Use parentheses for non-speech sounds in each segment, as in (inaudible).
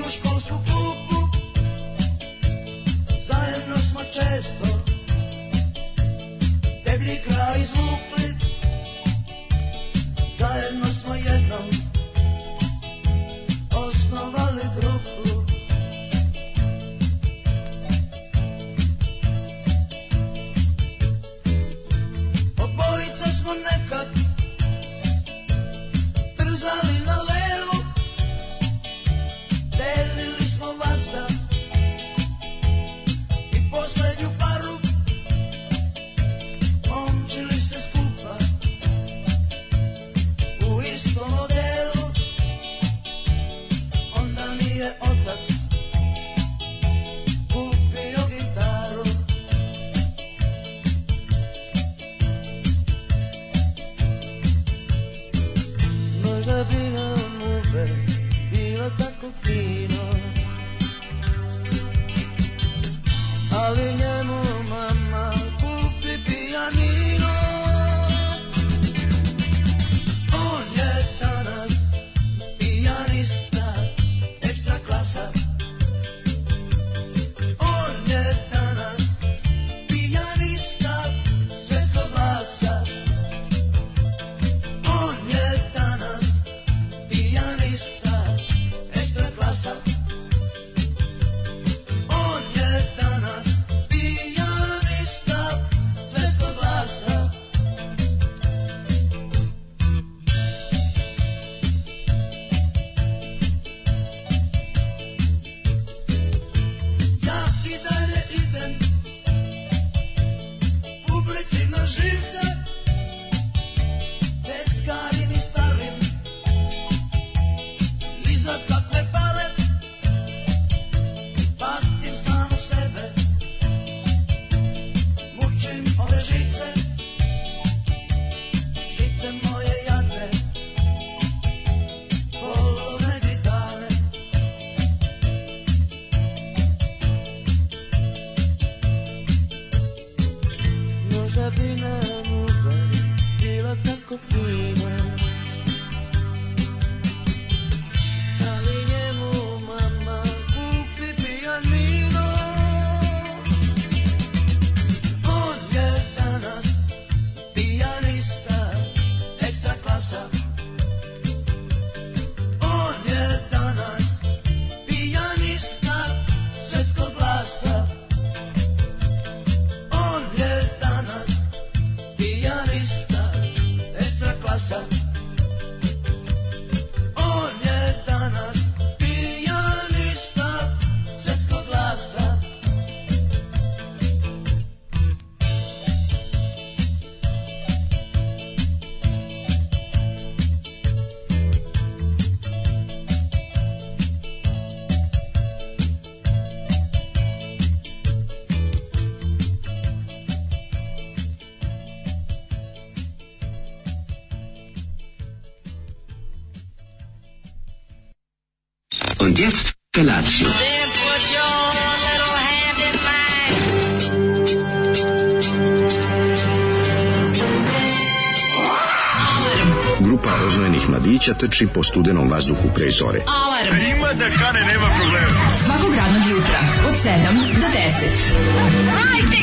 školsku klupu Zajedno smo često Deblji kraj izvukli Zajedno smo jednom Osnovali grupu Obojica smo nekad Trzali na lelu Delili smo vazda I poslednju paru Momčili ste skupa U istom odelu Onda mi je otac Kupio gitaru Možda bi nam uvek bilo tako fino Ali njemu mama kupi pijanino On je danas pijanista ekstra klasa On je danas pijanista svetskog glasa on je danas pijanista ekstra klasa. On je danas pijanista svetskog glasa. Ja i dalje idem publici na živce, Tezgari ni starim Ni za kakve pare Patim samo sebe Mučim ove žice Žice moje jadne Polove gitare Možda bi nam uvek bilo tako fino Ali njemu mama kupi pijanino On je danas pijanista ekstra klasa On je danas pijanista svetskog glasa on je danas pijanista ekstra klasa. On je danas pijanista svetskog glasa. Und jetzt Felatio. Then put your little hand in mine. Grupa roznojenih mladića trči po studenom vazduhu pre zore. Alarm. Ima da kane, nema problema. Svakog radnog jutra, od 7 do 10.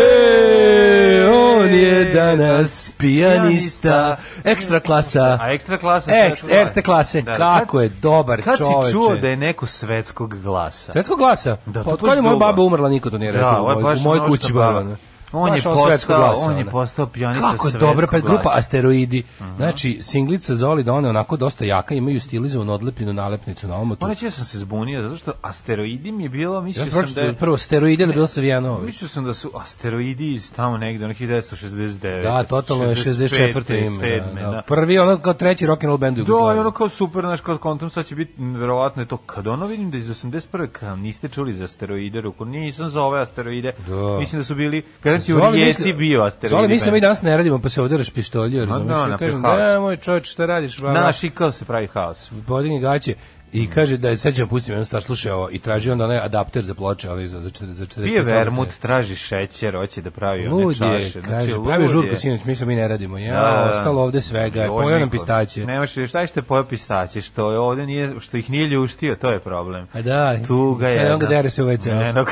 Je, on je danas pijanista ekstra klasa. A ekstra klasa... Eks, svetskog glasa. ekstra klase. Da, Kako kad- je dobar Kad si čoveče. čuo da je neko svetskog glasa? Svetskog glasa? Da, pa, to od baš kad je moja dugo. baba umrla, niko to nije rekao. Da, ovo je u moj- baš u mojoj ono kući što bar. prava. ono. On Baš je ono svetsko postao- glasa, on je ono. postao pijanista Kako je svetskog dobro, pa glasa. Mhm. grupa Asteroidi. Znači, singlica Zoli da ona je onako dosta jaka, imaju stilizovanu odlepljenu nalepnicu na omotu. Moram reći da sam se zbunio, zato što asteroidi mi je bilo, Ja mislio sam da pročito je... prvo steroide, ali bilo Savijanovi. Mislio sam da su asteroidi iz tamo negde, ono 1969. Da, totalno je 64. ime. 67. da, Da, da. Prvi ono kao treći rock'n'roll band u Da, i Jugoslaviji. ono kao super, znaš, kao kontom, sad će biti, m, verovatno je to, kad ono vidim da iz 81. kao niste čuli za asteroide, ruku, nisam za ove asteroide, Da. mislim da su bili, kažem ti, u Rijeci bio asteroid. Zoli, mislim da mislim mi danas ne radimo, pa se ovde raspištolio, da, razumiješ? Da, napravi kažem, haos. da, moj čovječ, šta radiš? Ba, ba, Naši kao se pravi haos. podigni gaće. I kaže da je, sad ćemo pustiti jednu stvar, slušaj ovo, i traži onda onaj adapter za ploče, ali za, za, čet- za 40. Pije vermut, traži šećer, hoće da pravi one Lud je, čaše. znači, kaže, lud pravi žurku je. sinoć, mi se mi ne radimo. Ja, Da. ostalo ovde svega, je Joj, pojeo nam Nikola, pistaće. Nemaš, šta je što je pojeo pistaće, što je ovde nije, što ih nije ljuštio, to je problem. A da, Tuga je. sad on ga dere se u WC. Ne, no,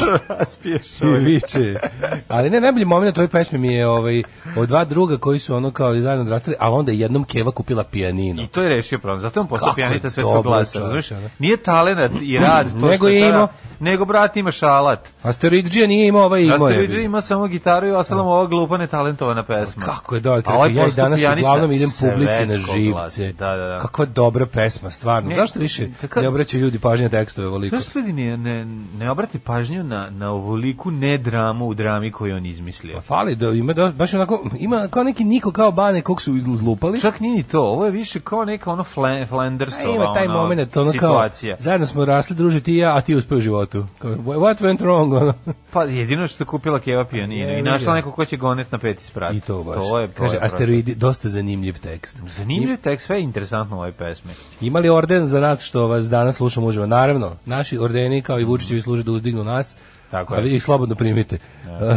(laughs) raspiješ. I ovaj. viče. Ali ne, najbolji moment na toj pesmi mi je ovaj, od dva druga koji su ono kao zajedno odrastali, ali onda je jednom Keva kupila pijanino. I to je rešio problem. Zato je on postao Kako pijanista je svetskog dobro, glasa, čoveče, razumeš? ono. Nije talenat i rad to Nego što je tera, imao- Nego brat ima šalat. Asteroid G nije imao ovaj imao. je, Asteroid vidi. ima samo gitaru i ostala mu ova glupa netalentovana pesma. Kako je dobro, A ovaj kako ja i postao danas pijanista uglavnom idem publici na svetskog živce. glasa. Da, da, da. Kakva dobra pesma, stvarno. Ne, Zašto više kakav- ne obraćaju ljudi pažnje tekstove ovoliko? Zašto ljudi ne, ne, ne obrati pažnju na, na ovoliku nedramu u drami koju je on izmislio? Pa fali da ima da, baš onako ima kao neki Niko kao Bane kog su izlupali. Čak nije ni to, ovo je više kao neka ono Flan, A Flandersova Pa ima taj ono, moment ono kao situacija. zajedno smo rasli druže ti i ja, a ti uspeo u životu. Kao, what went wrong? (laughs) Ono. Pa jedino što je kupila Keva pijanino Je, i našla vidim. neko ko će gonet na peti sprat. Pa, I to baš. To je, to Kaže, je asteroidi, dosta zanimljiv tekst. prosto. Zanimljiv tekst, sve je interesantno u ovoj pesmi. Ima li orden za nas što vas danas slušamo uživo? Naravno, naši ordeni kao i Vučićevi služe da uzdignu nas, Tako a je. Da. vi ih slobodno primite. (laughs)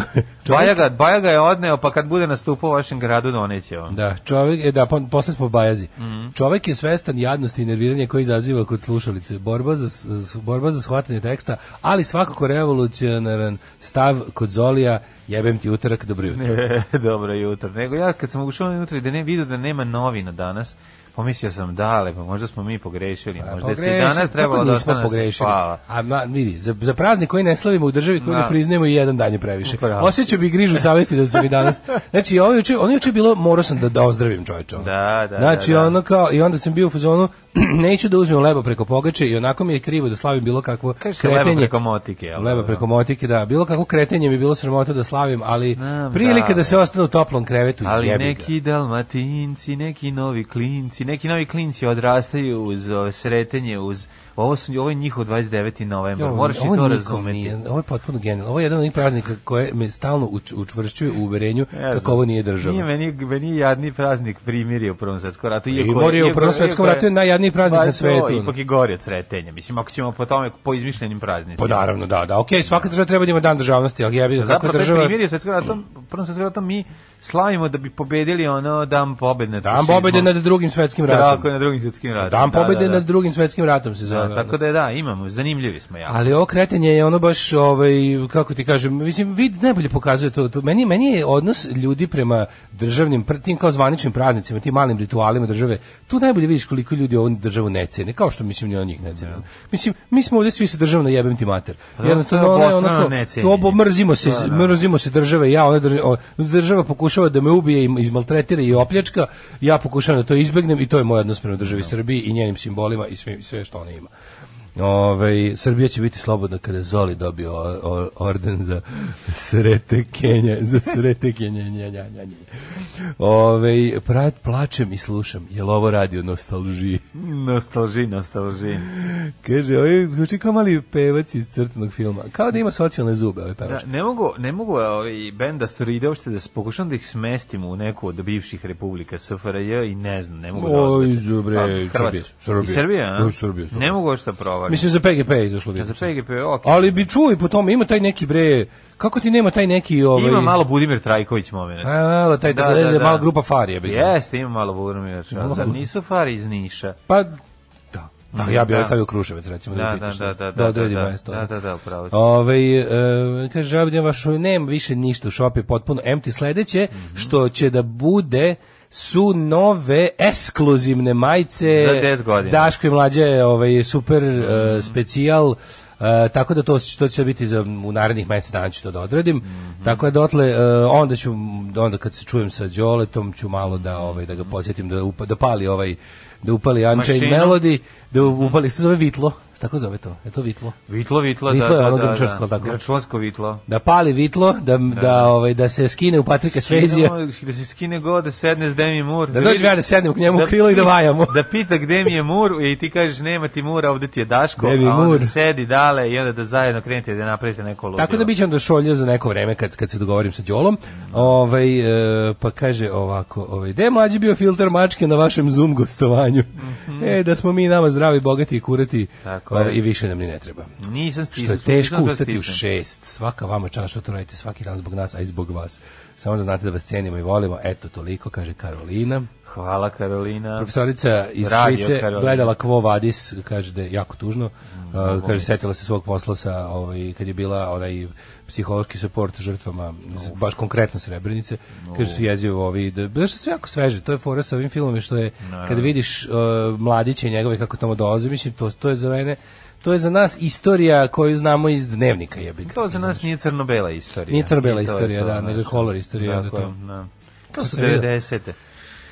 Baja ga, Baja ga je odneo, pa kad bude nastupao u vašem gradu, doneće vam. Da, čovjek je da pon- posle smo bajazi. Mhm. Čovjek je svestan jadnosti i nerviranja koje izaziva kod slušalice. Borba za s- s- borba za shvatanje teksta, ali svakako revolucionaran stav kod Zolija. Jebem ti utorak, dobro jutro. (laughs) Dobro jutro. Nego ja kad sam ušao jutro i da ne vidio da nema novina danas, pomislio sam dale, pa možda smo mi pogrešili, A, možda se Pa, pogrešili, i danas kako trebalo da nismo ostane da se pogrešili? spava. A ma, vidi, za, za praznik koji ne slavimo u državi koju Da. ne priznajemo i jedan dan je previše. Upravo. Osjećao bi grižu savesti da sam i danas. Znači, ovo juče, ono juče je bilo, morao sam da, da ozdravim čoveče. ono. Da, da, Znači, da, da. ono kao, i onda sam bio u fazonu, (clears throat) neću da uzmem leba preko pogače i onako mi je krivo da slavim bilo kakvo Kaže se kretenje. leba preko motike, jel? Leba preko motike, da. Bilo kakvo kretenje mi je bilo sramota da slavim, ali Znam, prilika da. da, se ostane u toplom krevetu, Ali jebi ga. neki dalmatinci, neki novi klinci, neki novi klinci odrastaju uz ove, sretenje, uz ovo su ovo je njihov 29. novembar. Ovo- Moraš i ovo to nikom razumeti. Nije, ovo je potpuno genijalno. Ovo je jedan od onih praznika koje me stalno uč- učvršćuje u uverenju Ne kako znam. ovo nije država. Nije meni, meni je jadni praznik primirje u Prvom svetskom ratu. Primorje u Prvom iako- svetskom iako ratu je najjadniji praznik Pa na to, svetu, ono. Ipak je gori od sretenja. Mislim, ako ćemo po tome, po izmišljenim praznicima. Pa naravno, da, da. Okej, svaka država treba da ima dan državnosti, ali ja bih kako Zapravo, je taj država... primirje u svetskom ratu, u Prvom svetskom ratu mi slavimo da bi pobedili ono dan pobedne. Dan pobede nad drugim svetskim Tako je ratom. na drugim svetskim ratom. Dan Da, da, pobede da. nad drugim svetskim ratom se Da, zove. ono. tako da da, imamo, zanimljivi smo ja. Ali ovo kretanje je ono baš ovaj kako ti kažem, mislim vid najbolje pokazuje to, to meni meni je odnos ljudi prema državnim pr- tim kao zvaničnim praznicima, tim malim ritualima države. Tu najbolje vidiš koliko ljudi ovu državu ne cene, kao što mislim ni oni njih ne cene. Mislim mi smo ovde svi se državno jebem ti mater. da, Jednostavno to je ono je obostrano onako necenjenje. obo mrzimo Da, se, mrzimo se države, ja ona država, država pokušava da me ubije i izmaltretira i opljačka, ja pokušavam da to izbegnem i to je moj odnos prema Da. državi Srbiji i njenim simbolima i sve sve što ona ima. Ove, Srbija će biti slobodna kada je Zoli dobio o- o- orden za srete Kenja, za srete Kenja, nja, nja, nja, nja. Ove, Ovaj, pra- plačem i slušam, jel ovo radi o nostalžiji? Nostalži, nostalži. Kaže, ovo je zvuči kao mali pevac iz crtenog filma, kao da ima socijalne zube ovaj Da, pevač. ne mogu, ne mogu ovaj bend Astoride uopšte da s- pokušam da ih smestim u neku od bivših republika SFRJ i ne znam, ne mogu da Oj, odlučim. zubre, Pa, Srbija, Hrvatska. Srbija. I Srbija, a? Da, Srbija, Srbija. Ne mogu ošta provarim. Mislim, za PGP je izašlo. Da. Za PGP, ok. Ali bi čuo i po tome, ima taj neki bre, kako ti nema taj neki ovaj... Ima malo Budimir Trajković moment. A, malo, taj, Da, da, da, da. malo grupa Farije. bi. Jeste, ima malo Budimir Trajković. Zar nisu fari iz Niša? Pa, da. Da, ja bih Da. ostavio Kruševac, recimo, da, Da, da da, pitaš. da, da, da, da, odredi da, mesto. da, da, da, upravo si. Ovaj, e, kaže, žalbim vaš, nema više ništa u šopu, je potpuno empty. Sledeće, Mhm. što će da bude su nove ekskluzivne majice Za 10 godina. Mhm. Daško i mlađe ovaj super e, specijal e, tako da to, to će biti za, u narednih mesec dana ću to da odradim Mhm. tako da dotle e, onda ću onda kad se čujem sa Đoletom ću malo da ovaj da ga podsjetim da, upa, da pali ovaj da upali Unchained Mhm. Mašinu. Mhm. Melody da upali se zove Vitlo tako zove to? Je to vitlo? Vitlo, vitlo, Vitlo da, je ono da, da, grčarsko, da, tako? grčarsko vitlo. Da pali vitlo, da, da, ovaj, da se skine u Patrika Svezija. Idemo, Da se skine god, da sedne s Demi Moore. Da dođem ja da sednem k njemu u krilo i da vajamo. Da pita gde mi je Mur i ti kažeš nema ti Mura, ovde ti je Daško, Gde mi je a onda Mur? sedi dale i onda da zajedno krenete da napravite neko ludilo. Tako da bićem da šolje za neko vreme kad kad se dogovorim sa Đolom. Ovaj e, pa kaže ovako, ovaj da je mlađi bio filter mačke na vašem Zoom gostovanju. E da smo mi nama zdravi, bogati i kurati. Mhm. Tako je. ovaj, i više nam ni ne treba. Nisam stisnuo. Što je teško nisam to ustati u stisnem. šest. Svaka vama čast što to radite svaki dan zbog nas, a i zbog vas. Samo da znate da vas cijenimo i volimo. Eto, toliko, kaže Karolina. Hvala Karolina. Profesorica iz Da. Radio Švice Karolina. Mm, gledala Quo Vadis, kaže da je jako tužno. Uh, kaže, setila se svog posla sa, ovaj, kad je bila onaj psihološki support žrtvama, z- baš konkretno Srebrenice. Kaže, su jezivo ovi, da, da što sve jako sveže, to je fora sa ovim filmom, što je, kada vidiš uh, mladiće njegove kako tamo dolaze, mislim, to, to je za mene, to je za nas istorija koju znamo iz dnevnika jebika. To za nas nije crno-bela istorija. Nije crno-bela I to je istorija, to, da, znaš. nego je kolor istorija, Tako da je, to- da. Kako Od sam vidio? 90.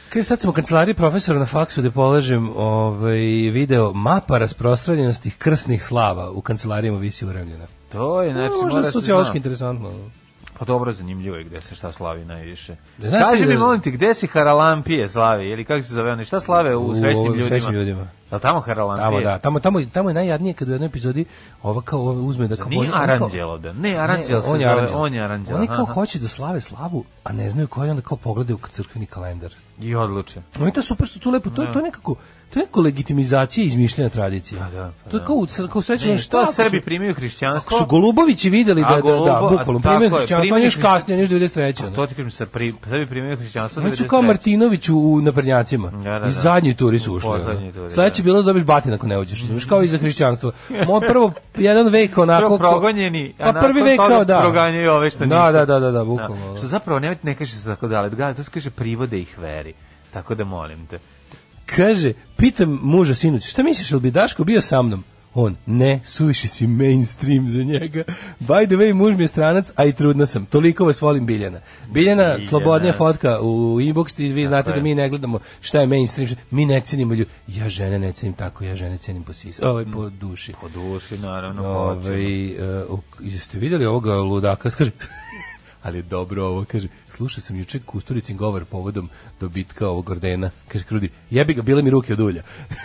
Kaže, sad sam u kancelariji profesora na faksu gde polažem ovaj, video mapa rasprostranjenosti krsnih slava u kancelarijama visi uravljena. To je, znači, Znači, možda mora se sociološki zna. interesantno. Pa dobro, zanimljivo je gde se šta slavi najviše. Da, znaš Kaži ti mi, da- molim ti, gde si Haralampije slavi, ili kako se zove oni, šta slave u, U srećnim ovim ljudima? srećnim ljudima. Je li tamo Haralampije? Tamo, da, tamo, tamo, tamo je najjadnije kad u jednoj epizodi ova kao ova uzme da... Kao, Nije on- on kao- Aranđel ovde. Ne, Aranđel Ne, se zove, Aranđel. on je Aranđel. Oni kao aha. hoće da slave slavu, a ne znaju koji onda kao pogledaju u crkveni kalendar. I odluče. Oni to super što tu lepo, to, je- to je nekako, to je nekako legitimizacija izmišljena tradicija. da, pa to je kao, u cr- kao srećno, Ne, šta što ako Srbi su- primaju hrišćanstvo? Ako su Golubovići videli da, A da, da, Golubo- a bukvalno, tako primjer je, hrišćanstva, primjer nješ kasnije, nješ A 93. To ti primaju, sa pri, Srbi primaju hrišćanstvo Oni su kao 93.. Martinović u, u naprednjacima. Da, da, da. I zadnji turi su ušli. Poslednji ono. turi, Sledeće da. bilo da dobiš batin ako ne uđeš. Znaš, kao i za hrišćanstvo. Moj prvo, jedan vek onako... Prvo ko- progonjeni, a Pa prvi nakon vek toga kao da. proganjaju ove da, što nisu. Da, da, da, da, bukvalno. Da. Da. Što zapravo ne, ne kaže se tako dalje, da, to se kaže privode ih veri. Tako da molim te. Kaže, pitam muža sinoć, šta misliš, jel bi Daško bio sa mnom? On, ne, suviše si mainstream za njega. By the way, muž mi je stranac, a i trudna sam. Toliko vas volim Biljana. Biljana, Biljana. slobodnija fotka u inbox, ti vi znate je. da mi ne gledamo šta je mainstream, šta- mi ne cenimo ljudi. Ja žene ne cenim tako, ja žene cenim po sisi, ovaj, po duši. Po duši, naravno, Ove, e, hoće. jeste vidjeli ovoga ludaka? (laughs) Kaže, ali je dobro ovo, kaže, slušao sam juče Kusturicin govor povodom dobitka ovog ordena. Kaže, Krudi, jebi ga, bile mi ruke od ulja. (laughs)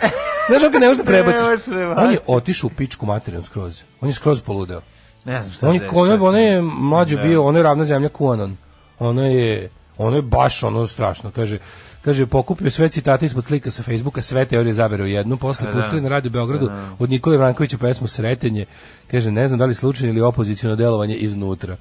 Znaš, on ga ne možeš da Ne prebaciš. možeš prebaciti. On je otišao u pičku materiju skroz. On je skroz poludeo. Ne znam šta On da je, je, on je, šta on je sam- da. mlađo bio, ono je ravna zemlja Kuanon. Ono je, ono je baš ono strašno, kaže kaže pokupio sve citate ispod slika sa Facebooka, sve teorije zabereo jednu, posle da. pustio je na Radio Beogradu od Nikole Vrankovića pesmu Sretenje. Kaže ne znam da li slučajno ili opoziciono delovanje iznutra.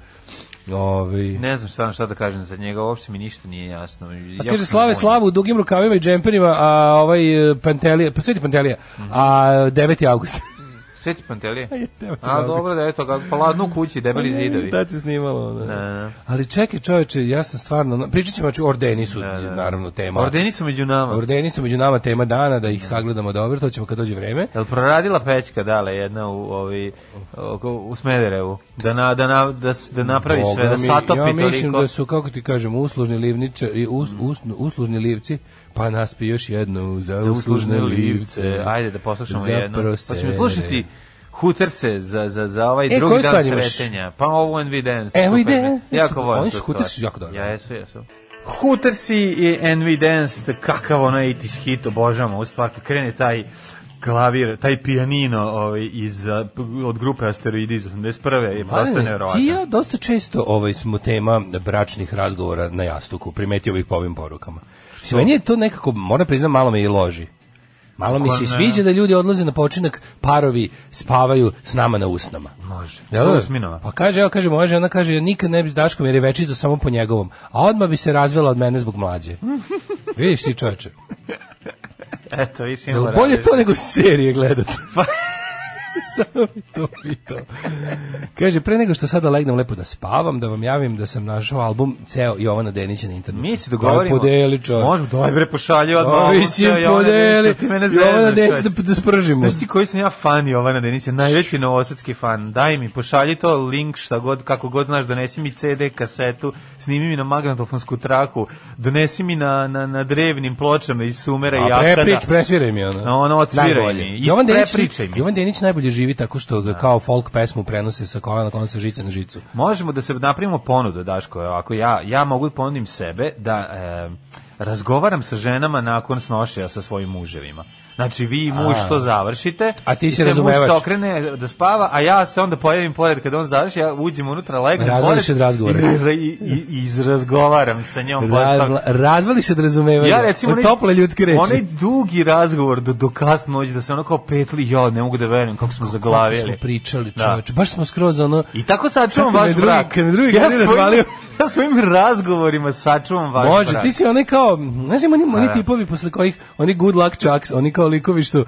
Ovaj- Ovi. Ne znam stvarno šta da kažem za njega, uopšte mi ništa nije jasno. Pa Jako kaže sam slave zbunjen. slavu u dugim rukavima i džemperima, a ovaj e, Pantelija, pa sveti Pantelija, Mhm. a 9. avgust. Sveti Pantelije? Devet A avgusta. dobro, da je to, pa ladno u kući, debeli zidovi. Tad se snimalo. (laughs) Da. da. Ali čekaj čoveče, ja sam stvarno, pričat ćemo, znači ordeni su Da, da. naravno tema. Ordeni su među nama. Ordeni su među nama tema dana, da ih sagledamo dobro, to ćemo kad dođe vreme. Jel proradila pećka dale jedna u ovi oko- u Smederevu da na, da na, da, s- da napravi Boga sve da mi, satopi ja mislim toliko. Mm. da su, kako ti kažem, uslužni livniče, i us, us, uslužni livci, pa naspi još jednu za, uslužne livce. Ajde da poslušamo Za jedno. Pa ćemo prosere. slušati Huterse za, za, za ovaj E, drugi koju dan stvar imaš? sretenja. Pa ovo and we dance. And we super. dance, to je Jako super. volim. Oni tu su Hootersi stvar. su jako dobri. Ja, jesu, jesu. Hootersi i and we dance, t- kakav ono 80s hit, obožavamo. U stvar, kad krene taj klavir, taj pijanino ovaj, iz, a, p- od grupe Asteroidi iz 81. je prosto Mladene, nevjerovatno. Ti i ja Pa, dosta često ovaj, smo tema bračnih razgovora na jastuku, primetio bih po ovim porukama. Mislim, Meni je to nekako, moram priznam, malo me i loži. Malo mi Kako se i Pa ne? sviđa da ljudi odlaze na počinak, parovi spavaju s nama na usnama. Može. Jel? To je Osminova. Pa kaže, evo kaže, moja žena kaže, ja nikad ne bi s Daškom jer je večito samo po njegovom, a odmah bi se razvela od mene zbog (laughs) mlađe. Vidiš ti čoveče. Eto, više Jel imamo bolje različite. (laughs) to nego serije gledati. Pa, Samo mi to pitao. Kaže, pre nego što sada legnem lepo da spavam, da vam javim da sam našao album ceo Jovana Denića na internetu. Mi se dogovorimo. Aj, Podeli čovjek. Možemo, daj bre, pošalji odmah. Pa ovom mislim, sve, Jovana podeli. Denića, Ti mene Jovana zezdaš, Denić čoveče. da, da spržimo. Znaš ti koji sam ja fan Jovana Denića, najveći novosadski fan. Daj mi, pošalji to link šta god, kako god znaš, donesi mi CD, kasetu, snimi mi na magnetofonsku traku, donesi mi na, na, na drevnim pločama iz Sumera i A Jaksana. preprič, presviraj mi ono. No, ono, odsviraj Najbolje. mi. Jovan Denić, Isprepričaj mi. Da. Jovan Denić najbolje živi tako što ga kao folk pesmu prenose sa kola na konca žice na žicu. Možemo da se napravimo ponudu, Daško, ako ja, ja mogu da ponudim sebe da e, razgovaram sa ženama nakon snošaja sa svojim muževima. Znači, vi i muž A. to završite. A ti i si se razumevač. Muž se okrene da spava, a ja se onda pojavim pored kada on završi, ja uđem unutra, legnem Razvališ pored. od razgovora. I, i, i, i izrazgovaram sa njom. Razvla, Razla, razvali se od razumevanja. ja recimo Od onaj- tople ljudske reči. Onaj dugi razgovor do, do kasno noći da se ono kao petli, ja ne mogu da verujem kako smo Kako zaglavili. smo pričali, Da. čoveče. Baš smo skroz ono... I tako sačuvam Sad kad me vaš drugi- brak. kad me drugi ja godine razvalio. svojim, (laughs) ja svojim razgovorima sačuvam vaš Može, brak. ti si onaj kao, znaš ima oni, oni da. tipovi posle kojih, oni good luck chucks, oni kao likovi što, e,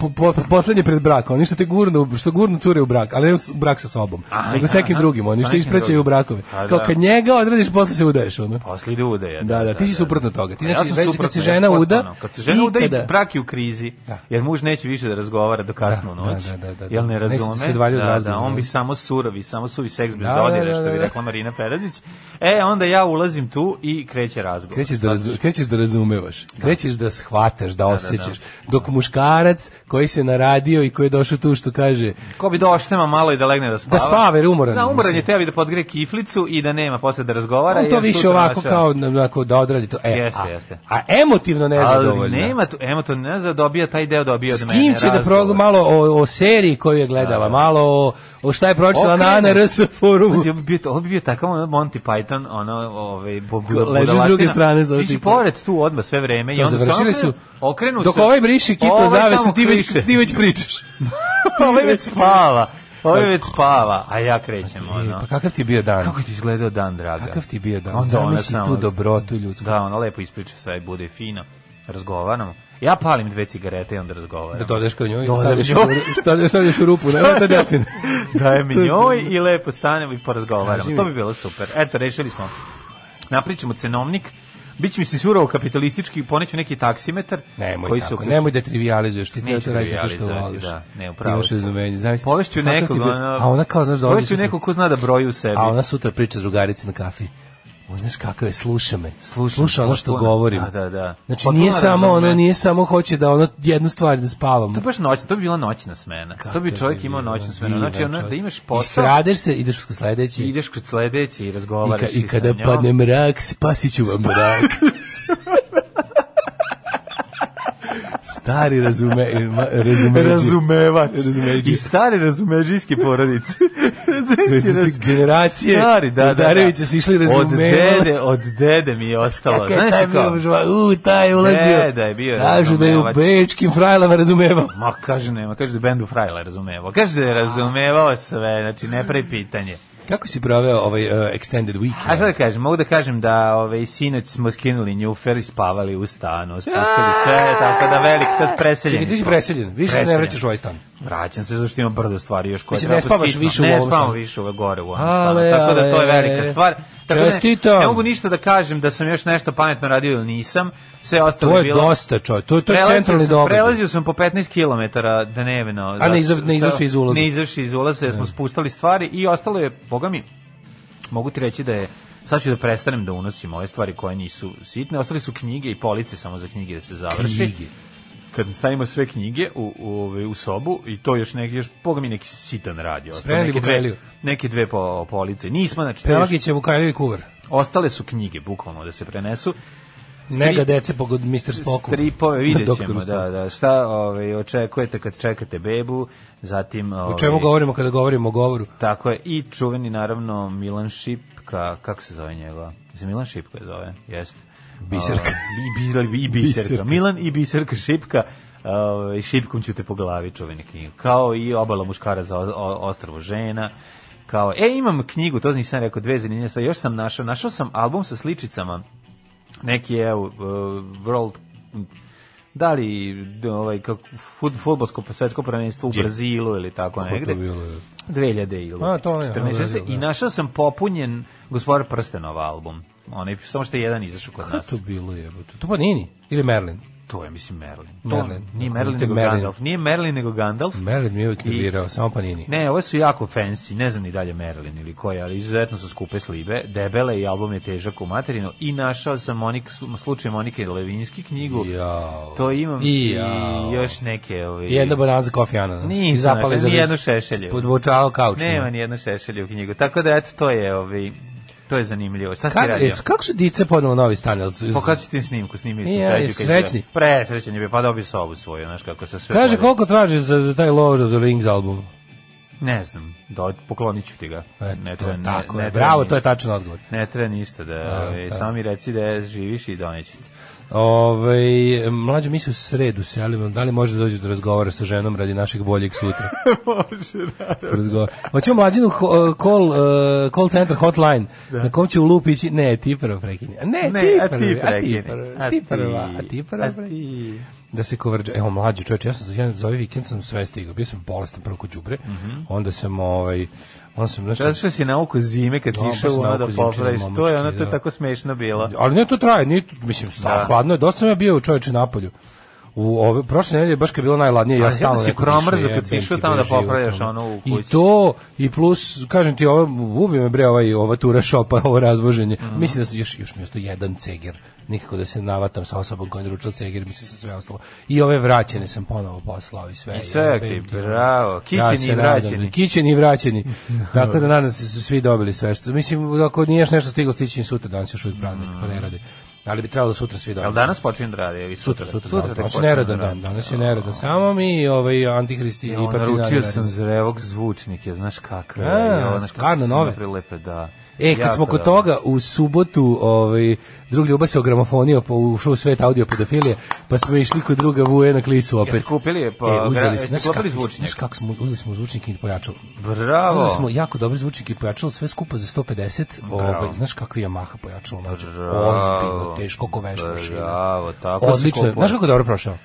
po, po, poslednje pred brak, oni što te gurnu, što gurnu cure u brak, ali ne u s- brak sa sobom, Aj, nego s da, aha, nekim drugim, oni sa što nekim ispraćaju u drugim. brakove. Pa Kao da. Pa kad njega odradiš, posle se udaješ, ono. Posle ide udaja. Da, da, ti si suprotno toga. Ti A Pa ja znači, sam znači, kad suprotno, se ja žena suprotno, uda, ono. kad se žena uda i ikada- brak je u krizi, Da. jer muž neće više da razgovara do kasno Da, noć, da, da, da, da. jel ne Neće razume? se valjati od da, da, razgovora. on bi samo surovi, samo suvi seks bez Da, da, dodira, da, što da, bi da. rekla Marina Perazić. E, onda ja ulazim tu i kreće razgovor. Krećeš da, razu, krećeš da razumevaš, krećeš da shvataš, da osjećaš, dok muškarac koji se naradio i koji je došao tu što kaže, Ko bi doštema malo i da legne da spava. Da spava, jer je umoran, Da, umoran je mislim. tebi da podgre kiflicu i da nema posle da razgovara. On to jer više sutra ovako naša- kao onako da odradi to. E, Jeste, a, jeste. a emotivno Ali nezadovoljno. nema tu, emo to ne zna, dobija taj deo dobija od S mene. Da. kim će da razgovor. progu malo o, o seriji koju je gledala, malo o, o šta je pročitala na Okrene. ANRS forumu. Pazi, Ovo bi bio, ovo bi bio takav ono Monty Python, ono, ovaj, bu- bu- Leži s budalaština. druge strane za Ti si oči. pored tu odmah sve vreme i Kao, onda se završili okrenu- su- okrenu Dok se- ovaj briši kito ovaj zavesu, tamo ti već, kliše. ti već pričaš. (laughs) Pa ovaj već spava. Ovaj već spava, a ja krećem, E, pa ono. kakav ti je bio dan? Kako ti izgledao dan, draga? Kakav ti je bio dan? Onda ona Zamisli samo- tu dobrotu ljudsku. Da, ona lepo ispriča sve, bude fina. Razgovaramo. Ja palim dve cigarete i onda razgovaramo. Da dodeš kao njoj, Dodam stavljaš, njoj. u- stavljaš, stavljaš u rupu, ne, to je defin. (laughs) daje mi To je- njoj i lepo stanemo i porazgovaramo. Kaži To mi. bi bilo super. Eto, rešili smo. Napričamo cenovnik. Biće mi se surovo kapitalistički, poneću neki taksimetar. Nemoj tako, uključeni. nemoj da trivializuješ, ti Neću to radiš zato što trivijalizovati, voliš. da, ne, Ti upravo imaš si. razumenje, znaš. Povešću Kakav ti je nekog, bio- ono, A ona kao, znaš, dolazi Povešću sutra- nekog ko zna da broji u sebi. A ona sutra priča drugarici na kafi. O, znaš kako je, sluša me. Slušam, sluša ono što potpuno. govorim. Da, da, da. Znači Potpuno nije samo razume. ono, nije samo hoće da ono jednu stvar da spavam. To je baš noćna, to bi bila noćna smena. to bi čovjek imao noćnu smenu. Znači, ono, da imaš posao, Istradeš se, ideš kod sledeći. i ideš kod sledeće i I, razgovaraš ka, I sa kada njom. padne mrak, spasit ću vam mrak. Stari razume, (laughs) ma- razume, Razumevač. Razumeđi. I stare razumeđijske (laughs) porodice. Razumeš si, raz- generacije da Stari, da, da, Darevića da. su išli Od razumevati. dede, od dede mi je ostalo. (laughs) Kako je Znaš taj si bio kao? žva- u, taj je ulazio. Ne, da je bio Kažu da je u razumevač. bečkim frajlama razumevao. Ma kaže nema, kaže da je bendu Frajla razumevao. Kaže da je razumevao sve, znači ne pravi pitanje. Kako si proveo ovaj uh, extended A šta weekend? da kažem, mogu da kažem da ove, sinoć smo skinuli njufer i spavali u stanu, spustili sve, tako da velik čas preseljeni. Čekaj, ti si smo. preseljen, više se ne Preseljen. vraćaš u ovaj stan. Vraćam se zašto imam brdo stvari još koje Mislim, treba ne spavaš sitno. više u ne ovom spavam stanu. više ove gore u ovom Ale, stanu. Tako da to je ale. velika stvar. Tako da ne- Čestitam. ne mogu ništa da kažem da sam još nešto pametno radio ili nisam. Sve ostalo To je bilo... dosta, čoj. To, to je Prelazio centralni sam- događaj. Prelazio sam po 15 km dnevno. A ne iza- zato ne što- izašao iz ulaza. Ne izašao iz ulaza, jer smo spustali stvari i ostalo je, boga mi, mogu ti reći da je Sad ću da prestanem da unosim ove stvari koje nisu sitne. Ostali su knjige i police samo za knjige da se završi Knjige. kad stavimo sve knjige u, u, ovaj, u sobu i to još neki, još boga mi neki sitan radio. Ostalo Spremili neke Vukajliju. dve, neke dve po, police. Nismo, znači, to je još- Pelagić je Vukajljevi kuvar. ostale su knjige, bukvalno, da se prenesu. Nega dece pogod Mr. Spoku. Stripove, vidjet (laughs) Doktor ćemo, Spock. da, da, šta ovaj, očekujete kad čekate bebu, zatim... Ovaj, O čemu govorimo kada govorimo o govoru? Tako je, i čuveni, naravno, Milan Šipka, kako se zove njega? Mislim, Milan Šipka je zove, jeste. Biserka. Ovaj, I, bi- i, biserka. Biserka. Milan i Biserka Šipka, ovaj, šipkom ću te po glavi čuveni knjiga. Kao i obala muškara za o- o- ostrvo žena, kao, e, imam knjigu, to nisam rekao, dve zanimljive stvari, još sam našao, našao sam album sa sličicama neki je evo, uh, World e, da li d- ovaj kako fut, fudbalsko svetsko prvenstvo u Brazilu ili tako Kako je Pa to negde. bilo, je? 2000 ili A, to ne, 14. Brazil, da. I našao sam popunjen Gospodar prstenova album. Onaj samo što je jedan izašao kod nas. To bilo jebote. To pa Nini ili Merlin. To je mislim Merlin. Merlin. To, nije Kako Merlin te nego Merlin? Gandalf. Nije Merlin nego Gandalf. Merlin mi je uvijek I- nervirao, samo pa Nini. Ne, ove su jako fancy, ne znam ni dalje Merlin ili koje, ali izuzetno su skupe slibe, debele i album je težak u materinu i našao sam Monik, slučaj Monike Levinski knjigu, Jao. to imam i, Jao. još neke... ovaj, Ove, I jedna banana za kofi ananas. Nisam I zapali našao, za ni vis- jednu šešelju. Podvučao kauč. Nema nijedno šešelje u knjigu, tako da eto, to je, ovi, to je zanimljivo. Šta si Kad, e, radio? es- kako su dice podnelo novi stan? Jel su- Pokazati ti snimku, snimili su Ja, treću jesi kad je bio. srećni? Presrećan je bio, pa dobio sobu svoju, znaš kako se sve... Kaže podiže. koliko traži za, za taj Lord of the Rings album? Ne znam, do, poklonit ću ti ga. Eto, ne, treba- ne, tako ne E, je. treba Bravo, ništa. to je tačan odgovor. Ne treba ništa da, ovaj, da. samo mi reci da je živiš i doneću ti. (laughs) Ove, mlađo, Ovaj, mi se u sredu selimo, da li možeš da dođeš da razgovaraš sa ženom radi našeg boljeg (laughs) sutra? Može, da. Hoćemo mlađinu ho- e, call, uh, call center hotline, na kom će u lup ići, ne, ti prvo prekini. A Ne, Da. Ne, E, ti a ti prvi, a ti prekini. prvo, A ti ti, prva, a ti prva, a prekini. ti. da se kovrđa. Evo mlađi čovjek, ja sam za jedan za ovaj vikend sam sve stigao. Bio sam bolestan prvo kod đubre. Onda sam ovaj onda sam nešto Zato što si nauku zime kad si Da, baš išao ono da nauku zimčine, popraviš, to je ono, momački, to je da. tako smešno bilo. Ali ne to traje, ni mislim sta Da. hladno je. Dosta sam ja bio u čoveče napolju. U ove prošle nedelje baš kad je bilo najladnije, ja Ali stalno jel si nekako kromrzo išao, kad jebem si išao ti, tamo bre, da popravljaš život, ono. ono u I kući? to i plus kažem ti ovo ubi me bre ovaj ova tura šopa, (laughs) ovo razvoženje. Mhm. Mislim da se još još mjesto jedan ceger. Nikako da se navatam sa osobom koja je naručila ceger, mislim sa sve ostalo. I ove vraćene sam ponovo poslao i sve. I sve, jebem ti, ti, ono. bravo. Kićeni se i nadam, vraćeni. Kićeni i (laughs) vraćeni. Tako da nadam se da su svi dobili sve što. Mislim, ako nije još nešto stiglo, stići im sutra, danas još uvijek praznik, pa ne radi. Ali bi trebalo da sutra svi dobili. Jel danas počinjem da radi? ili Sutra, sutra. da, Sutra tek danas je počinje neradan da radi. dan, danas je neradan. Samo mi ovaj, antihristi i Ja, partizani. naručio radimo. sam zrevog zvučnike, znaš kakve. A, ja, znaš stvarno kako su nove? Prilepe, da. E, kad Jako smo kod dobro. toga, u subotu ovaj, drug ljubav se ogramofonio, pa ušao u svet audio pedofilije, pa smo išli kod druga vuje na klisu opet. Jeste kupili je, pa e, gra- uzeli, smo, jeste znaš, kupili kako, zvučnjak? znaš kako smo, uzeli smo zvučnik i pojačalo. Bravo. Uzeli smo jako dobri zvučnik i pojačalo sve skupa za 150. Ovaj, znaš kakvi Yamaha pojačalo mlađe? Bravo. Ozbiljno, teško ko veš mašina. Bravo, tako se Odlično. je. kupuje. Pa Znaš kako je dobro prošao?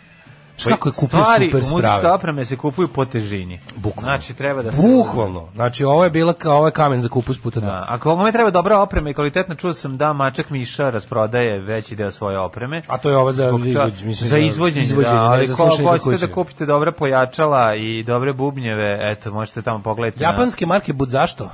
Znaš kako je kupio Stvari super u muzičke sprave? opreme se kupuju po težini. Bukvalno. Znači, treba da se... Bukvalno. Znači, ovo je bila kao ovaj kamen za kupus puta dva. Da, ako vam treba dobra oprema i kvalitetna, čuo sam da Mačak Miša rasprodaje veći deo svoje opreme. A to je ova Da, za Zbog ča- izvođenje. Mislim, za izvođenje, izvođenje, da, ne ali za ko slušanje kod hoćete kuće. da kupite dobra pojačala i dobre bubnjeve, eto, možete tamo pogledati. na- Japanske marke bud zašto?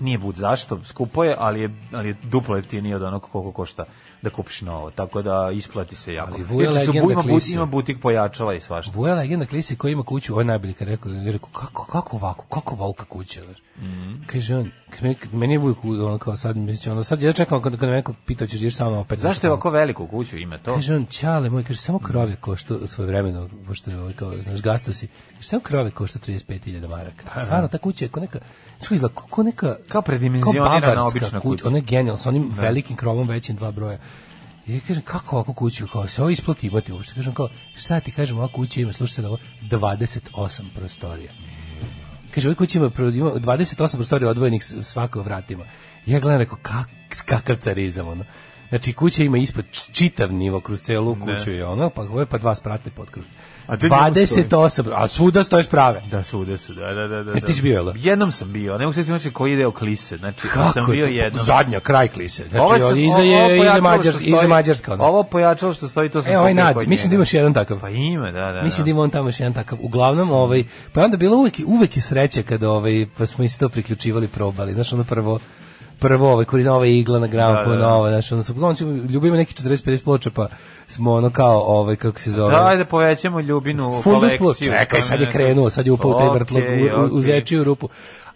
Nije bud zašto, skupo je, ali je, ali je duplo jeftinije od onog koliko košta da kupiš novo, tako da isplati se jako. Ali Vuja Inače su bu- legenda ima, bu- klise. ima butik pojačala i svašta. Vuja legenda klisi koji ima kuću, ovo je najbolji kad je rekao, je rekao kako, kako ovako, kako volka kuća, znaš. Mhm. Kaže on, kaže, meni- meni je uvijek ono kao sad, mislim, ono sad ja čekam kad, kad me neko pitao ćeš ideš samo opet. Zašto je ovako veliku kuću ima to? Kaže on, čale moj, kaže, samo krove košta svoje vremeno, pošto je ovaj kao, znaš, gasto si. Kaže, samo krove košta 35.000 maraka. Stvarno, ta kuća je ko neka, što izgleda, ko- ko neka... Pa da. Kao predimenzionirana bavarska obična kuća. Da. Ona je genijalna, sa onim velikim krovom većim dva broja. I ja kažem, kako ovako kuću, kao se ovo isplati imati uopšte. Kažem, kao, šta ti kažem, ova kuća ima, slušaj sad ovo, 28 prostorija. Kaže, ovoj kući ima, pro- ima 28 prostorija odvojenih s- svako vratima. Ja gledam, rekao, kak, kakav carizam, ono. Znači, kuća ima ispod č- čitav nivo kroz celu kuću i ono, pa ovo je pa dva sprate pod krug. A ti njemu 28, a svuda stoje sprave. Da, svuda su, da, da, da. da. E, ti si bio, jel da? Jednom sam bio, ne mogu se znači koji je deo klise, znači sam Kako bio je to? jednom. Zadnja, kraj klise. Znači, Ovo ovo sam- iza ovo- ovo je, iza, pojačalo Mađar, što stoji- iza Mađarska. Ono. Ovo pojačalo što stoji, to sam e, ovaj kupio nad, kod mislim da njega. imaš jedan takav. Pa ima, da, da. Mislim da da. ima on tamo još jedan takav. Uglavnom, ovaj, pa onda bilo uvek, uvek je sreće kada ovaj, pa smo isto priključivali, probali. Znaš, ono prvo, prvo ovaj kurina ova igla na gramofonu, da. ovo, znaš, onda su, on će, ljubimo neki 40-50 ploča, pa smo ono kao, ovaj, kako se zove, Da, ajde povećamo ljubinu u fundus kolekciju. ploča. Čekaj, To sad me je krenuo, sad je upao u taj Okej, vrtlog, u, u, u okej. zečiju rupu.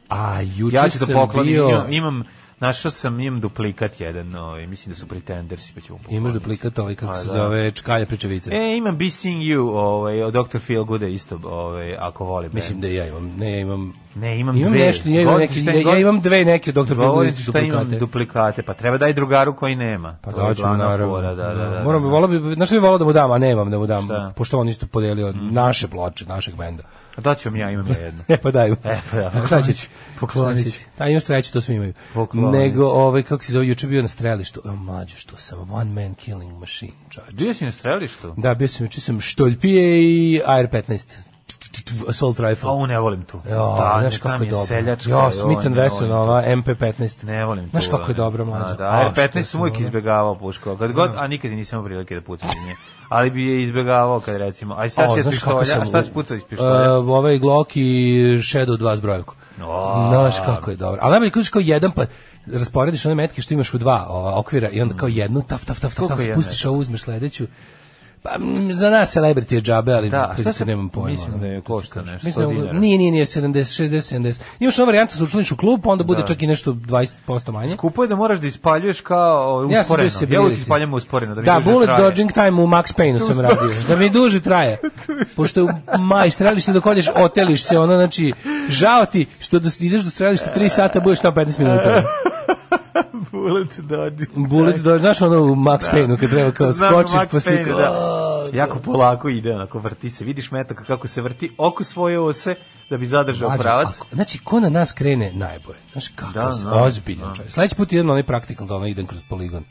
A juče Ja ću sam da poklonim, bio... imam, imam našao sam, imam duplikat jedan, ovaj, mislim da su pretendersi, pa ću mu pokloniti. Imaš duplikat ovaj, kako Pa se da. zove, čkalja pričavice. E, imam Be Seeing You, ovaj, od Dr. Feelgooda isto, ovaj, ako voli band. Mislim da i ja da imam, ne, ja imam Ne, imam, Imam dve. nešto, ja imam, Govorim neki, ti šta ja, ja god- imam dve neke doktor Govorim Fedulisti ti šta imam duplikate. duplikate, pa treba daj drugaru koji nema. Pa To je da ćemo glavna naravno. fora, da, da, da. Moram bi da. volao bi, znaš šta bi volao da mu dam, a nemam da mu dam, Šta? Mhm. pošto on isto podelio naše ploče, našeg benda. (laughs) A Da ću vam ja, imam ja jedno. E pa daj. mu. E, pa da, Šta će ti? poklonit ću. Šta će ti? Da, imaš treći, to svi imaju. Poklonit. Nego, ovaj, kako se zove, juče bio na strelištu. O, mlađo, što sam one man killing machine, čovječ. Bio si na strelištu? Da, bio sam, juče sam štoljpije i AR-15. Assault rifle. A Pa u ne volim tu. Jo, Da, znaš ne, kako tam je je dobro. seljačka, jo, joj, Smith ne Wesson, volim ova MP15. Ne volim Znaš tu, kako je ono. dobro, mlađo. A, Da, A, što R15 sam sam uvijek volao. izbegavao puško. Kad god, a nikad i nisam imao prilike da pucam iz nje. Ali bi je izbegavao kad recimo, aj sad O, si od znaš kako pištolja, sam- a šta si pucao iz pištolja? Uh, ovaj Glock i Shadow 2 zbrojevku. O. Znaš kako je dobro. Ali najbolje kad uzmeš kao jedan, pa rasporediš one metke što imaš u dva ova, okvira i onda kao jednu, taf, taf, taf, taf, Mm. Koliko taf je spustiš ovu, uzmeš sledeću. Pa, mm, za nas celebrity je džabe, ali Da, a šta da, se- nemam pojma. mislim ono. da je košta nešto, Mislim, 100 da- dinara. nije, nije, nije, 70, 60, 70. Imaš ovu varijantu, se učlaniš u klub, pa onda Da. bude čak i nešto 20% manje. Kupo je da moraš da ispaljuješ kao ovaj, Ja sam bio usporeno. Ja uvijek sebility. ispaljam usporeno. Da, mi Da, duže bullet traje. dodging time u Max Payne-u sam radio. Da mi duže (laughs) traje. Pošto je u maj strelište dok odeš, oteliš se, ono, znači, žao ti što do, ideš do strelišta 3 sata, budeš tamo 15 minuta. bullet da dodging. Bullet dodging, znaš ono u Max Payne-u kad treba kao Da. Znam, skočiš Max pa si Payne, kao... da. Jako polako ide, onako vrti se. Vidiš metaka kako se vrti oko svoje ose da bi zadržao Mlađe, pravac. ako- znači, ko na nas krene najbolje? Znaš, kako Da, da, se, da, ozbiljno. Da. Sljedeći put idem na onaj practical, da ono idem kroz poligon.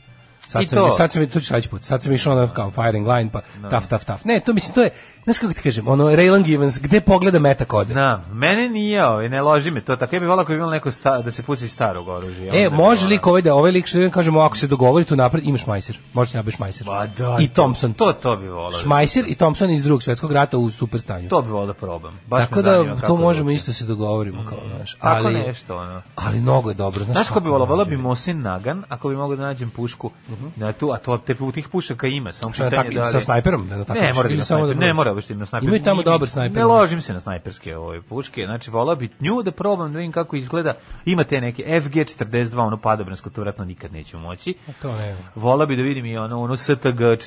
Sad I sam, to. Da. sad sam, to ću sljedeći put, sad sam išao na kao firing line, pa taf, taf, taf. Ne, to mislim, to je, znaš kako ti kažem, ono, Raylan Givens, gde pogleda metak ode? Na, Da, mene nije, ovaj, ne loži me to. Tako ja bih volao ako bi imao neko sta, da se puci iz starog oružja. E, Onda bi može ono- lik ovaj da ovaj lik što idem kažemo ako se dogovori tu napred imaš Majser. Možeš da nabaviš Majser. Pa da, I to- Thompson. To, to bi volao. Šmajser i Thompson iz drugog svjetskog rata u super stanju. To bi volao da probam. Baš me Tako zanima da kako to da možemo bude. isto se dogovorimo kao, znaš. Tako ali nešto, ono. Ali mnogo je dobro, znaš. Znaš ko kako da bi volao? Volao mlađe je. bi Mosin Nagan, ako bi mogao da nađem pušku na tu, a to te u tih pušaka ima, samo Mhm. Šta, na pitanje tak- da li... sa snajperom? Ne, na Ne, takmičenju, mora biti ili na samo da snajper. Ne, proba- mora biti na snajper. Imaju tamo Nije- dobar snajper. Ne ložim se na snajperske ove puške, znači volao bi nju da probam da vidim kako izgleda. Ima te neke FG42, ono padobransko, to vratno nikad neću moći. E, To ne. Volao bi da vidim i ono, ono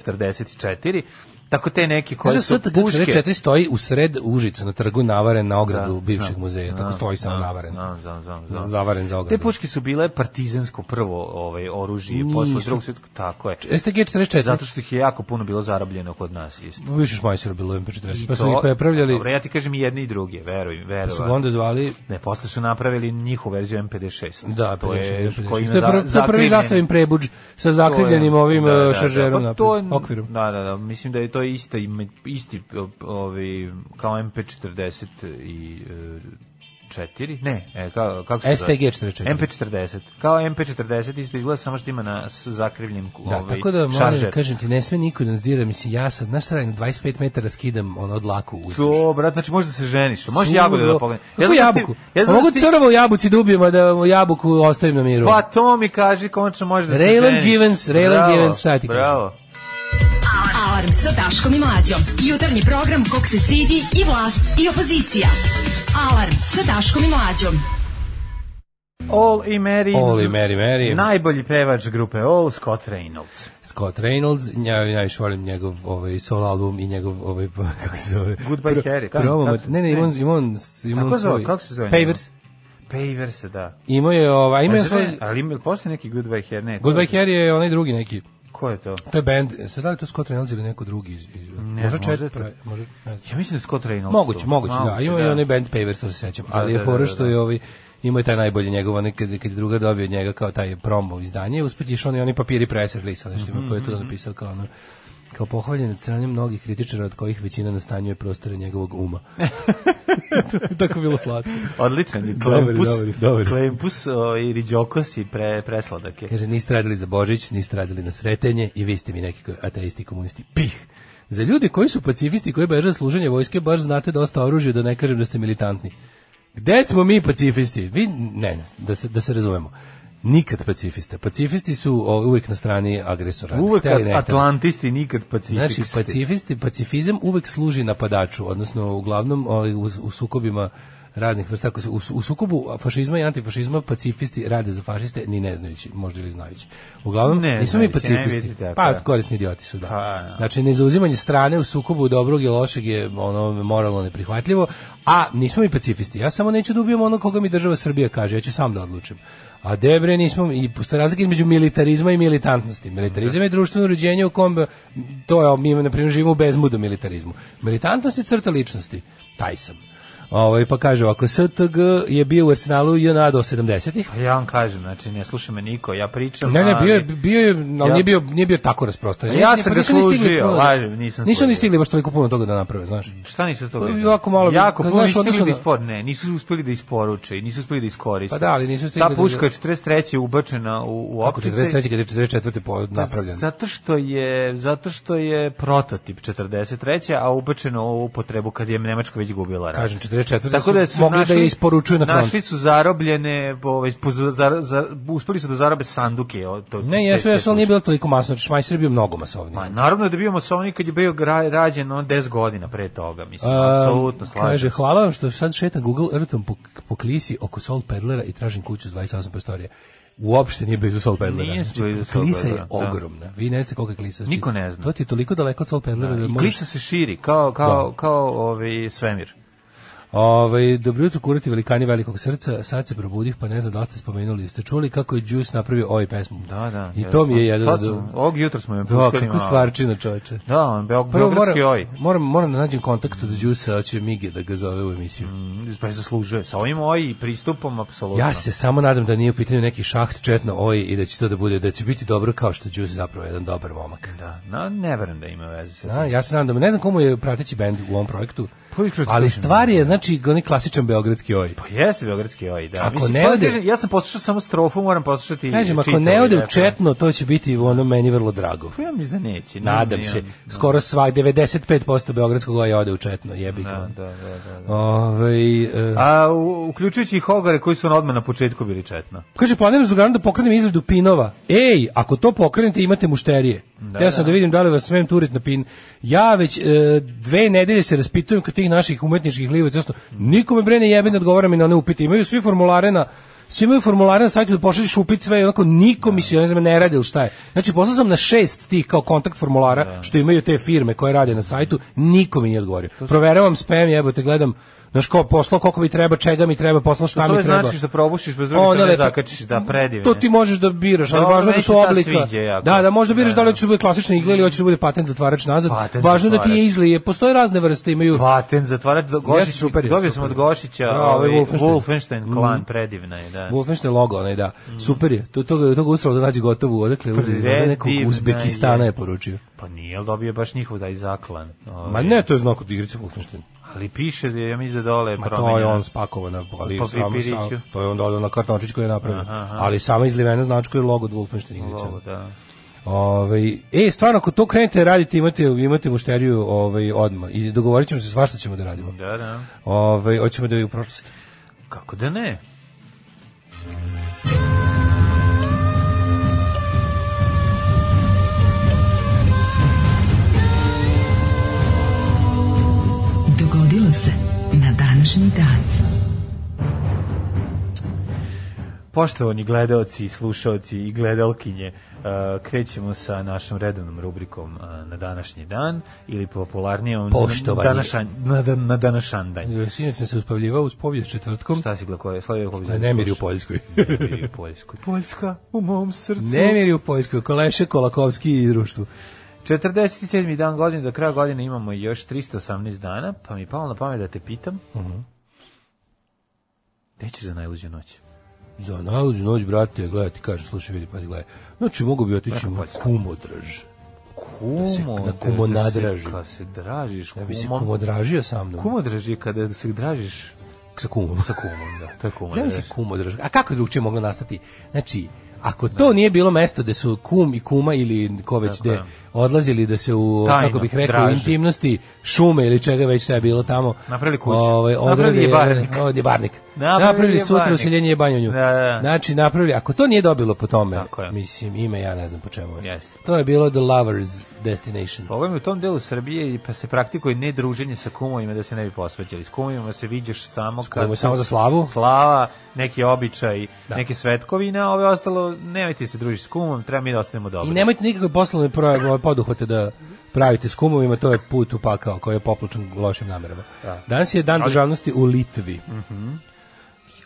STG44, tako te neke koje Kaže su STG puške. 44 stoji u sred Užica na trgu navaren na ogradu Da, bivšeg znam. muzeja, tako Znam, stoji samo znam, navaren. znam, znam, znam, znam. Zavaren za ogradu. Te puške su bile partizansko prvo ovaj oružje posle Nisu. E, drugog svjetskog tako je. STG 44. Zato što ih je jako puno bilo zarobljeno kod nas isto. više Šmajsera bilo u MP40. I Pa su to- ih prepravljali, Dobro, ja ti kažem i jedni i drugi, veruj, pa su veruj. ga onda zvali Ne, posle su napravili njihovu verziju MP56. Da, to je koji koji ima to je prvi, to za- je prvi zakrivljen- zastavim prebudž sa to je- zakrivljenim ovim da, da, da, eh, šaržerom pa na to je- okvirom. Da, da, da, mislim da je to isto ime- isti ovi kao MP40 i e, 4, ne, e, kao, kako se zove? STG 44. MP40. Kao MP40 isto izgleda, samo što ima na s zakriljem Da, ovaj, tako da moram šaržer. kažem ti, ne sme niko da nas dira, mislim, ja sad, znaš šta radim, 25 metara skidam ono od laku uzduž. To, brat, znači možeš da se ženiš, možeš jagodu da pogledaš. Kako znam da jabuku? si- Ja znam da mogu si- crvo u jabuci da ubijem, a da jabuku ostavim na miru. Pa to mi kaži, konačno možeš da se ženiš. Raylan Givens, Raylan Bravo, Givens, šta ti kažem? Bravo. Alarm sa Daškom i Mlađom. Jutarnji program kog se stidi i vlast i opozicija. Alarm sa Daškom i Mlađom. All i Mary. Oli, Mary, Mary, Najbolji pevač grupe All, Scott Reynolds. Scott Reynolds, ja, ja još volim njegov ovaj, solo album i njegov, ovaj, (laughs) kako se zove? Goodbye, Pro- Harry, kako- Promo, kako se- ne, ne, imam, imam, imam Kako se zove, svoj. kako se zove Pavers. Paver se da. Imao je, ovaj, imao je Znači, svoj... Ali ima postoji neki Goodbye Hair? Ne, Goodbye to je- Harry je onaj drugi neki. Ko je to? To je band. Sad da li je to Scott Reynolds ili neko drugi iz, iz Ne, možda možda je Chet to- Pri- možda ne znam. Ja mislim da Scott Reynolds. Moguće, tu. moguće, da. Ima i onaj band Pavers, to se sećam. Ali da, je fora da, što da. je ovaj ima je taj najbolji njegov, onaj kad, kad je druga dobio od njega kao taj promo izdanje, usput je išao oni, oni papiri press release, nešto ima Mhm, koji je to napisao kao ono, kao pohvaljen od strane mnogih kritičara od kojih većina nastanjuje prostore njegovog (laughs) uma. (laughs) Tako je bilo slatko. Odličan je. Dobar je, Klempus, dobar je, dobar je. Klempus o, i Riđokos i pre, presladak je. Kaže, niste radili za Božić, niste radili na sretenje i vi ste mi neki ko- ateisti i komunisti. Pih! Za ljude koji su pacifisti koji beže od služenja vojske, baš znate dosta oružja, da ne kažem da ste militantni. Gde smo mi pacifisti? Vi, ne, ne, da se, da se razumemo. Nikad pacifista. Pacifisti su o, uvek na strani agresora. Uvek Hteli, ne hteli. Atlantisti, nikad pacifisti. Znači, pacifisti, pacifizam uvek služi napadaču, odnosno uglavnom ovaj, u, u sukobima raznih vrsta ako su, u, u sukobu fašizma i antifašizma pacifisti rade za fašiste ni ne znajući možda ili znajući uglavnom Ne nismo mi znajući, ne pacifisti vidite, tako pa je. korisni idioti su da Pa, da. znači nezauzimanje strane u sukobu dobrog i lošeg je ono moralno neprihvatljivo a nismo mi pacifisti ja samo neću da ubijem ono koga mi država Srbija kaže ja ću sam da odlučim A debre nismo i postoje razlika između militarizma i militantnosti. Militarizam je društveno uređenje u kom to je mi na primjer živimo u bezmudu militarizmu. Militantnost je crta ličnosti. Taj sam. Ovaj pa kaže ovako STG je bio u Arsenalu JNA do 70-ih. Pa ja vam kažem, znači ne sluša me niko, ja pričam. Ne, ne, bio je, ali- bio je, ali Ja- nije bio, nije bio tako rasprostranjen. Ja Nije- sam pa ga nisu ni stigli služio, puno- lažem, nisam Nisu ni služio. stigli baš toliko puno toga da naprave, znaš. Šta nisu s toga? Pa, jako malo bi- Jako puno znaš, nisu odnosno uspeli da na- ispor, ne, nisu uspeli da isporuče i nisu uspeli da iskoriste. Pa da, ali nisu stigli Ta da- puška je 43. ubačena u, u Oko optice. 43. kada je 44. po napravljen. Zato što je zato što je prototip 43. a ubačeno u upotrebu kad je Nemačka već gubila rat. Kažem 44. Tako da su mogli našli, da je isporučuju na front. Našli su zarobljene, ovaj, po, za, za, uspeli su da zarobe sanduke. o, To, Ne, jesu, jesu, ali nije bilo toliko masno. Znači, Šmajser je bio mnogo masovniji. Ma, naravno da bio masovnik kad je bio gra, rađen on 10 godina pre toga, mislim, Ehm, apsolutno slažem Kaže, se. hvala vam što sad šetam Google Earthom po, po klisi oko Soul Pedlera i tražim kuću s 28 prostorija. Uopšte nije blizu Soul Pedlera. Znači, Nije blizu Soul klisa je Pedlera, da. ogromna. Vi ne znate kolika je klisa. Znači, Niko ne zna. To ti je toliko daleko od Soul Pedlera da, I možeš... kliša se širi kao kao Da. kao ovaj svemir. Ovaj dobro jutro kurati velikani velikog srca, sad se probudih, pa ne znam da li ste spomenuli, jeste čuli kako je Juice napravio ovaj pesmu. Da, da. I to mi je jesmo. jedan od Sad smo- Ovog jutra smo Da, je pustili. kako malo. stvarčina, čoveče. Da, on Beog, Prvo moram, Beogradski oj. moram, moram da nađem kontakt od Juice, a će Mige da ga zove u emisiju. Mm, Pa zaslužuje. Sa ovim oj i pristupom apsolutno. Ja se samo nadam da nije u pitanju neki šaht četno oj i da će to da bude, da će biti dobro kao što Juice zapravo jedan dobar momak. Da, no, ne verujem da ima veze sa Da, ja se nadam, da- ne znam komu je prateći bend u ovom projektu, Pa, iskreno ali kažem, stvar je, znači, onaj klasičan beogradski oj. Pa jeste Beogradski oj, da. Ako Mislim, ne pa da ode- kažem, ja sam poslušao samo strofu, moram poslušati Kažem, ako čitavu, ne ode u dakle. četno, to će biti ono meni vrlo drago. Pa ja mislim da neće. ne Nadam znam, se. ja. Skoro svak, 95% beogradskog oja ode u četno, jebi ga. Da, da, da, da. Ovaj, e, A u, uključujući i Hogare koji su ono odmah na početku bili četno. Kaže, planiram s drugarom da pokrenem izradu pinova. Ej, ako to pokrenete, imate mušterije. Da, ja sam da. vidim da li vas smem turit na pin. Ja već e, dve nedelje se raspitujem kod tih naših umetničkih livaca. Jasno, nikome bre ne jebe ne odgovara mi na one upite. Imaju svi formulare na Svi imaju formulare na sajtu da pošalješ upit sve i onako Da. niko mi se ja ne znam ne radi ili šta je. Znači poslao sam na šest tih kao kontakt formulara Da. što imaju te firme koje rade na sajtu, niko mi nije odgovorio. Proveravam spam, jebote, gledam Znaš kao poslao koliko mi treba, čega mi treba, poslao šta To su Pa mi ove treba. značke što probušiš, bez O, druge strane lepo. zakačiš, da, predivne. To ti možeš da biraš, ali Dobro, važno je da meni su se ta oblika. sviđa jako. Da, da, možda biraš Da, da li da. će bude klasična igla ili hoće da bude patent zatvarač nazad. Patent važno je da ti je zatvarač. izlije. Postoje razne vrste, imaju Patent zatvarač do Gošić, Jeste, super je, dobio sam super od je. Gošića Da, ovaj ovaj Wolfenstein. Mm. Wolfenstein klan, predivna je, da. Wolfenstein logo, onaj da. Super je. To toga toga uspelo da nađe gotovo odakle uzeli, Predivna od nekog je. Uzbekistana je poručio. Pa nije, ali dobio je baš njihov da i zaklan. Ovaj, Ma ne, to je znak od igrice Wolfenstein. Ali piše da je, ja mislim da dole je Ma to je promenjeno. on spakovana, ali Pa samo pripiriću. sam, to je onda ono na kartončić koji je napravio. Ali sama izlivena značka je logo od Wolfenstein igrice. Ovo, da. Ovaj e stvarno ako to krenete raditi imate imate mušteriju ovaj odmah i dogovorit ćemo se svašta ćemo da radimo. Da, da. Ovaj hoćemo da je u prošlosti. Kako da ne? Dogodilo se na današnji dan. Poštovani gledaoci, slušaoci i gledalkinje, e, krećemo sa našom redovnom rubrikom e, na današnji dan ili popularnije na- Poštovani. na današan na, dan- na današandanj. Sinac sam se uspavljivao uz povijest četvrtkom. Šta si gledao? Slavio Da Ković. ne (laughs) miri u Poljskoj. (laughs) u Poljsku. Poljska u mom srcu. ne miri u Poljskoj, Koleše Kolakovski i društvo. 47. dan godine, do kraja godine imamo još 318 dana, pa mi je palo na pamet da te pitam. Mhm. Gde ćeš za najluđu noć? Za najluđu noć, brate, gledaj, ti kažem, slušaj, vidi, pa gledaj. Znači, mogu bi otići na kumodraž. Kumo, se- da da kumo da se- nadražim. Kad se dražiš Ja bi se kumom. kumodražio sa mnom. Kumo draži kada se dražiš Sa kumom. sa kumom, da. To je kumo. Zamisli draži. kumodraž. A kako je drugčije moglo nastati? Znači, ako to nije bilo mesto gde su kum i kuma ili ko već Tako gde je. odlazili da se u, Tajno, kako bih rekao, u draže. intimnosti šume ili čega već sve je bilo tamo. Napravili kuću. Ovaj, Napravili odrade- jebarnik. od jebarnik. Napravili Napravili, sutra jebarnik. useljenje jebanje u nju. Da, da, da. Znači, napravili, ako to nije dobilo po tome, Tako je. mislim, ime ja ne znam po čemu je. Jeste. To je bilo The Lover's Destination. Problem je u tom delu Srbije i pa se praktikuje ne druženje sa kumovima da se ne bi posvađali. S kumovima se viđaš samo Ovo je kad samo za slavu. slava, neki običaj, Da. neke svetkovine, a ove ostalo, nemojte se družiti s kumom, treba mi da ostanemo dobri. I nemojte nikakve poslovne pro- poduhvate da pravite s kumovima, to je put u pakao koji je popločen lošim namerama. Da. Danas je dan državnosti u Litvi. Mhm.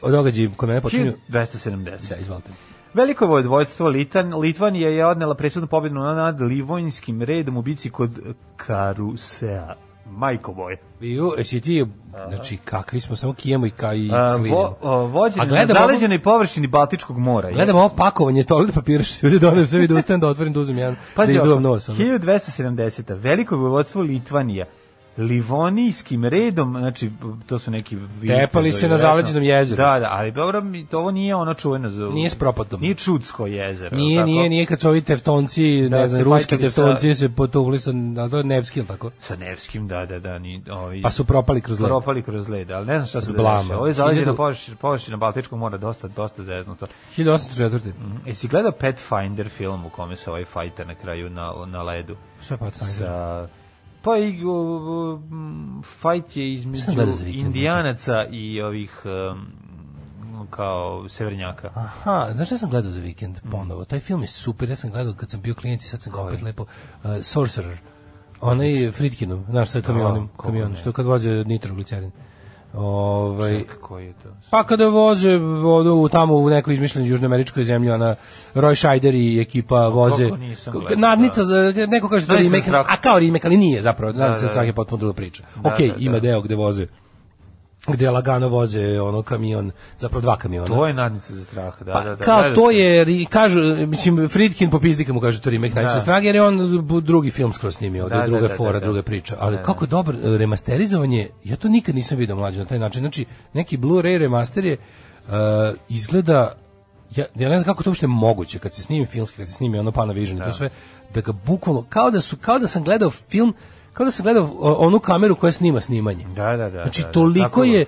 Događaji kod mene počinju... 270. Da, izvolite. Veliko vojvodstvo Litan, Litvanija je odnela presudnu pobjedu nad Livonjskim redom u bici kod Karusea. Majko boje. I u, jesi ti, znači, kakvi smo, samo kijemo i kaj i A, slinimo. vo, o, vođen A na gledam ovo, zaleđenoj površini Baltičkog mora. je. gledam ovo pakovanje toalet papira što se ljudi donem sebi da ustanem da otvorim da uzmem jedan, da ovo, izduvam nos. ono. 1270. Veliko vojvodstvo Litvanija. Livonijskim redom, znači to su neki vitezovi, Tepali se na vjerojatno. zaleđenom jezeru. Da, da, ali dobro, mi- to ovo nije ono čuveno za Nije s propotom. Nije čudsko jezero. je li Nije, tako? nije, nije kad su ovi teftonci, Da, ne znam, se ruski fajtali sa- teftonci se potukli sa, a to je Nevski, ili tako? Sa Nevskim, da, da, da, ni ovi. Pa su propali kroz led. propali kroz led, ali ne znam šta se Od blama. blama. Ovo je zaleđena Hiljadu- površina, površina Baltičkog mora, dosta, dosta zeznuto. 1804. Jesi gledao Pathfinder film u kome se ovaj fajta na kraju na, na ledu? Šta je Pathfinder? Sa, pa i o, m, fajt je između Sam gledao za vikend, znači? indijanaca i ovih um, kao severnjaka. Aha, znaš šta sam gledao za vikend Mm. ponovo? Taj film je super, ja sam gledao kad sam bio klijent i sad sam ga opet lepo. Uh, Sorcerer, onaj Fritkinom, znaš sa kamionom, kako kamionom, Da, ne. što kad voze nitroglicerin. Ovaj, Čekaj, Koji je to? pa kada voze odu u tamo u nekoj izmišljenoj južnoameričkoj zemlji, ona Roy Scheider i ekipa voze Pa nisam k- gledao, nadnica da. za neko kaže da je Nadnica remake, strah. a kao remake, ali nije zapravo, nadnica za da, strah da. je potpuno druga priča. Da, Okej, da, da. ima deo gde voze gde lagano voze ono kamion, zapravo dva kamiona. To je nadnica za strah, da, Pa, da, da. kao gledao to sam. je, ri- kažu, mislim, Fridkin po pizdikama kaže to remake Najče Da. strage, jer je on bu- drugi film skroz snimio, ovde Da, je da, druga da, fora, da, da. druga priča. Ali kako dobro e, remasterizovanje, ja to nikad nisam vidio mlađe na taj način. Znači, neki Blu-ray remaster je, e, izgleda, ja, ja ne znam kako to uopšte moguće, kad se snimi filmski, kad se snimi ono Panavision i to sve, da ga bukvalno, kao da, su, kao da sam gledao film, kao da sam gledao o, onu kameru koja snima snimanje. Da, da, da. Znači, da, da, tako Da, toliko je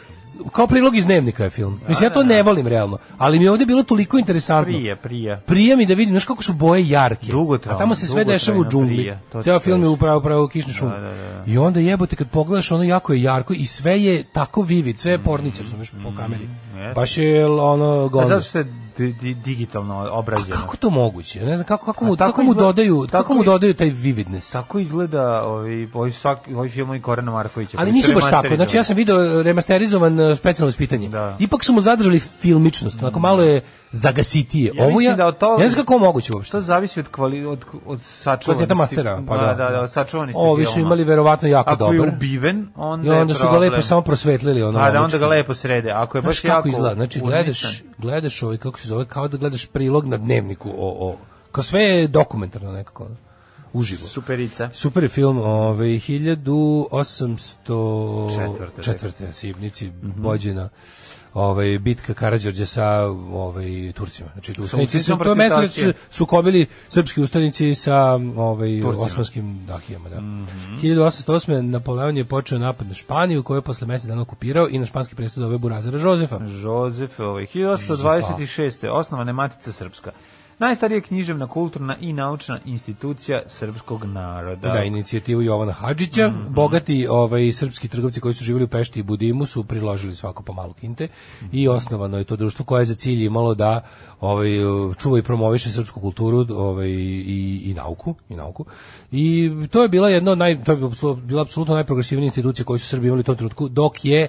kao prilog iz dnevnika je film. Mislim, ja to ne volim realno, ali mi je ovdje bilo toliko interesantno. Prije, prije. Prije mi da vidim, znaš kako su boje jarke. Dugotrajno, A tamo se sve dešava u dugotrajno džungli. prije, to ti Ceo film je kažem. upravo, upravo kišni šum. Da, da, da. I onda jebote, kad pogledaš, ono jako je jarko i sve je tako vivid, sve je pornice, razumeš, po kameri. jeste. Baš je ono Pa golno. zato što Mm. je di- di- digitalno obrađeno. Kako to moguće? Ja Ne znam, kako, kako, A mu, tako kako mu izgleda- dodaju, tako kako mu i- dodaju taj vividness? Tako izgleda ovi, ovi, svaki, ovi filmovi Korana Markovića. Ali koji su nisu baš tako. remasterizovani. Znači ja sam video remasterizovan e, specijalno ispitanje. Da. Ipak su mu zadržali filmičnost, onako malo je zagasitije. Ja Ovo mislim ja, da od toga- ja ne znam kako je moguće uopšte. Što zavisi od, kvali, od, od sačuvanosti. Kvaliteta mastera, pa da. da, da, od sačuvanosti Ovi su filma. imali verovatno jako Ako dobar. je ubiven, onda I onda su ga problem. lepo samo prosvetlili. Ono, A da onda momčki. ga lepo srede. Ako je Znaš baš kako jako... izgleda? Znači, urnisan. gledaš, gledaš ovaj, kako se zove, kao da gledaš prilog na dnevniku o, o, kao sve je dokumentarno nekako, ono, uživo. Superica. Super je film, ovaj 1804. Četvrte, četvrte Sibnici vođena ovaj bitka Karađorđe sa ovaj Turcima. Znači tu ustanici su Ustanicom to je protiv mesto gde Turske. su sukobili srpski ustanici sa ovaj Turcima. osmanskim dahijama, da. 1808 Napoleon je počeo napad na Španiju koju je posle mesec dana okupirao i na španski presto doveo Burazera Žozefa. Žozef, ovaj, 1826. Osnovane Matica Srpska. Najstarija književna, kulturna i naučna institucija srpskog naroda. Da, inicijativu Jovana Hadžića. Bogati ovaj, srpski trgovci koji su živjeli u Pešti i Budimu su priložili svako po malu kinte i osnovano je to društvo koje je za cilj imalo da ovaj, čuva i promoviše srpsku kulturu ovaj, i, i nauku. I nauku. I to je bila jedna od naj, to je apsolu- bila apsolutno najprogresivnija institucija koju su Srbi imali u tom trenutku, dok je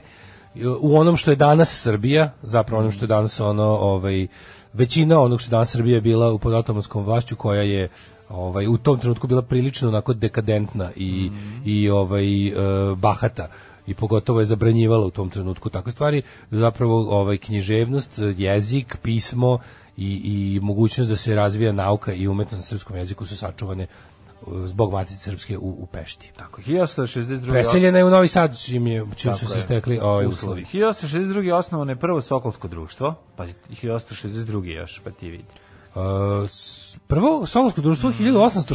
u onom što je danas Srbija, zapravo onom što je danas ono, ovaj, većina onog što je danas Srbija bila u podatomanskom vlašću koja je ovaj u tom trenutku bila prilično onako dekadentna i i ovaj e, bahata i pogotovo je zabranjivala u tom trenutku takve stvari zapravo ovaj književnost jezik pismo i, i mogućnost da se razvija nauka i umetnost na srpskom jeziku su sačuvane e, zbog matice srpske u, u Pešti. Tako, 1862. Preseljena je u Novi Sad čim, je, čim su Tako se je. stekli ovaj, uslovi. uslovi. 1862. osnovano je prvo Sokolsko društvo, pa 1862. još, pa ti vidi. Uh, s- prvo Solunsko društvo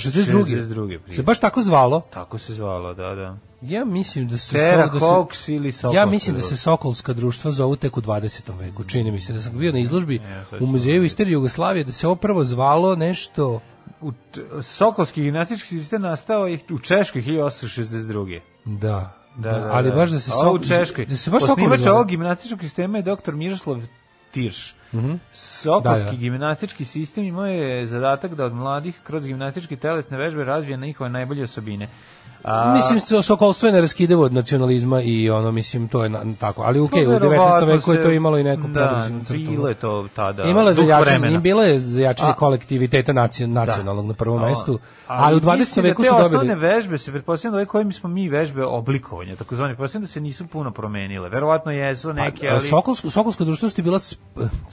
1862. 62., Se baš tako zvalo. Tako se zvala, da, da. Ja mislim da se Tera da se- Cox ili Sokolska Ja mislim da se društva. Sokolska društva zovu tek u 20. veku. Čini mi se da sam bio na izložbi u muzeju istorije Jugoslavije da se opravo zvalo nešto U t- Sokolski gimnastički sistem nastao je u Češkoj 1862. da. Da, da, ali da. baš da se A, u Sok- Češkoj. da se baš Sokol Osnivač zvao. ovog gimnastičkog sistema je dr. Miroslav Tirš. Sokolski Mhm. Da, da. gimnastički sistem imao je zadatak da od mladih kroz gimnastičke telesne vežbe razvije njihove najbolje osobine. A, Mislim, so- sokolstvo je neraskidevo od nacionalizma i ono, mislim, to je na, tako. Ali okej, u Pa, 19. veku verovatno je to se- imalo i neku da, progresivnu crtu. bilo je to tada. Imalo je za Da. duh jačanje, vremena. nije bilo je za jačanje A- Da. kolektiviteta nacio- nacionalnog na prvom A, mestu, ali, u 20. mislim da veku te su osnovne dobili vežbe se pretpostavljam da ove koje mi smo mi vežbe oblikovanja, takozvane, pretpostavljam da se nisu puno promenile. Verovatno jesu neke, Pa, A, a, ali Sokolsko, Sokolsko društvo su ti bila sp-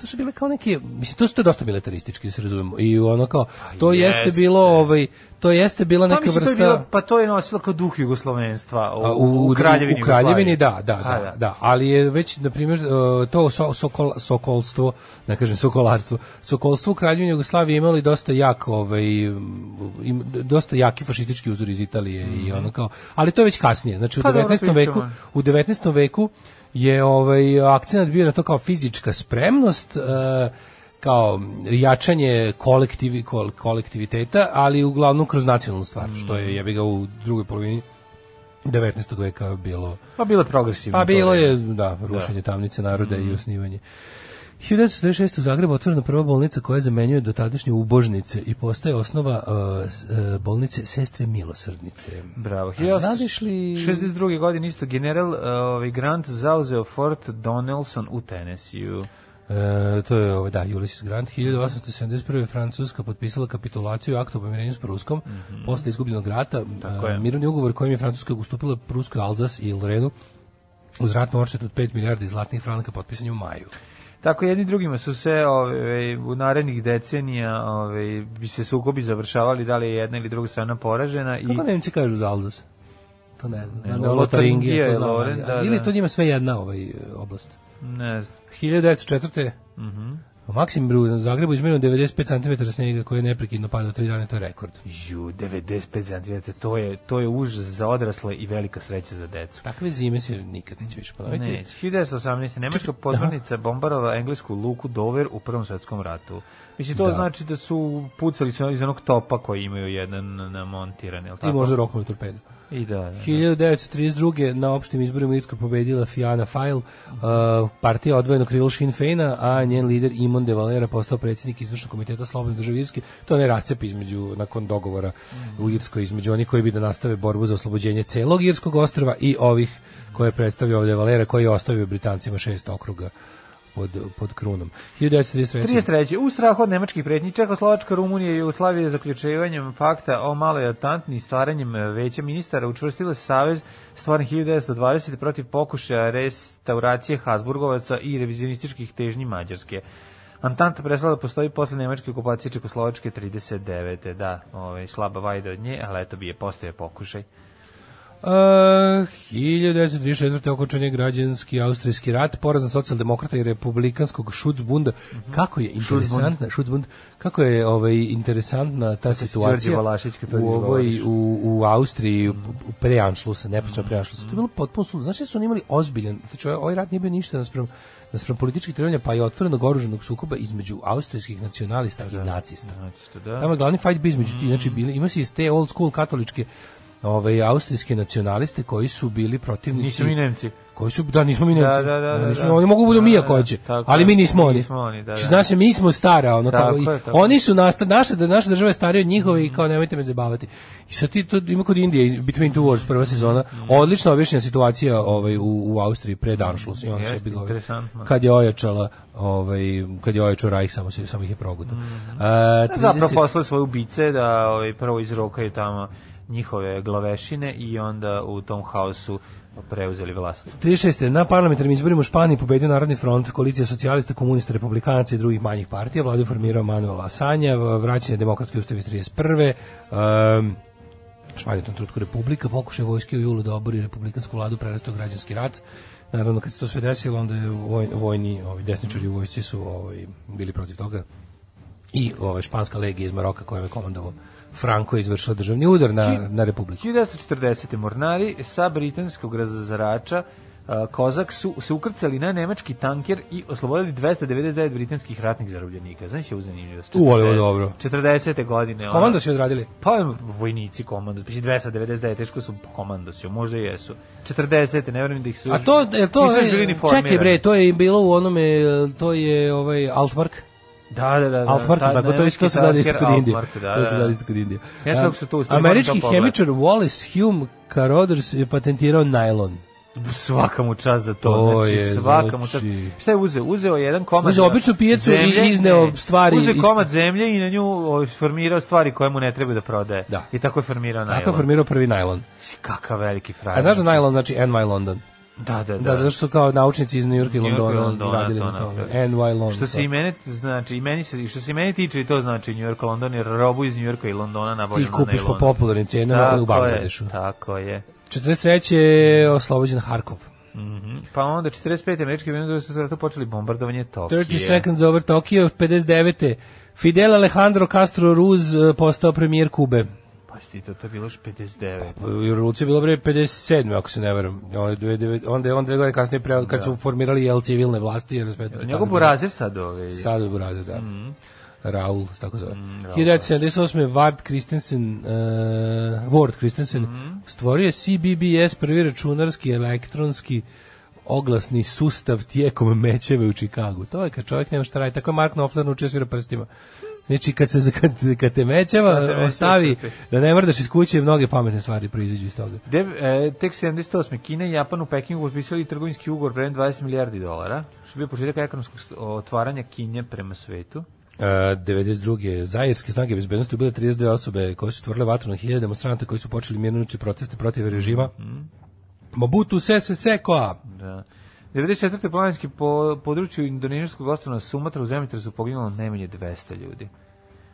to su bile kao neke mislim to su to je dosta militaristički da se razumemo i ono kao to jeste, Pa jeste. bilo ovaj to jeste bila pa, neka mislim, vrsta to je bilo, pa to je nosilo kao duh jugoslovenstva u, A, u, Kraljevini. u Kraljevini da, Jugoslaviji. da, A, da, da, ali je već na primjer e, to so, sokol, sokolstvo, ne kažem sokolarstvo, sokolstvo u Kraljevini Jugoslavije imali dosta jak ovaj im, dosta jaki fašistički uzor iz Italije i ono kao, ali to je već kasnije. Znači u Mhm. Pa dobro, 19. veku, pričamo. u 19. veku je ovaj akcenat bio na to kao fizička spremnost, e, kao jačanje kolektivi, kol- kolektiviteta, ali uglavnom kroz nacionalnu stvar, što Mhm. je jebi ga u drugoj polovini 19. veka bilo. Pa bilo je Mhm. progresivno. Pa bilo to je, da, rušenje tamnice naroda i osnivanje. 1946. u Zagrebu otvorena prva bolnica koja zamenjuje dotadašnje ubožnice i postaje osnova uh, s- uh, bolnice Sestre Milosrdnice. Bravo. A znadeš li- 62. godine isto general uh, ovaj Grant zauzeo Fort Donelson u Tennessee. E, to je ovaj da Ulysses Grant 1871. Francuska potpisala kapitulaciju i akt o pomirenju s Pruskom posle izgubljenog rata Mhm. Tako e, je. mirovni ugovor kojim je Francuska ustupila Pruskoj Alzas i Lorenu uz ratnu odštetu od 5 milijardi zlatnih franaka potpisan je u maju. Tako jedni drugima su se ove, u narednih decenija ove, bi se sukobi završavali da li je jedna ili druga strana poražena i Kako Nemci kažu za Alzas? To ne znam. Znam da je Lotaringija Lotaringija, je to znam, Loren, ali- da, ali Ili je da. to njima sve jedna ovaj, e, oblast? ne znam. 1904. Mhm. Pa Maksim Bru na Zagrebu izmjerno 95 cm snijega koji je neprekidno padao tri dana, to je rekord. Ju, 95 centimetra, to je, to je užas za odrasle i velika sreća za decu. Takve zime se nikad neće više ponoviti. Ne, 1918. Nemačka podmornica bombarala englesku luku Dover u Prvom svetskom ratu. Mislim, to Da. znači da su pucali se iz onog topa koji imaju jedan namontiran, jel tako? I možda roknuli torpedu. I da, da, da. 1932. na opštim izborima u Irskoj pobedila Fiana Fajl, uh, partija odvojeno krilo Sinn Féina, a njen lider Imon de Valera postao predsjednik izvršnog komiteta Slobodne države Irske. To je onaj rascep između, nakon dogovora u Irskoj, između onih koji bi da nastave borbu za oslobođenje celog Irskog ostrava i ovih koje predstavlja ovdje Valera, koji je ostavio Britancima šest okruga pod, pod krunom. 1933. 33. U strahu od nemačkih pretnji Čehoslovačka, Rumunija i Jugoslavija zaključivanjem pakta o maloj atanti i stvaranjem e, veća ministara učvrstile savez stvaran 1920 protiv pokušaja restauracije Habsburgovaca i revizionističkih težnji Mađarske. Antanta prestala da postoji posle nemačke okupacije Čekoslovačke 39. Da, ovaj, slaba vajda od nje, ali eto bi je postoje pokušaj. Uh, 1934. okončan je građanski austrijski rat, porazan socijaldemokrata i republikanskog Schutzbunda. Mhm. Kako je interesantna Schutzbund, kako je ovaj interesantna ta Đorđe situacija Valašić kad prvi u ovoj izgovoriš. Mhm. u, u Austriji u, u pre Anschlussa, neposredno pre Anschlussa. To je bilo potpuno suludno. Znaš da su oni imali ozbiljan, znači ovaj- ovaj rat nije bio ništa naspram naspram političkih trenja pa i otvorenog oružanog sukoba između austrijskih nacionalista i nacista. Znači, da. Tamo je glavni fight bio između ti, znači bili, ima se iz te old school katoličke ovaj austrijske nacionaliste koji su bili protivnici. Nisu mi Nemci. Koji su, da, nismo mi Nemci. Da, da, da, Da, nismo, da, da. Oni mogu budu Da, mi da, ako hoće, tako ali je. mi nismo Mi oni. nismo oni, da, da. Znači, se, mi smo stara, ono Tako kao, i- je, Mm. tako oni su nasta, naša, da, naša država je starija od njihove i kao nemojte me zabavati. I sad ti to ima kod Indije, Between Two Wars, prva sezona, Mm. odlično objašnjena situacija ovaj, u, u Austriji pred Anschluss. I onda se Jeste, bi govorio, interesantno. kad je ojačala, ovaj, kad je ojačao Rajh, samo, se- samo ih je progutao. A, Mm. Pa Zapravo 30 poslali svoje ubice da ovaj, prvo izrokaju tamo njihove glavešine i onda u tom haosu preuzeli vlast. 36. Na parlamentarnim izborima u Španiji pobedio Narodni front, koalicija socijalista, komunista, republikanaca i drugih manjih partija. Vladu je formirao Manuel Asanja, vraćanje demokratske ustave iz 31. Um, Španija je u tom trutku republika, pokušaj vojske u julu da obori republikansku vladu, prerastao u građanski rat. Naravno, kad se to sve desilo, onda je voj- vojni, ovi desničari u vojsci su ovi, bili protiv toga i ova španska legija iz Maroka kojom je komandovao Franco je izvršila državni udar na, na republiku. 1940. mornari sa britanskog razarača a, Kozak su se ukrcali na nemački tanker i oslobodili 299 britanskih ratnih zarobljenika. Znaš je u zanimljivost. U, ali ovo je dobro. 40. godine. ono- Komando su je odradili. Pa vojnici komando, pa 299 teško su komando su, možda i jesu. 40. ne verujem da ih da su. A to, je to, nisu još bili ni čekaj bre, formirani. to je bilo u onome, e, to je ovaj Altmark. Da, da, da. da Altmark, taj tako, pa to je nemački isto se dade isto tanker kod Indije. Altmark, da, To da, se da. dade isto kod Indije. Ja sam A, kako su to uspeli, Američki moram da to pogledati. hemičar Wallace Hume Carothers je patentirao najlon. Svaka mu čast za to, To znači je, svaka mu čast. znači- Šta je uzeo? Uzeo je jedan komad Uzeo običnu pijacu i izneo stvari Uzeo iz- komad zemlje i na nju o, formirao stvari koje mu ne treba da prodaje. Da. I tako je formirao najlon. Tako je formirao prvi najlon. Kakav veliki frajer. A znaš da najlon znači NY London? Da, da, da. Da, zato što su kao naučnici iz New Yorka i New Yorka i Londona Londona, radili to na tome. napravili. NY London. Što se i mene t- znači i meni se i što se i meni tiče i to znači New York London jer robu iz New Yorka i Londona ti nabavljamo kupiš po popularnim cijenama u Bangladešu. Je, tako je. 43. je oslobođen Harkov. Mhm. Pa onda 45. američki vojnici su zato počeli bombardovanje Tokija. 30 seconds over Tokyo, 59. Fidel Alejandro Castro Ruz e, postao premijer Kube. Pa sti to, to je bilo još 59. Pa, Revolucija je bila bre 57. ako se ne veram. Onda je dve- dve- onda je on dve godine kasnije pre, kad su formirali jel civilne vlasti jer sve Njegov burazir sad ovaj. ove. Sad u Burazer, da. Raul, da. se tako zove. 1978. Ward Christensen, uh, Ward Christensen stvorio je CBBS, prvi računarski elektronski oglasni sustav tijekom mečeve u Čikagu. To je kad čovjek nema šta radi. Tako je Mark Knopfler naučio svira prstima. Znači, kad, se, kad, kad te mečeva mečeva ostavi, strpi. da ne mrdaš iz kuće, mnoge pametne stvari proiziđu iz toga. De, e, tek 78. Kina i Japan u Pekingu potpisali trgovinski ugovor vredan 20 milijardi dolara, što je bio početak ekonomskog s- otvaranja Kinje prema svetu. Uh, 92. Zairske snage bezbednosti ubile 32 osobe koje su stvorile vatru na hiljade demonstranta koji su počeli mirnoći proteste protiv režima. Mobutu Sese Sekoa. Da. 94. planinski po području indonežijskog ostrava Sumatra u zemljotresu poginulo najmanje 200 ljudi.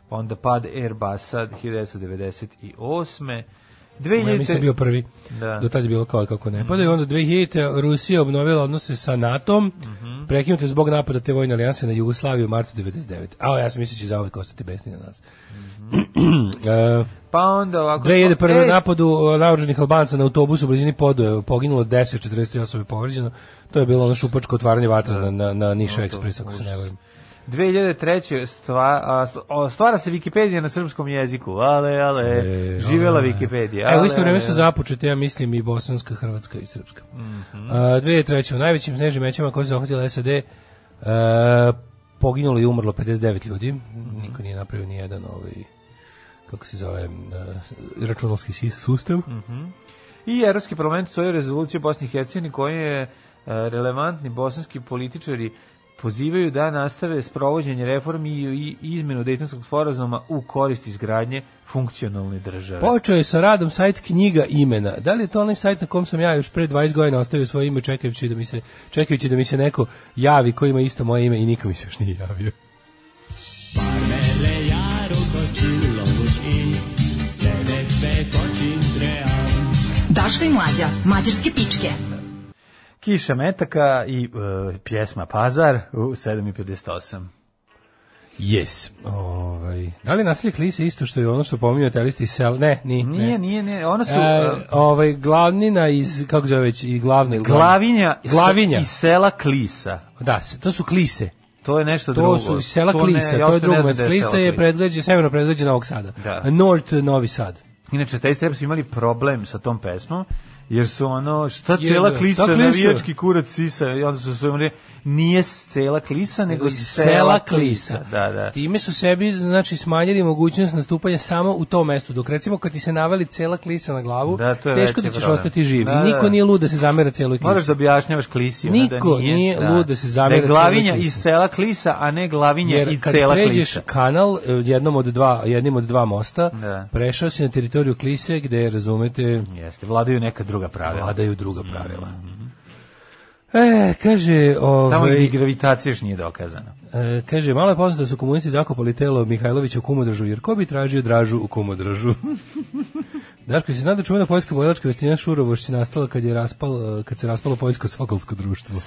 Pa onda pad Airbusa 1998. Ja mislim 2000. bio prvi. Da. Do tada je bilo kao kako ne. Pa da je onda 2000. Rusija obnovila odnose sa NATO-om, prekinute zbog napada te vojne alijanse na Jugoslaviju u martu 99. A ja sam misleći će zauvek ostati besni na nas. (clears throat) E, Pa onda ovako... 2001. E, napadu e, naoružanih Albanca na autobusu u blizini Podoje poginulo 10, 43 osobe povređeno. To je bilo ono šupačko otvaranje vatra na, na, na Niša Ekspres, ako se ne varam. 2003. Stva, a, st- o, stvara se Wikipedija na srpskom jeziku. Ale, ale, E, živela ale. Wikipedija. Evo, u ale, isto vreme ale, su ale. započete, ja mislim, i bosanska, hrvatska i srpska. A, 2003. U najvećim snežnim mećama koje su zahvatile SAD e, poginulo i umrlo 59 ljudi. Niko nije napravio ni jedan ovaj kako se zove, e, računalski sis- sustav. I Evropski parlament svoju rezoluciju Bosni i Hercegovini koji je e, relevantni bosanski političari pozivaju da nastave sprovođenje reformi i, i izmenu Dejtonskog sporazuma u korist izgradnje funkcionalne države. Počeo je sa radom sajt knjiga imena. Da li je to onaj sajt na kom sam ja još pre 20 godina ostavio svoje ime čekajući da mi se, čekajući da mi se neko javi ko ima isto moje ime i niko mi se još nije javio. Daško i Mlađa, mađarske pičke. Kiša metaka i e, pjesma Pazar u 7.58. Yes. Ovaj. Da li nasilje klise isto što je ono što pominju telisti sel? Ne, ni, Nije, ne. nije, nije. Ona su... E, e, ovaj, glavnina iz, kako zove već, i glavni. Glavinja, i se- Glavinja. i sela Klisa. Da, se- to su klise. To je nešto To drugo. su iz sela ne- Klisa, ja to je uopšte ne drugo. znam mesto. gde klisa selo je predgrađe, severno predgrađe Novog Sada. Da. North Novi Sad. Inače, taj strep su imali problem sa tom pesmom, jer su ono, šta Jer, cela šta klisa, klisa? navijački kurac sisa, i onda su svojom rekli, nije s cela klisa, nego iz sela Klisa. Da, da. Time su sebi znači smanjili mogućnost nastupanja samo u tom mestu. Dok recimo kad ti se navali cela klisa na glavu, Da, to je teško da veći ćeš problem. ostati živ. Da, da. Niko nije lud da se zamera celoj klisi. Moraš da objašnjavaš klisi. ono, Niko da nije, nije lud da se zamjera Da je glavinja celoj klisi. iz sela klisa, a ne glavinja i Jer kad cela pređeš klisa. kanal e, jednom od dva, jednim od dva mosta, Da. prešao si na teritoriju Klise gde, razumete, Jeste, vladaju neka druga pravila. Mhm. vladaju druga pravila. E, kaže, Tamo i ovaj, gravitacija još nije dokazana. e, kaže, malo je poznato da su komunisti zakopali telo Mihajlovića u Kumodražu, jer ko bi tražio dražu u Kumodražu? (laughs) Darko, si zna da čuvena poljska bojlačka vestina Šurovošć nastala kad, je raspalo, kad se raspalo poljsko-sokolsko društvo.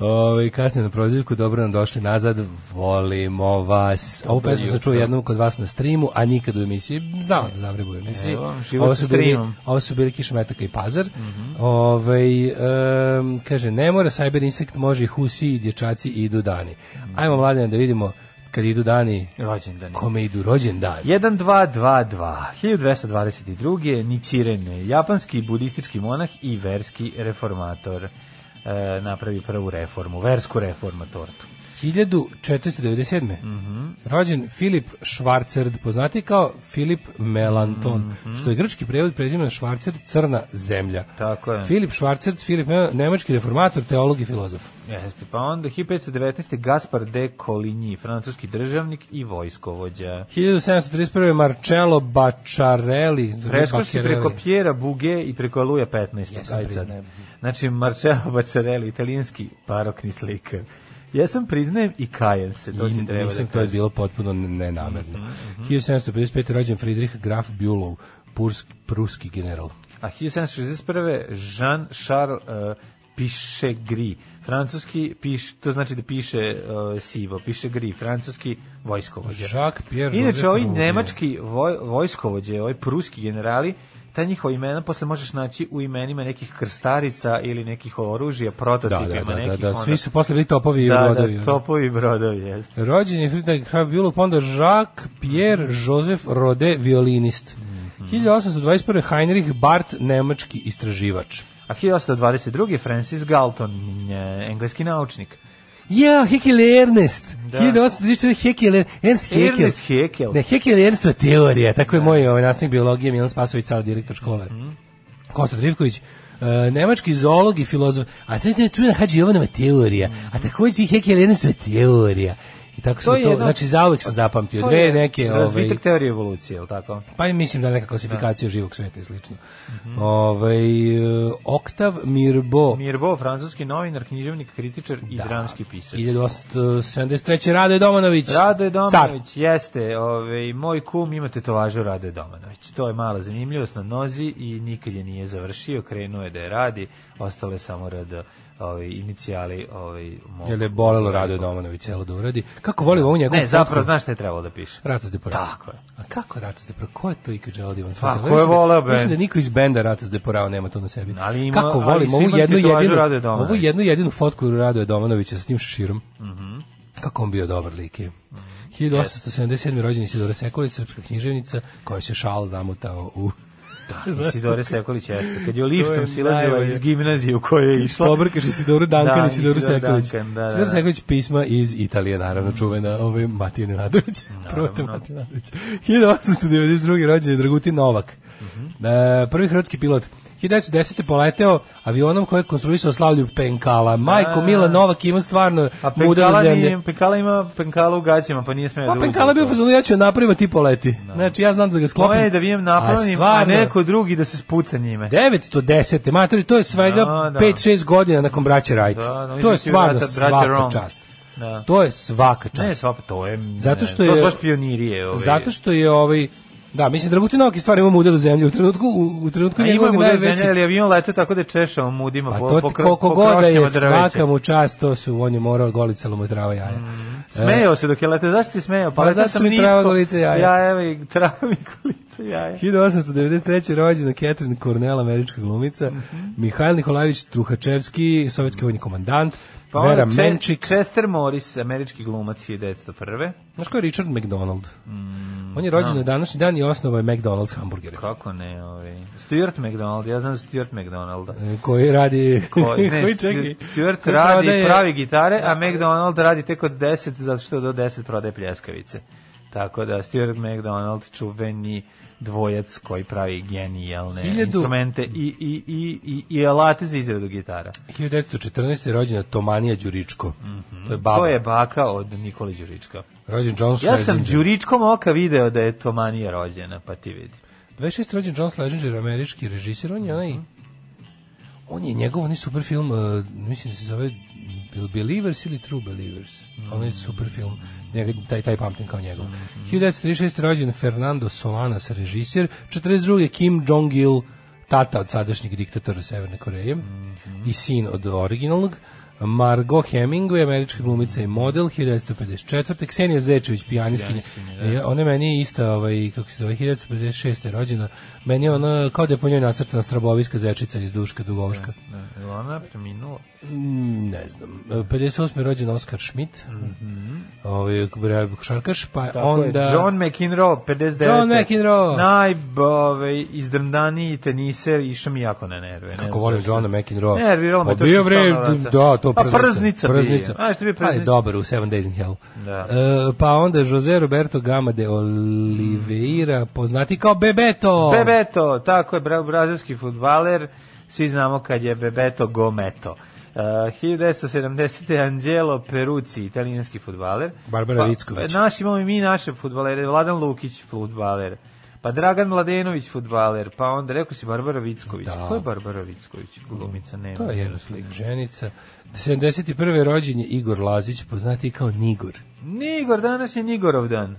Ove, kasnije na prozivku, dobro nam došli nazad, volimo vas. Ovu pesmu sam čuo jednom kod vas na streamu, a nikad u emisiji, znam da zavrebu u emisiji. Evo, život Ovo sa su bili, streamom. Mhm. ovo su bili Kiša Metaka i Pazar. Ovaj, em, kaže, ne mora Cyber Insect, može i Husi i dječaci i idu dani. Mhm. Ajmo, mladene, da vidimo kad idu dani, Rođendan. kome idu rođen 1222, 1222. Nichiren, japanski budistički monah i verski reformator, e, napravi prvu reformu, versku reformatortu. 1497. Mhm. Rođen Filip Švarcerd, poznati kao Filip Melanton, Mhm. što je grčki prevod prezimena Švarcerd, crna zemlja. Tako je. Filip Švarcerd, Filip Melanton, nemački reformator, teolog i filozof. Jeste, pa onda 1519. Gaspar de Coligny, francuski državnik i vojskovođa. 1731. Marcello Bacciarelli. Prešao si Bacchiarelli. preko Pjera Buge i preko Luja 15. Jesam, Aj sad. priznajem. Znači, Marcello Bacciarelli, italijanski barokni slikar. Jesam priznajem i kajem se, to si I treba da Mhm, Mislim, to je kažem. bilo potpuno nenamerno. 1755. rođen Friedrich Graf Bülow, pursk, pruski general. A 1761. Jean-Charles uh, piše gri. Francuski, piš, to znači da piše uh, sivo, piše gri. Francuski vojskovođa. Jacques Pierre Joseph Inače, ovi Rouvier. nemački voj, vojskovođe, ovi pruski generali, ta njihova imena posle možeš naći u imenima nekih krstarica ili nekih oružja, Da, prototipima da, da, da, nekih. da, ono- svi su posle bili topovi i da, brodovi. da, topovi i brodovi, jeste. Rođen je Friedrich Graf Bülow, pa onda Jacques Pierre Joseph Rode, violinist. 1821. Heinrich Barth, nemački istraživač. A 1822. Francis Galton, nje, engleski naučnik. Ja, Hekel Ernest. Da. 1834. Hekel Er- Ernst Hekel. Ernest Haeckel. Ne, Hekel Ernstova teorija, tako je moj ovaj, nastavnik biologije Milan Spasović, sada direktor škole. Kosta Trivković, e, nemački zoolog i filozof. A sad je čujena Hadži Jovanova teorija, a takođe i Hekel Ernstova teorija. I tako smo to, jedna- znači zauvek sam zapamtio. To Dve je neke... Razvitak ovaj, teorije evolucije, je li tako? Pa i mislim da neka klasifikacija živog sveta i slično. Mhm. Ovaj, e, Oktav Mirbo, Mirbo, francuski novinar, književnik, kritičar i da, dramski pisac. 1873. Radoje Domanović. Radoje Car. Domanović, jeste, ovaj, moj kum ima tetovažu Radoje Domanović. To je mala zanimljivost na nozi i nikad je nije završio, krenuo je da je radi, ostalo je samo rado ovaj, inicijali ovaj, mog- Jel je bolelo Radoje Domanović celo da uradi. Kako volim ovu njegovu Ne, zapravo, fotku? znaš šta je trebalo da piše? Ratos de Porao. Tako je. A kako Ratos de Porao? Ko je to ikad želeo da vam Pa, shvatio? ko je Mislim da- voleo bend? Mislim da niko iz benda Ratos de Porao nema to na sebi. Ali ima- kako ali volim svi ovu imaju jednu tetovažu jedinu, Radoje Domanovića. ovu jednu jedinu fotku Radoje Domanovića sa tim šeširom. Mhm. Kako on bio dobar lik je. 1877. rođen Isidora Sekulić, srpska književnica, koja se šal zamutao u Da, Isidore Sekulić jeste. Kad je To liftom je silazila najbolje. iz gimnazije u kojoj je išla. Pobrkaš Isidoru Dankan Pa- Da, i Isidoru Isidor Sekulić. Duncan, da, da, Isidor da. Sekulić pisma iz Italije, naravno, čuvena ovaj, Matija Nenadović. (laughs) Prote Matija Nenadović. 1892. rođen je Dragutin Novak. Mhm. E, prvi hrvatski pilot. 1910. poleteo avionom koji je konstruisao slavlju Penkala. Majko Mila Novak ima stvarno A muda penkala, zemlje. nije, penkala ima penkala u gaćima, pa nije smeo da Pa uđe Penkala u je bio to. fazonu, ja ću je napravim, a ti poleti. Znači, ja znam da ga sklopim. Moje je da vijem napravim, a, stvarno- neko drugi da se spuca njime. 910. Matori, to je svega Da, da. 5-6 godina nakon braće Wright. Da, da, to je između stvarno brata- braće svaka Rom. čast. Da. To je svaka čast. Ne, sva, to je... Zato što To je- su baš pionirije. Ove. Zato što je ovaj Da, mislim Dragutin Novak je stvarno imao udar u zemlju u trenutku u, u trenutku Pa njegovog imamo da najvećeg. zemlje, ali avion letao tako da je češao mudima Pa po, to po, ti kro- koliko po god da krošnjama je drveća. svaka mu čast, to su on je morao goliti salomotrava jaja. Mhm. Smejao se dok je letao, zašto si smejao? E. Pa Pa, letao zato sam mi nisko. trava golica jaja. Ja, evo, i trava mi golica jaja. 1893. rođena Catherine Cornell, američka glumica, Mhm. Mihajl Nikolajević Truhačevski, sovjetski vojni komandant, Pa Vera onda Če- Menčik, Chester Morris, američki glumac 1901. Znaš ko je Richard McDonald? Mm, On je da. rođen na današnji dan i osnovao je McDonald's hamburgere. Kako ne, ovaj. Stuart McDonald, ja znam Stuart McDonalda. E, (laughs) Koji radi... Koji, ne, čekaj, Stu- Stuart koji radi prodaje- Da. pravi gitare, a McDonald radi tek od 10, zato što do 10 prodaje pljeskavice. Tako da Stuart McDonald čuveni dvojac koji pravi genijalne Hiljadu- instrumente i, i, i, i, i alate za izradu gitara. 1914. je rođena Tomanija Đuričko. To je baba. Mhm. To je baka od Nikole Đurička. Rođen John Schlesinger. Ja sam Đuričkom oka video da je Tomanija rođena, pa ti vidi. 26. rođen John Schlesinger, američki režisir. On je onaj... On je njegov onaj super film, uh, e, mislim da se zove Bil Believers ili True Believers. Mm. Onaj super film. Njega, taj, taj pamtim kao njegov. Mm. 1936. rođen Fernando Solanas, režisir. 42. Kim Jong-il, tata od sadašnjeg diktatora Severne Koreje i sin od originalnog. Margot Hemingway, američka glumica i model, 1954. Ksenija Zečević, pijaniskinja. da. E, Ona je meni ista, ovaj, kako se zove, 1956. rođena. Meni je ona, kao da je po njoj nacrtana straboviska zečica iz Duška Dugovška. Da, je ona preminula? Mm, ne znam. E, 58. je rođen Oskar Schmidt, mm -hmm. ovaj, košarkaš, pa Mhm. Tako onda... je. John McEnroe, 59. John McEnroe. Naj, ovaj, izdrndaniji teniser, išao mi jako na nerve. ne Kako znam volim zašto. Johna McEnroe. Nerviralo me Pa to bio što bre, stalno vraća. da, to Pa prznica. prznica bio. Prznica. A, što bi Pa je prznica? dobar u Seven Days in Hell. Da. E, pa onda Jose Roberto Gama de Oliveira, poznati kao Bebeto. Bebeto, tako je, bra- brazilski futbaler, svi znamo kad je Bebeto Gometo. Uh, 1970. Angelo Perucci, italijanski futbaler. Pa, Barbara Vicković. Naš imamo i mi naše futbalere, Vladan Lukić futbaler, pa Dragan Mladenović futbaler, pa onda rekao si Barbara Vicković. Da. Ko je Barbara Vicković? Glumica nema. To je jedna slika. Ženica. 71. rođen je Igor Lazić, poznati kao Nigor. Nigor, danas je Nigorov dan.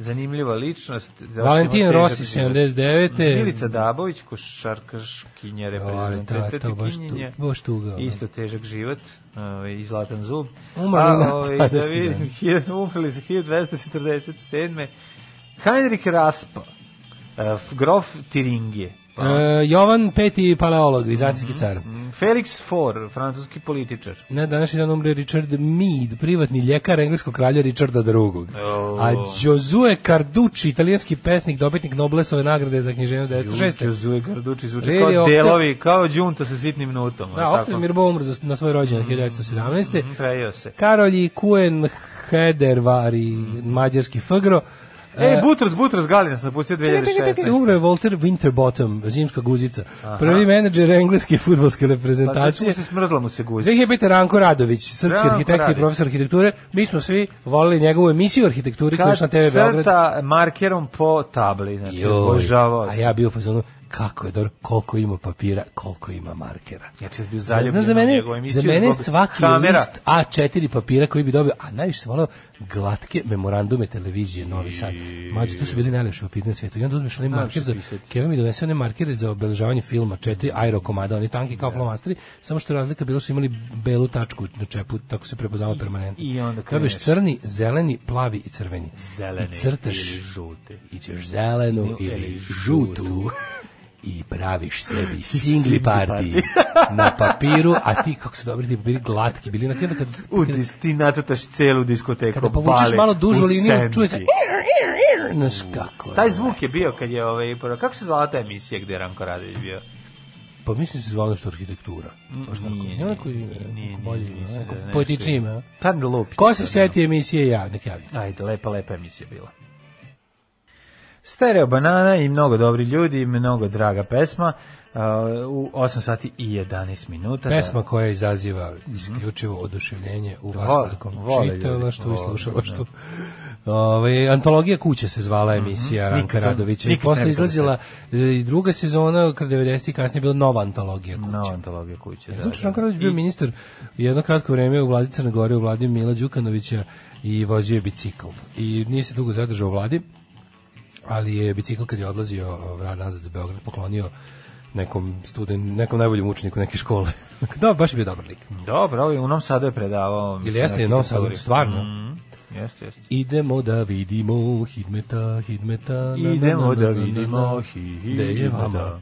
Zanimljiva ličnost. Da Zašto Valentin ima težak Rossi, život? 79. Milica Dabović, košarkaškinja, ta- to reprezentativna baš kinjenja. tu- baš tuga, ono. Isto težak život, ovaj, i zlatan zub. Umrli na A, ovaj, da današnji (laughs) vidim, hiljad- umrli su 1247. Heinrich Raspa, eh, grof Tiringije. E, Jovan V. Paleolog, vizantijski car. Mhm. Felix Faure, francuski političar. Na današnji dan umre Richard Mead, privatni ljekar engleskog kralja Richarda II. O. A Giuseppe Carducci, italijanski pesnik, dobitnik Noblesove nagrade za književnost 1906. Đuzuje Garduči zvuči Red je kao Octav- delovi, kao đunta sa sitnim nutom. Da, ali Octavio Mirbo umre za- na svoj rođendan Mm, 1917. Mhm, Prejeo se. Karolji Kuen Hedervari, Mm. mađarski Fgro. Ej, E, Butros, Butros Galina sam napustio Čekaj, 2016. čekaj, čekaj, umre Walter Winterbottom, zimska guzica, prvi menadžer engleske futbolske Pa, reprezentacije. tu se smrzla mu se guzi. 2005. Ranko Radović, srpski Ranko arhitekt i Radović. profesor arhitekture. Mi smo svi volili njegovu emisiju o arhitekturi koja je išla na Kad TV Beograd. crta markerom po tabli, znači, Joj, obožavao A se. ja bio u fazonu kako je dobro, koliko ima papira, koliko ima markera. Ja sam bio Znaš, zaljubljen znaš, za u mene, njegovu emisiju za mene zbog svaki kamera. list A4 papira koji bi dobio, a najviše sam volao glatke memorandume televizije Novi Sad. Mađe, tu su bili najlepši papiri na svijetu. I onda uzmeš onaj marker za, Kevin mi donese one markere za obeležavanje filma, četiri aero komada, oni tanki Da. kao flomasteri, samo što je razlika bilo su imali belu tačku na čepu, tako se prepoznava permanentno. i onda Dobiješ kreneš. crni, zeleni, plavi i crveni. Zeleni I crtaš ili žuti. ićeš zelenu ili ili žutu i praviš (laughs) sebi singli party (laughs) na papiru, a ti, kako su dobri ti papiri, glatki bili. Na kada, kada, U, dis- ti nacrtaš celu diskoteku. kada povučeš bale, malo dužu u liniju, senci. čuje se... e! Znaš kako je. Taj zvuk je bio kad je, ovaj, prvo- kako se zvala ta emisija gde je Ranko Radović bio? Pa mislim se zvala što arhitektura. Baš tako. Mm, nije, Nije onako nije, ime, nije, neko bolje nije, ime, mislim neko da je nešto da poetičnije ime. a? Tad lupi. Ko se seti emisije ja, nek javi. Ajde, lepa, lepa emisija bila. Stereo banana i mnogo dobri ljudi, mnogo draga pesma. Uh, u 8 sati i 11 minuta. da. Pesma koja izaziva isključivo oduševljenje u vas Vole- velikom vole ljudi, čitalaštvu i vole, da. slušalaštvu. Ove, antologija kuće se zvala Mhm. emisija Ranka Nikad sam- Radovića i nikad sam posle ne bih izlazila e, i druga sezona kad 90 i kasnije je bila nova antologija Da, kuće. nova antologija kuće. Da, Znači, da. Ranko Radović bio ministar jedno kratko vreme u vladi Crne Gore, u vladi Mila Đukanovića i vozio je bicikl. I nije se dugo zadržao u vladi, ali je bicikl kad je odlazio vrat nazad za Beograd poklonio nekom student, nekom najboljem učeniku neke škole. (laughs) da, baš je bio dobar lik. Dobro, ovaj u Novom Sadu je predavao. mislim, jeste na u Novom Sadu, arhitekturi. stvarno? Mhm, Jeste, jeste. Idemo da vidimo hidmeta, hidmeta. na, na, na, Idemo na, da na, na, vidimo na. hi, hi, Gde je vama? da.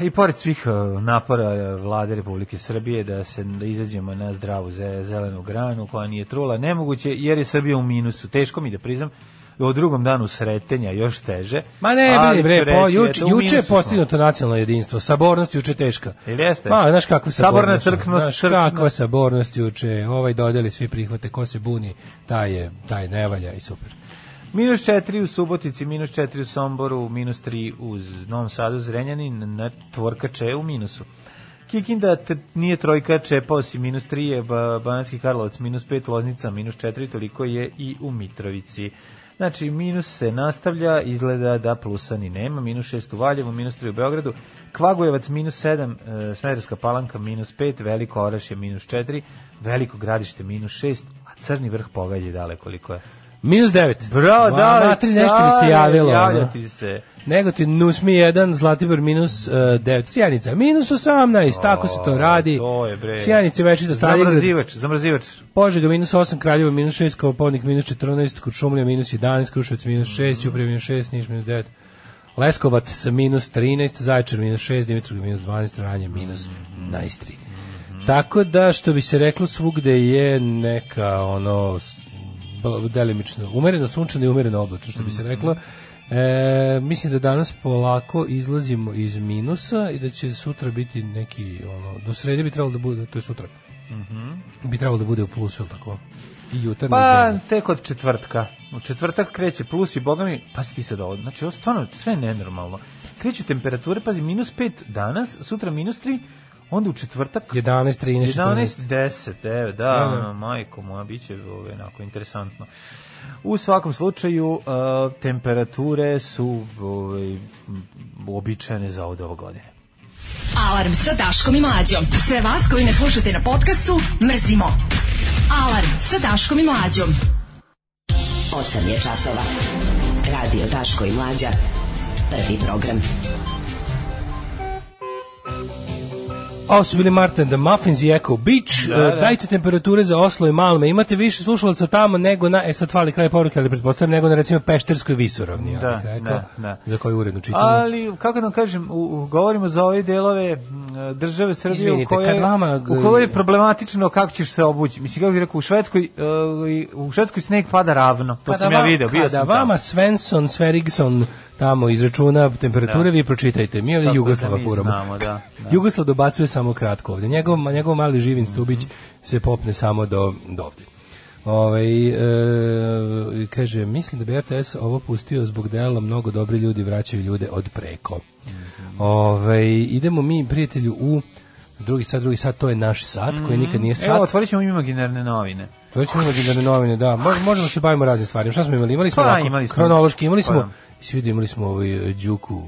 I pored svih eh, napora eh, vlade Republike Srbije da se da izađemo na zdravu ze- zelenu granu koja nije trula, nemoguće jer je Srbija u minusu. Teško mi da priznam o drugom danu sretenja još teže. Ma ne, ali bre, ću bre, po, reći, juče, eto, u juče je minusu smo. postignuto nacionalno jedinstvo. Sabornost juče je teška. Jel jeste? Ma, znaš kakva Saborna sabornost. crknost, Znaš crknost. kakva sabornost juče. Ovaj dodeli svi prihvate, ko se buni, taj je, taj ne valja i super. Minus 4 u Subotici, minus 4 u Somboru, minus 3 u Z- Novom Sadu, Zrenjanin, na tvorka Če u minusu. Kikinda t- nije trojka, Čepao si minus 3 je, ba, Bananski Karlovac minus 5, Loznica minus 4, toliko je i u Mitrovici. Znači, minus se nastavlja, izgleda da plusa ni nema, minus 6 u Valjevu, minus 3 u Beogradu, Kvagujevac minus 7, e, Smederska palanka minus 5, Veliko Oraš je minus 4, Veliko gradište minus 6, a Crni vrh pogađa dale koliko je. Minus 9. Bro, da, li, matri, nešto mi se care, javilo. Javlja ono. ti se. Negotin Nusmi 1, Zlatibor minus 9, Sjanica minus 18, tako se to radi. to je, bre. Sjanica večita Stalingrad, Zamrzivač, zamrzivač. Požega minus 8, Kraljevo minus 6, Koponik minus 14, Kuršumlija minus 11, Kruševac minus 6, Ćuprije minus 6, Niš minus 9, Leskovac sa minus 13, Zaječar minus 6, Dimitrov minus 12, Ranje minus 11. Tako da, što bi se reklo, svugde je neka ono s- bl- delimično, umereno sunčano i umereno oblačno, što bi se reklo. E, mislim da danas polako izlazimo iz minusa i da će sutra biti neki, ono, do srede bi trebalo da bude, to je sutra, bi trebalo da bude u plusu, ili tako? I jutarnji Pa, dan. tek od četvrtka. U četvrtak kreće plus i boga mi, pazi ti sad ovo, znači ovo stvarno sve nenormalno. Kreću temperature, pazi, minus 5 danas, sutra minus 3, onda u četvrtak 11, 13, 14. 11, 10, 9, da, da. ono, majko moja, bit će ovaj, onako interesantno. U svakom slučaju, uh, temperature su ovaj, običajne za od ovo godine. Alarm sa Daškom i Mlađom. Sve vas koji ne slušate na podcastu, mrzimo. Alarm sa Daškom i Mlađom. 8 je časova. Radio Daško i Mlađa. Prvi program. Ovo su bili Martin the Muffins i Echo Beach. Da, E, da. Dajte temperature za Oslo i Malme. Imate više slušalaca tamo nego na, e sad fali kraj poruke, ali pretpostavljam nego na recimo Pešterskoj visoravni, ja Da, bih rekao, da, da. za koju uredno čitamo. Ali, kako da vam kažem, u, u, govorimo za ove delove m, države Srbije Izvinite, u kojoj kad vama g- u kojoj je problematično kako ćeš se obući. Mislim, kako bih rekao, u Švedskoj, uh, i- u Švedskoj sneg pada ravno. To Kada sam Pa ja da vam- video, bio kada sam vama tamo. Svensson, Sverigson tamo izračuna temperature, vi pročitajte. Mi ovdje Da. Tako Jugoslava da mi furamo. znamo, da, da. Jugoslav dobacuje samo kratko ovdje. Njegov, njegov mali Mhm. živin stubić se popne samo do, do ovdje. Ovaj, e, kaže, mislim da bi RTS ovo pustio zbog dela mnogo dobri ljudi vraćaju ljude od preko. Mhm. Ovaj, idemo mi, prijatelju, u drugi sat, drugi sat, to je naš sat, koji nikad nije sat. Mhm. Evo, otvorit ćemo imaginarne novine. To već imamo da novine, da. Mo- Možemo se bavimo raznim stvarima. Šta smo imali? Imali smo, Pa, ovako, imali smo. kronološki, imali smo, Pa, da. svi vidio, imali smo ovaj e, Đuku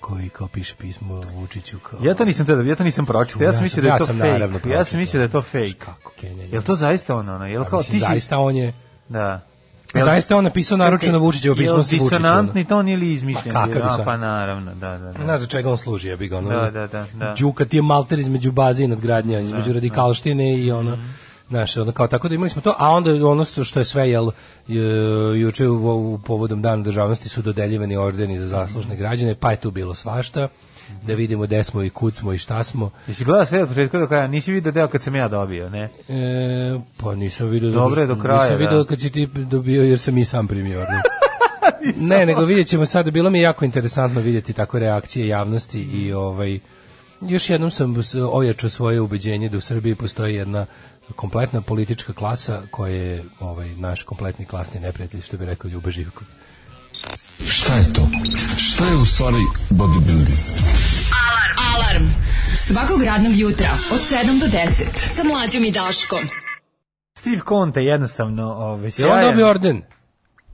koji kao piše pismo Vučiću kao... Ja to nisam tada, ja to nisam pročitao. Ja Ja sam sam- mislio da ja je to sam naravno fake. Ja pročitao. sam mislio da je to fake. Kako Kenja? Jel to zaista ono, ono? Jel Pa, kao mislim, ti si... Zaista on je... Da. Zaista on napisao naručeno Vučićevo pismo sa Jel Vučićem. disonantni ton ili izmišljen? Pa, kakav A, disonant? Pa naravno, da, da, da. Ne znam čega on služi, ja bih ga ono... Da, da, da, da. Đuka ti je malter između baze i nadgradnja, između radikalštine i ono... Mhm. Znaš, ono kao tako da imali smo to, a onda ono što je sve, jel, je- juče u, u povodom dana državnosti su dodeljivani ordeni za zaslužne građane, pa je tu bilo svašta, da vidimo gde smo i kud smo i šta smo. Jesi gledao sve od početka do kraja? Nisi vidio deo kad sam ja dobio, ne? E, pa nisam vidio... Dobro je do kraja, Nisam vidio da. kad si ti dobio jer sam i sam primio (laughs) orden. ne, nego vidjet ćemo sad, bilo mi je jako interesantno vidjeti tako reakcije javnosti i ovaj, još jednom sam s- ojačao svoje ubeđenje da u Srbiji postoji jedna kompletna politička klasa koja je ovaj, naš kompletni klasni neprijatelj, što bi rekao Ljube Živko. Šta je to? Šta je u stvari bodybuilding? Alarm. Alarm. Svakog radnog jutra od 7 do 10 sa Mlađom i Daškom. Steve Conte jednostavno ovaj, Je on sjajan. dobio orden?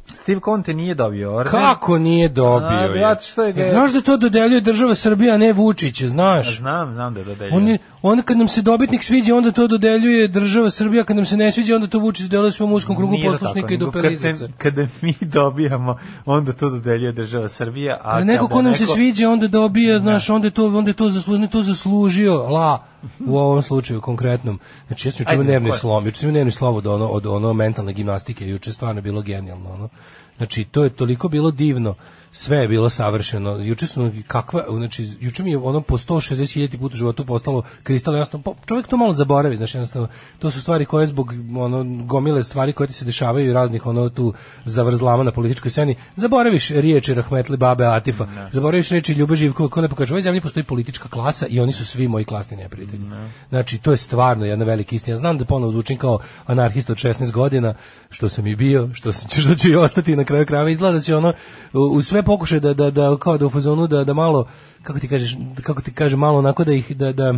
Steve Conte nije dobio orden. Kako nije dobio? A, je? brate, što je ga- Znaš da to dodeljuje država Srbija, a ne Vučić, znaš? Znam, znam da je dodeljeno. On, je, on kad nam se dobitnik sviđa, onda to dodeljuje država Srbija, kad nam se ne sviđa, onda to vuče dodeljuje svom uskom krugu Nije to poslušnika tako, i do nego kad se- pelizaca. Kada mi (laughs) dobijamo, onda to dodeljuje država Srbija. A Ali neko kada ko nam se neko- Da. sviđa, onda dobija, znaš, onda je to, onda je to, zaslu, onda je to zaslužio, la, u ovom slučaju konkretnom. Znači, ja sam juče Ajde, imao nervni ko je? slom, juče sam imao nervni slom od ono, od ono mentalne gimnastike, juče je stvarno bilo genijalno, ono. Znači, to je toliko bilo divno, sve je bilo savršeno. Juče su, kakva, znači, juče mi je ono po 160.000 puta u životu postalo kristalno jasno. Pa, čovjek to malo zaboravi, znači, jednostavno, to su stvari koje zbog ono, gomile stvari koje ti se dešavaju i raznih ono tu zavrzlama na političkoj sceni, zaboraviš riječi Rahmetli Babe Atifa, zaboraviš riječi Ljube Živkova, ko ne pokaže, u ovoj zemlji postoji politička klasa i oni su svi moji klasni neprijatelji. Znači, to je stvarno jedna velika istina. Ja znam da ponovo zvučim kao anarhist od 16 godina, što sam i bio, što, sam, što ću i ostati na kraju krajeva. Izgleda da će ono, u- u sve pokušaje da, da, da, kao da u fazonu, da, da malo, kako ti kažeš, kako ti kaže, malo onako da ih, da, da,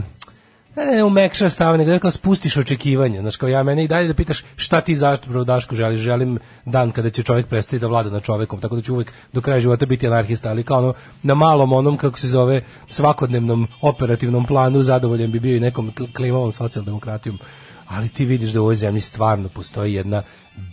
Ne, ne, ne, umekša stave, nego da kao spustiš očekivanje. Znaš, kao ja mene i dalje da pitaš šta ti zašto prvo Daško želiš, želim dan kada će čovjek prestati da vlada nad čovjekom, tako da će uvek do kraja života biti anarhista, ali kao ono, na malom onom, kako se zove, svakodnevnom operativnom planu, zadovoljen bi bio i nekom kl- klimavom socijaldemokratijom. Ali ti vidiš da u ovoj zemlji stvarno postoji jedna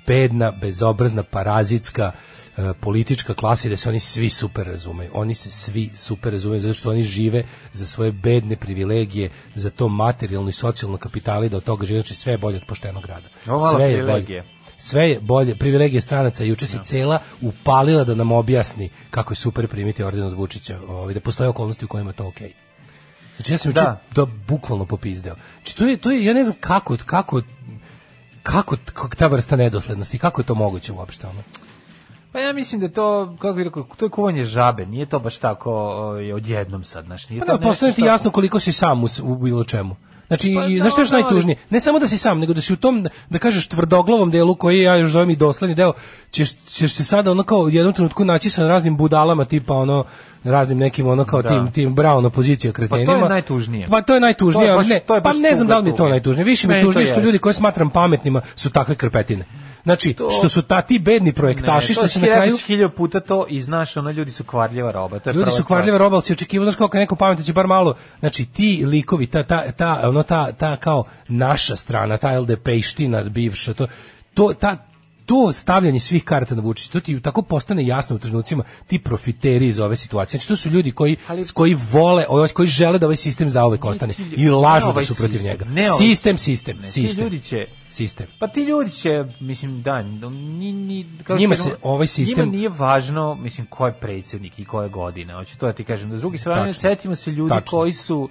bedna, bezobrazna, parazitska, e, politička klasa i da se oni svi super razumeju. Oni se svi super razumeju zato što oni žive za svoje bedne privilegije, za to materijalno i socijalno kapitali da od toga žive, znači sve je bolje od poštenog rada. Ovo malo sve je privilegije. Da. bolje. Sve je bolje. Privilegije stranaca juče se cela upalila da nam objasni kako je super primiti orden od Vučića, ovaj, da postoje okolnosti u kojima je to okej. Znači ja sam juče Da. da. bukvalno popizdeo. Znači to je, to je, ja ne znam kako, kako, kako, kako ta vrsta nedoslednosti, kako je to moguće uopšte ono. Pa ja mislim da je to, kako bih rekao, to je kuvanje žabe, nije to baš tako ovaj, odjednom sad, znaš, nije Pa to da, nešto postane ti što- jasno koliko si sam u, s- u bilo čemu. Znači, Pa pa, i, da, znaš što je još da, ali- najtužnije? Ne samo da si sam, nego da si u tom, da kažeš, tvrdoglavom delu koji ja još zovem i dosledni deo, ćeš, ćeš se sada ono kao u jednom trenutku naći sa raznim budalama, tipa ono, raznim nekim ono kao Da. Pa tim, tim Brown opozicija kretenima. najtužnije. Pa to je najtužnije, To je ali baš- ne, to je pa baš ne znam tuga da li mi je to tuge. najtužnije. Više mi Meni je to tužnije što jeste. ljudi koje smatram pametnima su takve krpetine. Znači, što su ta ti bedni projektaši, to što da se si na rekao kraju... si hiljadu puta to i znaš, ono, ljudi su kvarljiva roba. To je Ljudi prva su stvar. kvarljive robe, ali si očekivao, znaš, kao kad neko pametno će bar malo, znači ti likovi, ta, ta, ta, ono, ta, ta kao naša strana, ta LDP ština bivša, to, to, ta, to stavljanje svih karata na Vučića, to ti tako postane jasno u trenucima, ti profiteri iz ove situacije. Znači, to su ljudi koji, Ali- s koji vole, ovaj- koji žele da ovaj sistem zauvek ostane i lažu ne da ovaj su protiv sistem, njega. ne ovaj- Sistem, sistem, Ne, Ti sistem, ljudi će, sistem. Pa ti ljudi će, mislim, da, ni, ni, kako Njima ti se kažem, ovaj sistem- Njima nije vačno, mislim, ko je predsjednik i koje godine. Hoću to da ti kažem. Da s druge strane, Tačno. setimo se ljudi Tačno. koji su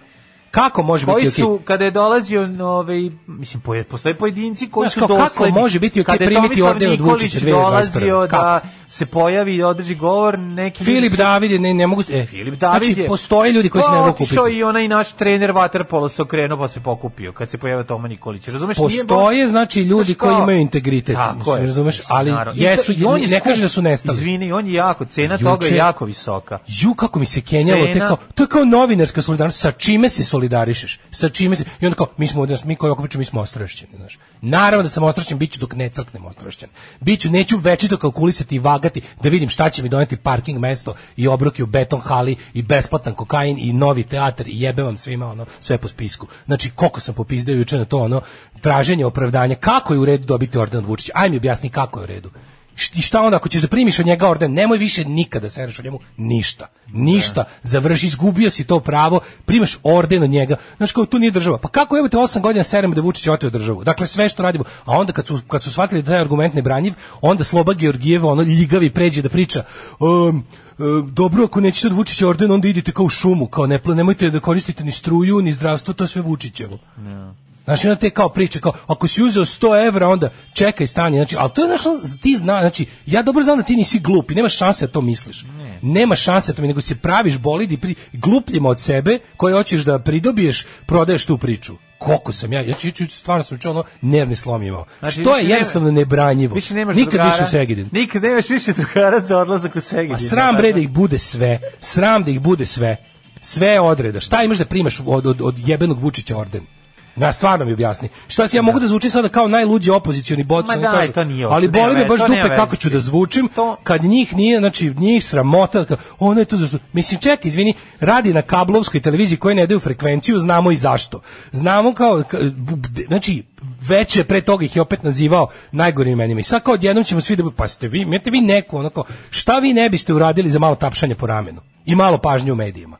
Kako može koji biti okej? su kada je dolazio ovaj mislim poje, postoje pojedinci koji Znaš, su kao, kako dosledni može biti okej Kada je primiti Tomislav orden od Nikolić Vučića 2021.? dolazio da Kako? se pojavi i održi govor neki ljudi Filip su- David je, ne, ne mogu... E, Filip David znači, je- postoje ljudi koji se ne Pa, mogu kupiti. Otišao i onaj naš trener vaterpola se okrenuo pa se pokupio kad se pojavio Toma Nikolić. Razumeš? nije baš- Postoje znači ljudi Znaš koji kao- imaju integritet, Tako mislim, je, razumeš, mislim, ali naravno. I to- jesu i on je ne skup. kaže da su nestali. Izvini, on je jako, cena Juče- toga je jako visoka. Ju kako mi se kenjalo, te Cena- kao, to je kao novinarska solidarnost, sa čime se solidarišeš? Sa čime se? I onda kao, mi smo ovdje, mi koji okupiču, mi smo ostrašćeni, znaš. Naravno da sam ostrašćen, biću dok ne crknem ostrašćen. Biću, neću večito kalkulisati i vagati da vidim šta će mi doneti parking mesto i obroke u beton hali i besplatan kokain i novi teatar i jebe vam svima ono sve po spisku. Znači koliko sam popizdeo juče na to ono traženje opravdanja kako je u redu dobiti orden od Vučića. Aj mi objasni kako je u redu. Št- I šta onda ako ćeš da primiš od njega orden, nemoj više nikada da sereš o njemu ništa. Ništa. Završi, izgubio si to pravo, primaš orden od njega. Znaš kao, tu nije država. Pa kako evo te 8 godina seremo da je Vučić oteo državu? Dakle, sve što radimo. A onda kad su, kad su shvatili da taj argument ne branjiv, onda Sloba Georgijeva, ono ljigavi pređe da priča um, dobro, ako nećete od Vučića orden, onda idite kao u šumu, kao ne, nemojte da koristite ni struju, ni zdravstvo, to je sve Vučićevo. Znači, onda te kao priče, kao, ako si uzeo 100 evra, onda čekaj stanje. Znači, ali to je nešto, ti zna, znači, ja dobro znam da ti nisi glup i nemaš šanse da to misliš. Nema šanse da to, mi- nego se praviš bolid i pri, glupljima od sebe, koje hoćeš da pridobiješ, prodaješ tu priču. Koliko sam ja, znači, ja ću, ću- stvarno sam učeo ono, nervni slom imao. Znači, što je više nema- jednostavno nebranjivo. Više nemaš Nikad drugara. više u Segedin. Nikad nemaš više drugara za odlazak u Segedin. A sram bre da ih bude sve. Sram da ih bude sve. Sve je odreda. Šta imaš da primaš od, od, od jebenog Vučića orden? Na stvarno mi objasni. Šta si ja mogu da zvučim sada kao najluđi opozicioni boc, Ma oni daj, kažu, to nije ovo, ali to boli nema me baš veze, to dupe nema kako veze. ću da zvučim To- kad njih nije, znači njih sramota, kao, ona je tu zašto. Mislim čekaj, izvini, radi na kablovskoj televiziji koji ne daju frekvenciju, znamo i zašto. Znamo kao ka- bu- bde- znači veče pre toga ih je opet nazivao najgorim imenima. I sad kao odjednom ćemo svi da bu- pa ste vi, imate vi neku onako, šta vi ne biste uradili za malo tapšanje po ramenu i malo pažnje u medijima.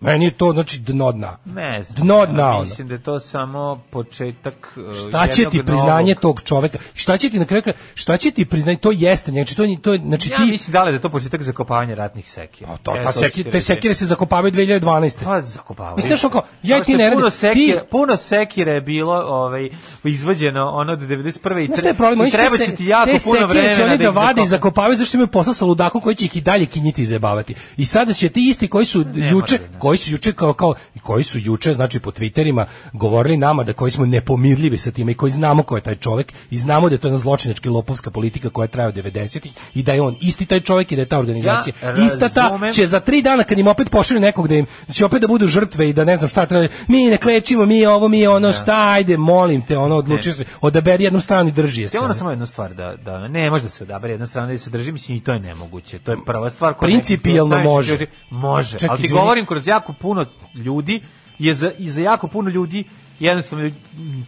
Meni je to znači dno dna. Ne znam. Dno dna. ono. Mislim da je to samo početak uh, Šta će jednog ti novog- priznanje tog čoveka? Šta će ti na kraju kraja- šta će ti priznanje to jeste, znači to ni- to je- znači Ja ti mislim da li da je to početak zakopavanja ratnih sekira. Pa to, E, ta ću seki, ti te reći. sekire se zakopavaju 2012. Pa zakopavaju. Mislim, znaš, ono kao, ja i Zato ti što ne puno radim, sekire, ti- Puno sekire je bilo ovaj, izvađeno ono od 91. i, Znaš šta je tre- problem? i Oni će treba se- će ti jako te puno sekire vremena će oni da ih vade i zakopaju. zakopavaju zašto imaju posla sa ludakom koji će ih i dalje kinjiti i zajebavati. I sada će ti isti koji su Ne juče, moraju, ne. koji koji su juče kao kao i koji su juče znači po Twitterima govorili nama da koji smo nepomirljivi sa time i koji znamo ko je taj čovjek i znamo da je to jedna zločinačka i lopovska politika koja traje od 90-ih i da je on isti taj čovjek i da je ta organizacija Ja ista ta razumem. će za tri dana kad im opet pošalju nekog da im da će opet da budu žrtve i da ne znam šta treba mi ne klečimo mi ovo mi ono Da. šta ajde molim te ono odluči se odaberi jednu stranu i drži je se Ja moram ono. samo jednu stvar da, da ne može da se odabere jedna strana da se drži, mislim i to je nemoguće. To je prva stvar koja Principijelno neki- može. Može, Čak, ali ti izvini. govorim kroz jako puno ljudi je za, i za jako puno ljudi jednostavno mm,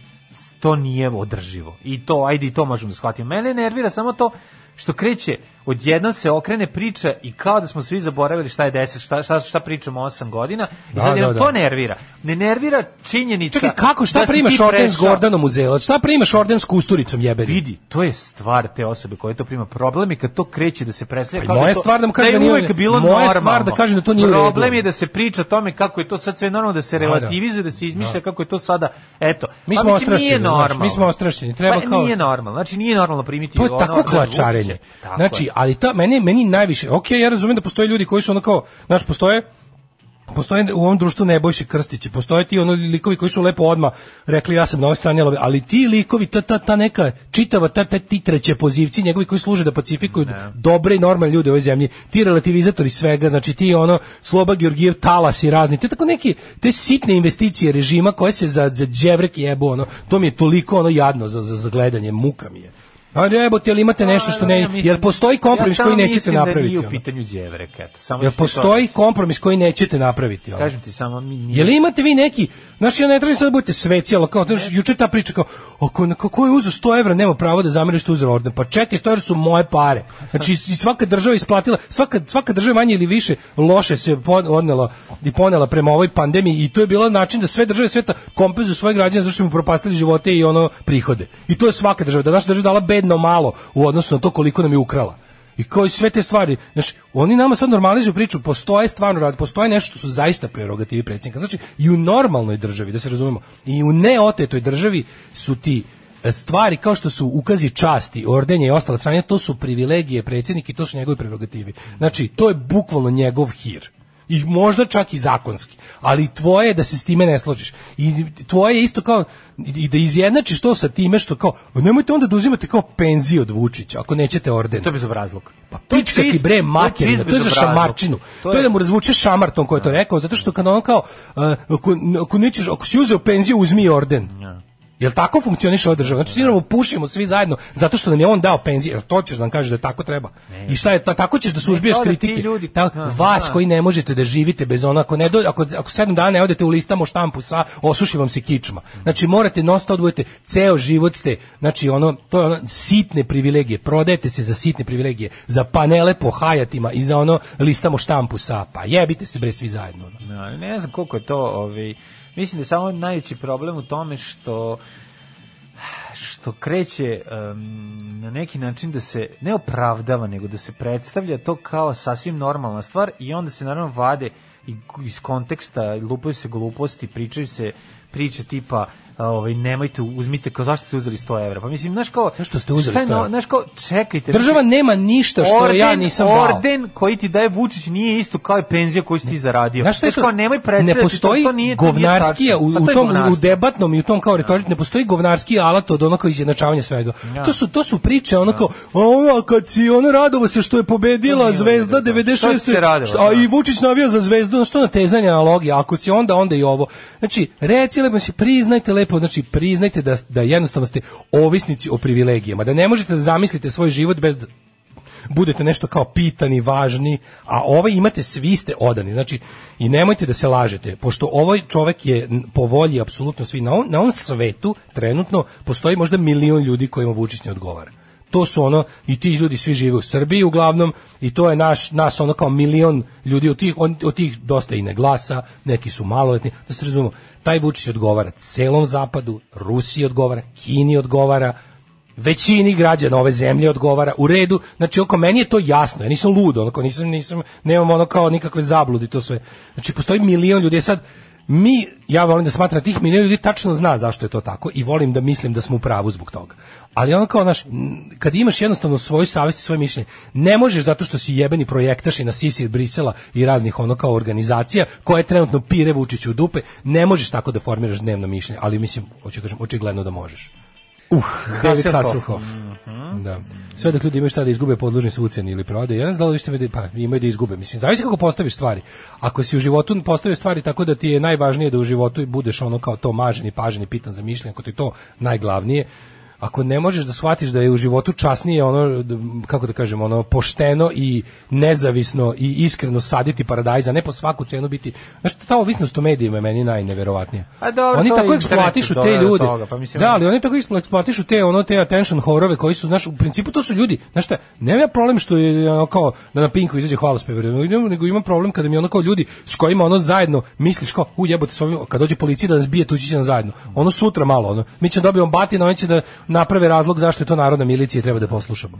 to nije održivo. I to, ajde i to možemo da shvatimo. Mene nervira samo to što kreće, odjednom se okrene priča i kao da smo svi zaboravili šta je 10, šta, šta, šta pričamo 8 godina i Da, sad da, jednom da. to nervira. Ne nervira činjenica Čekaj, kako, šta da si primaš ti orden s prešao- Gordanom u Zelac? Šta primaš orden s Kusturicom jebeni? vidi, to je stvar te osobe koja to prima problem i kad to kreće da se preslija. Pa i kao da moja je to- stvar da mu kažem je da nije- uvek bilo moja normalno. stvar da kažem da to nije u redu. Problem je da se priča o tome kako je to sad sve normalno, da se relativizuje, da se izmišlja kako je to sada, eto. Mi Pa smo mislim, nije ostrašćeni, znači, normalno. mi smo ostrašćeni, treba pa, kao- Nije normalno, znači nije normalno primiti To je ono, da, tako uopšte. klačarenje. Tako Znači, je. ali ta, meni, meni najviše, ok, ja razumijem da postoje ljudi koji su ono kao, znaš, postoje, postoje u ovom društvu Nebojše Krstići, postoje ti ono likovi koji su lepo odma rekli ja sam na ovoj strani, ali- ali ti likovi, ta, ta, ta neka čitava, ta, ta, ti treće pozivci njegovi koji služe da pacifikuju dobre i normalne ljude u ovoj zemlji, ti relativizatori svega, znači ti ono Sloba Georgijev talas i razni, te tako neki, te sitne investicije režima koje se za, za dževrek jebu, ono, to mi je toliko ono jadno za, za, za gledanje, muka mi je. A jebote, jel imate nešto što Pa, ja ne, mislim- jer postoji kompromis ja koji samo nećete mislim da napraviti. Nije u ono. pitanju đevrek, eto. Samo Jer ću ti to postoji reći. kompromis koji nećete napraviti. Ono. Kažem ti samo mi nije. Je li imate vi neki, znaš ja ne tražim sad da budete sveci, ali kao, znaš, juče ta priča kao, ako na kako je uzeo 100 evra, nema pravo da zamiriš što je uzeo orden, pa čekaj, 100 evra su moje pare. Znači, i svaka država isplatila, svaka, svaka država manje ili više loše se pon- odnela i ponela prema ovoj pandemiji i to je bilo način da sve države sveta kompenzuju svoje građane zato što su im propastili živote i ono prihode. I to je svaka država, da naša država dala bedno malo u odnosu na to koliko nam je ukrala. I kao i sve te stvari, znači, oni nama sad normalizuju priču, postoje stvarno rad, postoje nešto što su zaista prerogativi predsjednika. Znači, i u normalnoj državi, da se razumemo, i u neotetoj državi su ti e, stvari kao što su ukazi časti, ordenje i ostale strane, to su privilegije predsjednika i to su njegovi prerogativi. Znači, to je bukvalno njegov hir i možda čak i zakonski, ali tvoje je da se s time ne složiš. I tvoje je isto kao i da izjednačiš to sa time što kao nemojte onda da uzimate kao penziju od Vučića ako nećete orden. To je bezobrazluk. Pa To je pička ti čist- bre to je materina, čist to je za bezobrazluk. šamarčinu. To je, da mu razvuče šamar tom ko je to rekao, zato što kad on kao, e, ako, ako, nećeš, ako si uzeo penziju, uzmi orden. Jel tako funkcioniše ova država? Znači, svi nam pušimo svi zajedno zato što nam je on dao penzije. Jel to ćeš da nam kažeš da tako treba? I šta je, ta, tako ćeš da suzbiješ kao da ti kritike. ljudi- Ta- Da, vas da. koji ne možete da živite bez ono, ako, ne do, ako, ako sedam dana ne odete u listamo štampu sa, osuši vam se kičma. Znači, morate non stop da budete, ceo život ste, znači, ono, to je ono, sitne privilegije, prodajete se za sitne privilegije, za panele po hajatima i za ono, listamo štampu sa, pa jebite se bre svi zajedno. ono. No, ne znam koliko je to, ovaj, mislim da je samo najveći problem u tome što što kreće em, na neki način da se ne opravdava, nego da se predstavlja to kao sasvim normalna stvar i onda se naravno vade i k- iz konteksta, lupaju se gluposti, pričaju se priče tipa a, ovaj, nemojte, uzmite, kao zašto ste uzeli 100 evra? Pa mislim, znaš kao... Zašto ste uzeli šta je 100 no- evra? Znaš kao, čekajte. znači, Država mislim, nema ništa što ja nisam dao. Orden koji ti daje Vučić nije isto kao i penzija koju si ti zaradio. Znaš šta je to? Kao, nemoj ne predstavljati, to- postoji to nije, to nije govnarskija tačno. u, Pa u to je tom u govnarstvo. Da. debatnom i u tom kao retorički ne postoji govnarski alat od onako izjednačavanja svega. Da. To su to su priče ono kao a ono kad si ono radovo se što je pobedila Zvezda da. Što si 96. se radovao, što- a da. i Vučić navija za Zvezdu, no što na tezanje analogija, ako si onda onda i ovo. Znači, reci lepo, znači, priznajte lepo, znači priznajte da da jednostavno ste ovisnici o privilegijama, da ne možete da zamislite svoj život bez da- budete nešto kao pitani, važni, a ovaj imate svi ste odani. Znači, i nemojte da se lažete, pošto ovaj čovek je n- po volji apsolutno svi. Na ovom, na ovom svetu trenutno postoji možda milion ljudi kojima Vučić ne odgovara. To su ono, i ti ljudi svi žive u Srbiji uglavnom, i to je naš, nas ono kao milion ljudi, od tih, on- od tih dosta i ne glasa, neki su maloletni, da se razumemo, taj Vučić odgovara celom zapadu, Rusiji odgovara, Kini odgovara, većini građana ove zemlje odgovara u redu znači oko meni je to jasno ja nisam lud onako nisam nisam nemam ono kao nikakve zablude i to sve znači postoji milion ljudi E sad mi, ja volim da smatram da tih milion ljudi tačno zna zašto je to tako i volim da mislim da smo u pravu zbog toga. Ali ono kao, znaš, n- kad imaš jednostavno svoju savjest i svoje mišljenje, ne možeš zato što si jebeni projektaš i na sisi od Brisela i raznih ono kao organizacija koje trenutno pire Vučiću u dupe, ne možeš tako da formiraš dnevno mišljenje, ali mislim, hoću da kažem, očigledno da možeš. David Hasselhoff. Mhm. Da. Sve dok ljudi imaju šta da izgube podložni su uceni ili prodaju. Ja ne znam da li ćete me da, pa, imaju da izgube. Mislim, zavisi kako postaviš stvari. Ako si u životu postavio stvari tako da ti je najvažnije da u životu budeš ono kao to maženi, paženi, pitan za mišljenje, ako ti je to najglavnije, ako ne možeš da shvatiš da je u životu časnije ono d- kako da kažem ono pošteno i nezavisno i iskreno saditi paradajza ne po svaku cenu biti znači ta ovisnost o medijima je meni najneverovatnija A Pa dobro, oni to tako je eksploatišu internetu te dovelo do ljude toga, pa mislim- da ali oni tako ispla- eksploatišu te ono te attention horove koji su znaš u principu to su ljudi znaš šta nema ja problem što je ono kao da na Pinku izađe hvalospev nego- nego imam problem kada mi ono kao ljudi s kojima ono zajedno misliš kao u jebote s ovim kad dođe policija da nas bije tući će nam zajedno ono sutra malo ono mi ćemo dobijemo batina oni će da naprave razlog zašto je to narodna milicija i treba da poslušamo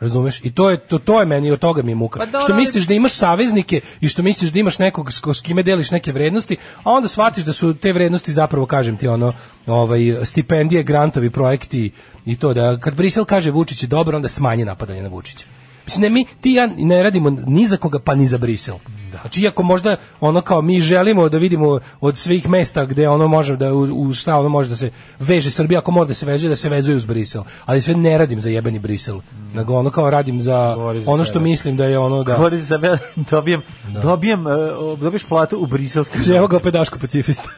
Razumeš? I to je to, to je meni od toga mi je muka. Pa dobro, što ali- misliš da imaš saveznike i što misliš da imaš nekog s, ko- s kime deliš neke vrednosti, a onda shvatiš da su te vrednosti zapravo kažem ti ono ovaj stipendije, grantovi, projekti i to da kad Brisel kaže Vučić je dobro, onda smanje napadanje na Vučića. Mislim, ne, mi, ti i ja ne radimo ni za koga, pa ni za Brisel. Da. Znači, iako možda ono kao mi želimo da vidimo od svih mesta gde ono može da u, u šta ono može da se veže Srbija, ako može da se veže, da se vezuje uz Brisel. Ali sve ne radim za jebeni Brisel, nego ono kao radim za Govori Mm. za ono što sebe. mislim da je ono da... Boris Zabel, dobijem, dobijem, e, o, dobiješ platu u briselskom. Kaže, Da. Evo ga opet Daško pacifista.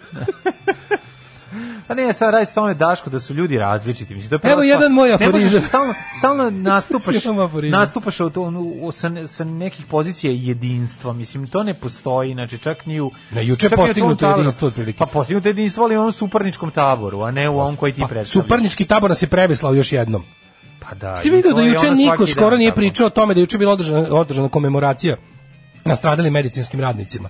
Pa ne, sad radi se o tome Daško da su ljudi različiti. Mislim, to je prava Evo stvar. jedan moj Ne možeš aforizam. Stalno, (laughs) stalno nastupaš, Imam aforizam. nastupaš od, onu, o- sa, ne- sa nekih pozicija jedinstva. Mislim, to ne postoji, znači čak ni u... Ne, juče čak ni u tom postignuto taboru. jedinstvo, otprilike. Pa postignuto jedinstvo, ali u onom suparničkom taboru, a ne u ovom koji ti Pa, predstavljaš. suparnički tabor nas je prebeslao još jednom. Pa da. Ti i vidio to da je juče ono niko svaki skoro dan nije tako. pričao o tome da je juče bila održana, održana komemoracija nastradalim medicinskim radnicima.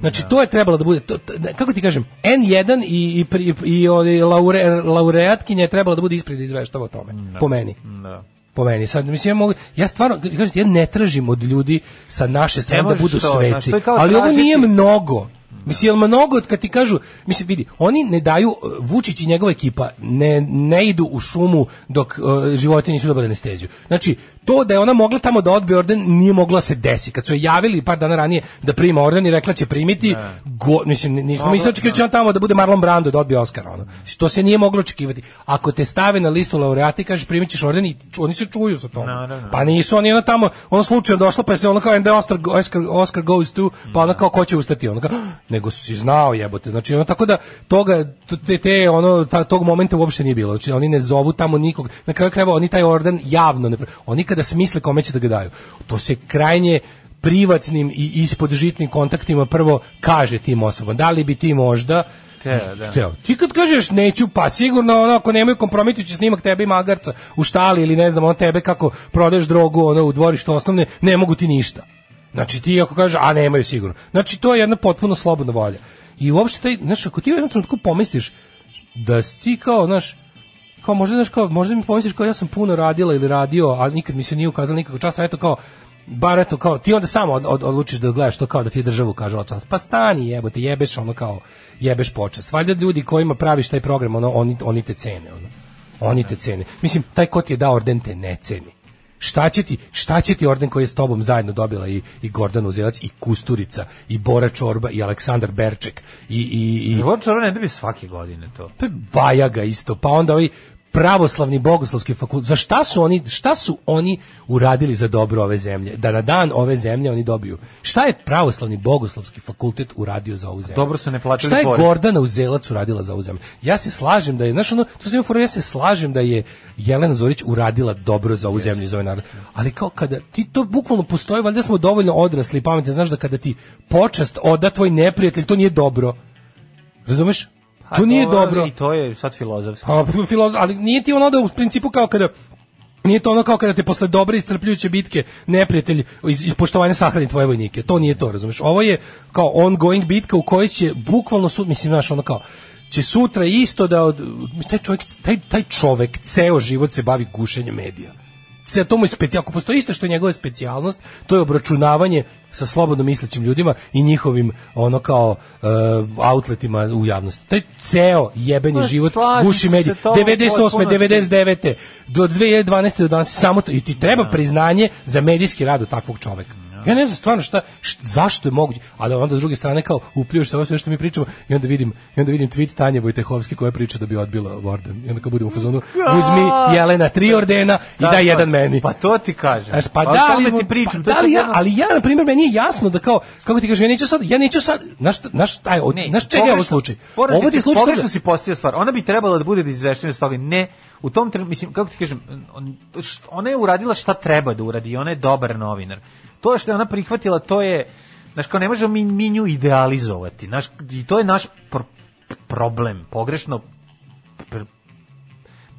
Znači, to je trebalo da bude, to, to- ne, kako ti kažem, N1 i, i, pri- i, i, laure, laureatkinja je trebala da bude ispred i izveštava o tome, po meni. Da. Po meni. Sad, mislim, ja, mogu, ja stvarno, kažete, ja ne tražim od ljudi sa naše strane da možeš budu to, znaš, sveci. to je kao ali ovo tražiti- nije mnogo. Mislim, jel mnogo od kad ti kažu, mislim, vidi, oni ne daju, eh, Vučić i njegova ekipa ne, ne idu u šumu dok eh, životinje nisu dobile anesteziju. Znači, to da je ona mogla tamo da odbije orden, nije mogla se desi. Kad su je javili par dana ranije da prima orden i rekla će primiti, go, mislim, n- nismo Mogla- mislili očekivali da će on tamo da bude Marlon Brando da odbije Oscara. Ono. To se nije moglo očekivati. Ako te stave na listu laureata i kažeš primit ćeš orden, i ču- oni se čuju za to. Naravno. Pa nisu oni ono tamo, ono slučajno došlo pa je se ono kao and the Oscar, Oscar, Oscar goes to, pa ono kao ko će ustati, ono kao, "Ah, nego si znao jebote, znači ono tako da toga, te, te ono, ta, tog momenta uopšte nije bilo, znači oni ne zovu tamo nikog, na kraju krajeva oni taj orden javno, ne, pre- oni kada smisle kome će da ga daju, to se krajnje privatnim i ispod žitnim kontaktima prvo kaže tim osobama, da li bi ti možda Te, da. Teo. Ti kad kažeš neću, pa sigurno ono, ako nemaju kompromitujući snimak tebe i magarca u štali ili ne znam, on tebe kako prodeš drogu ono, u dvorištu osnovne, ne mogu ti ništa. Znači ti ako kažeš, a nemaju sigurno. Znači to je jedna potpuno slobodna volja. I uopšte taj, znaš, ako ti u jednom trenutku pomisliš da si ti kao, znaš, kao možda znaš kao možda mi pomisliš kao ja sam puno radila ili radio, a nikad mi se nije ukazala nikakva čast, a eto kao bar eto kao ti onda samo od, od, odlučiš da gledaš to kao da ti je država ukazala čast. Pa stani jebote, jebeš ono kao jebeš počast. Valjda ljudi kojima praviš taj program, ono oni oni te cene, ono. Oni te cene. Mislim taj ko ti je dao orden te ne ceni. Šta će ti, šta će ti orden koji je s tobom zajedno dobila i, i Gordana Uzelac, i Kusturica, i Bora Čorba, i Aleksandar Berček, i, i, i Život čarva ne dobi svake godine to. pa Bajaga isto, pa onda ovi pravoslavni bogoslovski fakultet. Za šta su oni, šta su oni uradili za dobro ove zemlje? Da na dan ove zemlje oni dobiju. Šta je pravoslavni bogoslovski fakultet uradio za ovu zemlju? Dobro su ne platili Šta je porez. Gordana Uzelac uradila za ovu zemlju? Ja se slažem da je, znaš ono, to sam imao foru, ja se slažem da je Jelena Zorić uradila dobro za ovu zemlju i za ovaj narod. Ali kao kada, ti to bukvalno postoji, valjda smo dovoljno odrasli i pametni, znaš da kada ti počast oda tvoj neprijatelj, to nije dobro. Razumeš? A To nije dobro. Pa I to je sad filozofski. Pa, filozof, ali nije ti ono da u principu kao kada Nije to ono kao kada te posle dobre iscrpljujuće bitke neprijatelj iz, iz poštovanja sahrani tvoje vojnike. To nije to, razumeš? Ovo je kao ongoing bitka u kojoj će bukvalno sud, mislim, znaš, ono kao, će sutra isto da od, taj čovjek, taj, taj čovjek ceo život se bavi gušenjem medija se to mu je specijal, ako postoji isto što je njegova specijalnost, to je obračunavanje sa slobodno mislećim ljudima i njihovim ono kao e, outletima u javnosti. To je ceo jebeni Pa, život, slažem guši se mediji. sa tobom 98. potpuno. znači, 99. do 2012. do danas samo to i ti Da. treba priznanje za medijski rad od takvog čoveka. Ja ne znam stvarno šta, št- zašto je moguće, a da onda s druge strane kao upljuš se ovo sve što mi pričamo i onda vidim, i onda vidim tweet Tanje Vojtehovski koja priča da bi odbila Warden. I onda kao budemo u fazonu, uzmi Jelena tri ordena i daj Pa, Tako je. jedan meni. Pa to ti kažem. Znaš, pa, o da tome li, ti pričam. to pa, da je li sad ja, ono- ali ja, na primjer, meni je jasno da kao, kako ti kažem, ja neću sad, ja neću sad, znaš, šta- znaš, taj, od, Ne, znaš čega je ovo pogrešno- slučaj? pogrešno Ovo ti je si- slučaj Pogrešno toga- si postio stvar. Ona bi trebala da bude izveštena s toga. Ne, u tom trenutku, mislim, kako ti kažem, on- št- ona je uradila šta treba da uradi. i Ona je dobar novinar. To što je ona prihvatila, to je, znaš, kao ne možemo mi, mi nju idealizovati. Znaš, I to je naš pr- problem. Pogrešno pr-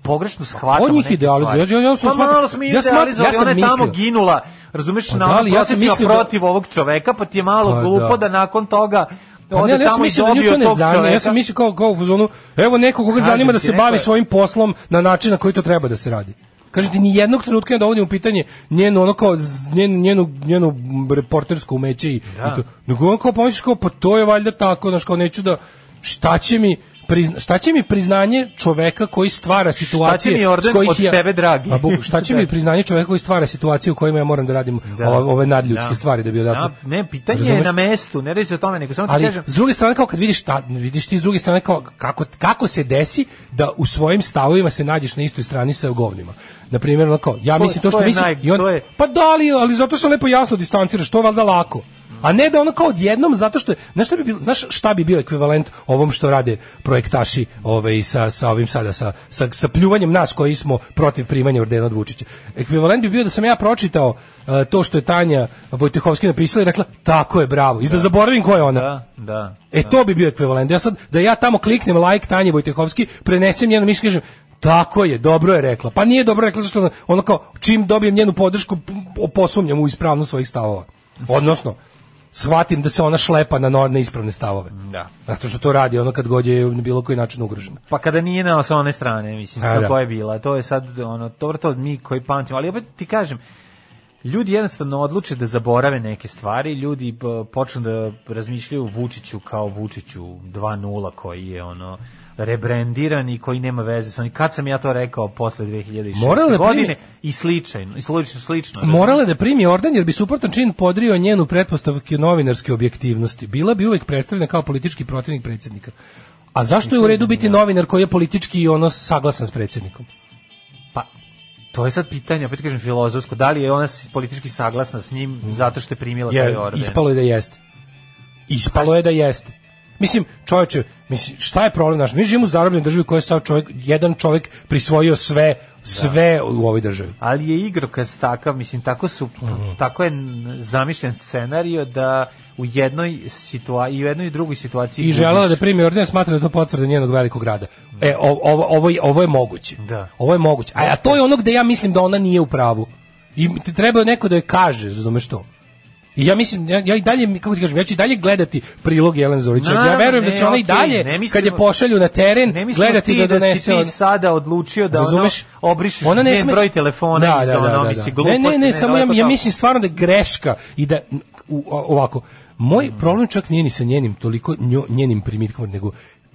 pogrešno shvatamo Pa, njih neke idealizuje? stvari. Ja- ja- ja sam Pa smatram- malo smo ja smatram- idealizovali, ja sam ona je tamo mislio- ginula, razumeš, Pa da, na onom ali ja sam protestima mislio da- protiv ovog čoveka, pa ti je malo Pa da. glupo da nakon toga Pa ne, ali ja sam mislio da nju to ne zanima, ja sam mislio kao, kao u fazonu, evo neko koga Kažem zanima da ti, se neko bavi je- svojim poslom na način na koji to treba da se radi. Kažete, ni jednog trenutka ne dovodim u pitanje njenu, ono kao, z- njenu, njenu, njenu reportersko umeće i, Da. i to. Nego ono kao pomisliš kao, pa to je valjda tako, znaš, kao neću da, šta će mi, prizna, šta će mi priznanje čoveka koji stvara situacije mi orden s kojih od ja- tebe, dragi? Da. Pa, buk- šta (laughs) će mi priznanje čoveka koji stvara situacije u kojima ja moram da radim ove, ove nadljudske stvari da bi odatle Da, ne, pitanje je Razumeš? na mestu, ne radi se o tome, nego samo ti ali kažem. s druge strane kao kad vidiš ta, vidiš ti s druge strane kao kako kako se desi da u svojim stavovima se nađeš na istoj strani sa govnima. Na primjer, ono kao ja To- mislim to, to što je mislim naj- i on, to je- pa da ali, ali zato sam lepo jasno distanciraš, to je valjda lako. A ne da ono kao odjednom zato što je, znaš šta bi bilo, znaš šta bi bio ekvivalent ovom što rade projektaši, ovaj sa sa ovim sada sa sa, sa pljuvanjem nas koji smo protiv primanja ordena od Vučića. Ekvivalent bi bio da sam ja pročitao eh, to što je Tanja Vojtehovski napisala i rekla tako je bravo. I da zaboravim ko je ona. Da, da. E to bi bio ekvivalent. Da Ja sad da ja tamo kliknem like Tanje Vojtehovski, prenesem njenu mišljenje, kažem tako je, dobro je rekla. Pa nije dobro rekla zato što ono kao čim dobijem njenu podršku p- posumnjam u ispravnost svojih stavova. Odnosno shvatim da se ona šlepa na no- na ispravne stavove. Da. Zato što to radi ono kad god je na bilo koji način ugrožena. Pa kada nije na sa one strane, mislim, A, da. kako je bila, to je sad ono to to mi koji pamtimo, ali opet ti kažem Ljudi jednostavno odluče da zaborave neke stvari, ljudi p- počnu da razmišljaju o Vučiću kao Vučiću 2.0 koji je ono rebrendiran i koji nema veze sa onim. Kad sam ja to rekao posle 2006. Morala da primi- godine i slično, i slično, slično. Morala je da primi orden jer bi suprotan čin podrio njenu pretpostavke novinarske objektivnosti. Bila bi uvek predstavljena kao politički protivnik predsjednika. A zašto je u redu biti novinar koji je politički ono saglasan s predsjednikom? Pa, to je sad pitanje, opet kažem filozofsko, da li je ona s- politički saglasna s njim zato što je primila taj Je, orden? ispalo je da jeste. Ispalo je da jeste. Mislim, čoveče, mislim, šta je problem naš? Mi živimo u zarobljenoj državi koja je sad čovjek, jedan čovjek prisvojio sve, Da. sve u ovoj državi. Ali je igrokaz takav, mislim, tako, su, Mhm. tako je n- zamišljen scenario da u jednoj situaciji, i u jednoj i drugoj situaciji I želela da gubiš. primi orden, smatra da to potvrda njenog velikog rada. E, o- ovo, ovo, je- ovo je moguće. Da. Ovo je moguće. A, a to je ono gde ja mislim da ona nije u pravu. I ti treba neko da je kaže, razumeš to? I ja mislim, ja, ja i dalje, kako ti kažem, ja ću i dalje gledati prilog Jelen Zorića. ja Naravno, verujem da ne, će ona i okej, dalje, ne kad je mislimo- pošalju na teren, Ne mislim gledati ti da donese... si ti ono- sada odlučio da Razumeš? ono obrišeš Ona ne njen sme- broj telefona Da, iz da, da, ono, da, misli, da. gluposti, Ne, ne, ne, samo ja, daleko ja tamo. mislim stvarno da je greška i da u- o- ovako moj problem čak nije ni sa njenim toliko njo- njenim primitkom nego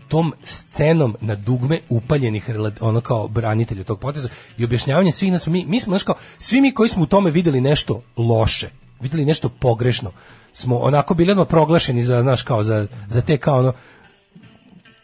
tom scenom na dugme upaljenih rela- ono kao branitelja tog poteza i objašnjavanje svih nas mi mi smo znaš kao svi mi koji smo u tome videli nešto loše videli nešto pogrešno smo onako bili odmah proglašeni za znaš kao za za te kao ono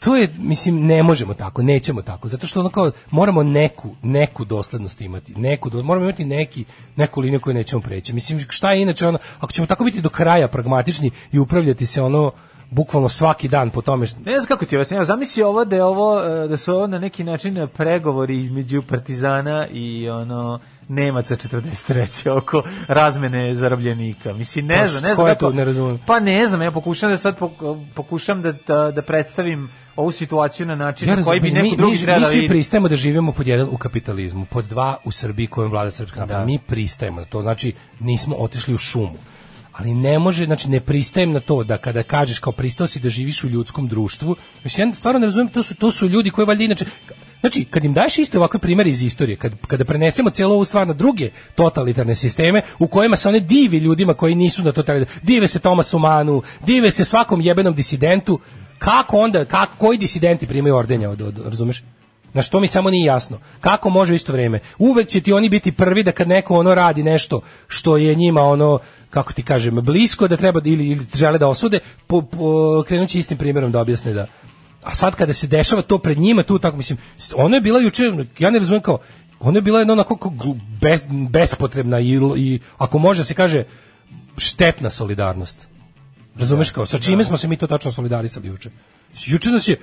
to je, mislim, ne možemo tako, nećemo tako, zato što ono kao, moramo neku, neku doslednost imati, neku, do- moramo imati neki, neku liniju koju nećemo preći. Mislim, šta je inače ono, ako ćemo tako biti do kraja pragmatični i upravljati se ono, bukvalno svaki dan po tome, što- Ne znam kako ti objasnim, evo, zamisli ovo da je ovo e, da su ovo na neki način pregovori između Partizana i ono Nemaca 43. oko razmene zarobljenika. Mislim ne Pa znam, što- ne znam ko je kako. to, ne razumem. Pa ne znam, ja pokušavam da sad pok- pokušam da da, da predstavim ovu situaciju na način na koji bi razumem, neko mi, drugi mi, trebao mi da svi vidi. pristajemo da živimo pod jedan u kapitalizmu, pod dva u Srbiji kojom vlada srpska napredna. Mi pristajemo na to, znači nismo otišli u šumu. Ali ne može, znači ne pristajem na to da kada znači, kažeš kao pristao si da živiš u ljudskom društvu, mislim ja stvarno ne razumijem, to su, to su ljudi koji valjda inače Znači, kad im daješ iste ovakve primere iz istorije, kad, kada prenesemo celo ovu stvar na druge totalitarne sisteme u kojima se one divi ljudima koji nisu na to trebali, da, dive se Tomasu Manu, dive se svakom jebenom disidentu, kako onda, kako, koji disidenti primaju ordenja, od, od, razumeš? Na što mi samo nije jasno. Kako može u isto vrijeme? Uvek će ti oni biti prvi da kad neko ono radi nešto što je njima ono kako ti kažem blisko da treba da- ili, ili žele da osude, po, po krenući istim primjerom da objasne da a sad kada se dešava to pred njima tu tako mislim s- ono je bila juče ja ne razumem kao ono je bila jedna onako kao glu- bes, bespotrebna i, i ako može da se kaže štetna solidarnost. Razumeš Da, kao, sa čime smo se mi to tačno solidarisali juče? Mislim, Juče nas je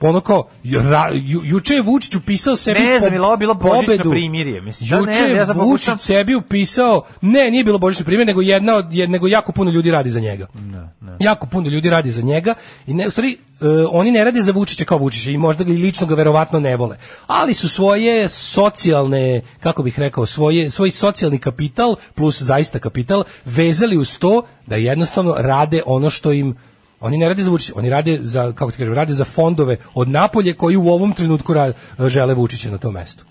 ono kao, ju- ra- ju- juče je Vučić upisao sebi Ne znam, po- je li ovo bilo božićno pobedu. primirje? Mislim, sad ne juče znam, ja je sad Vučić pokušavam- sebi upisao, ne, nije bilo božićno primjer, nego, jedna od, jed- nego jako puno ljudi radi za njega. Da. Jako puno ljudi radi za njega i ne, u stvari, e, oni ne rade za Vučića kao Vučića i možda ga i lično ga verovatno ne vole. Ali su svoje socijalne, kako bih rekao, svoje, svoj socijalni kapital plus zaista kapital vezali uz to da jednostavno rade ono što im oni ne rade za Vučića, oni rade za, kako ti kažem, rade za fondove od napolje koji u ovom trenutku ra- žele Vučića na tom mestu.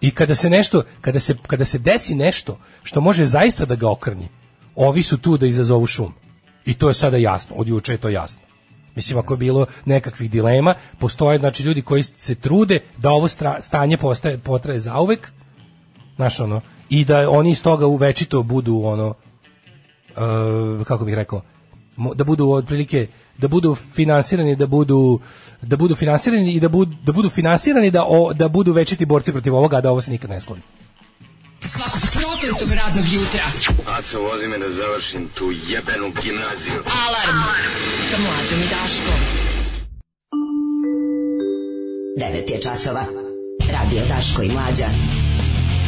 I kada se nešto, kada se, kada se desi nešto što može zaista da ga okrni, ovi su tu da izazovu šum. I to je sada jasno, od juče je to jasno. Mislim, ako je bilo nekakvih dilema, postoje znači ljudi koji se trude da ovo stra- stanje postaje, potraje zauvek, znaš ono, i da oni iz toga uvečito budu ono, e, kako bih rekao, mo- da budu otprilike da budu finansirani da budu da budu finansirani i da budu da budu finansirani da o, da budu večiti borci protiv ovoga a da ovo se nikad ne skloni. Svakog prokletog radnog jutra. Aco, vozi me da završim tu jebenu gimnaziju. Alarm, sa mlađom i Daškom. 9 je časova. Radio Daško i Mlađa.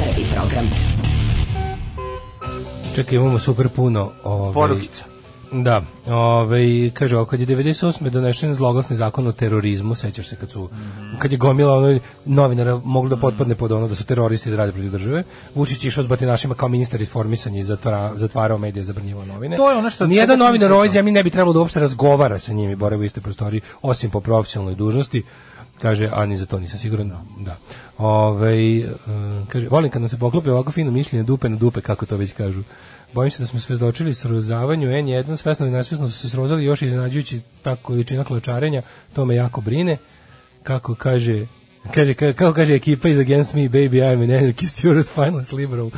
Prvi program. Čekaj, imamo super puno ovaj Porukica. Da, ovaj kaže ovako, kad je 98. donesen zloglasni zakon o terorizmu, sećaš se kad su Mhm. kad je gomila ono novinara moglo da potpadne pod ono da su teroristi da rade protiv države. Vučić je išao s batinašima kao ministar informisanja i zatvara, zatvarao medije, zabranjivao novine. To je ono što- Nijedan čega se novinar nisam ovoj zemlji ne bi trebalo da uopšte razgovara sa njim i boravi u istoj prostoriji, osim po profesionalnoj dužnosti. Kaže, a ni za to nisam siguran. Da. Ove, kaže, volim kad nam se poklope ovako fino mišljenje dupe na dupe, kako to već kažu. Bojim se da smo svedočili srozavanju N1, svesno i nesvesno su se srozali još iznenađujući ta količina kločarenja, to me jako brine. Kako kaže, kaže ka- kako kaže ekipa iz Against Me, Baby, I'm an anarchist, you're a spineless liberal.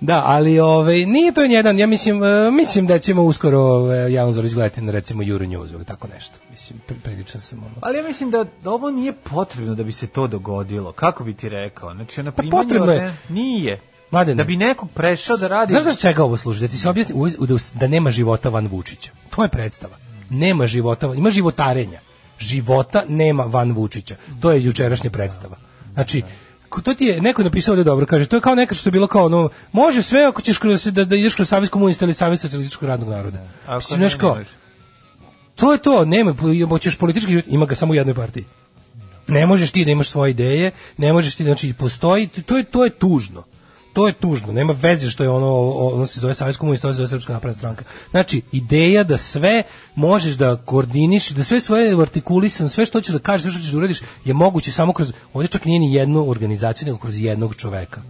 Da, ali ovaj nije to jedan, ja mislim e, mislim da ćemo uskoro ovaj, ja uzor izgledati na recimo Euro News ili tako nešto. Mislim pri- prilično sam ono. Ali ja mislim da da ovo nije potrebno da bi se to dogodilo. Kako bi ti rekao? Znači, na Pa primanje potrebno je. od ne- Nije. Mladene. Da bi nekog prešao da radi... Znaš za čega ovo služi? Da ti se objasni u- u- da, us- da nema života van Vučića. To je predstava. Nema života, ima životarenja. Života nema van Vučića. To je jučerašnja predstava. Znači, ko- to ti je neko je napisao ovdje dobro, kaže, to je kao nekad što je bilo kao ono, može sve ako ćeš kroz, da, da ideš kroz Savez komunista ili Savez socijalističkog radnog naroda. Ako Mislim, ne, znaš ne kao, može. to je to, nema, hoćeš politički život, ima ga samo u jednoj partiji. Ne možeš ti da imaš svoje ideje, ne možeš ti, znači postoji, to je, to je tužno. To je tužno, nema veze što je ono, o- ono se zove Savjez komunista, ono se zove Srpska napredna stranka. Znači, ideja da sve možeš da koordiniš, da sve svoje artikulisan, sve što ćeš da kažeš, sve što ćeš da uradiš, je moguće samo kroz, ovdje čak nije ni jednu organizaciju, nego kroz jednog čoveka.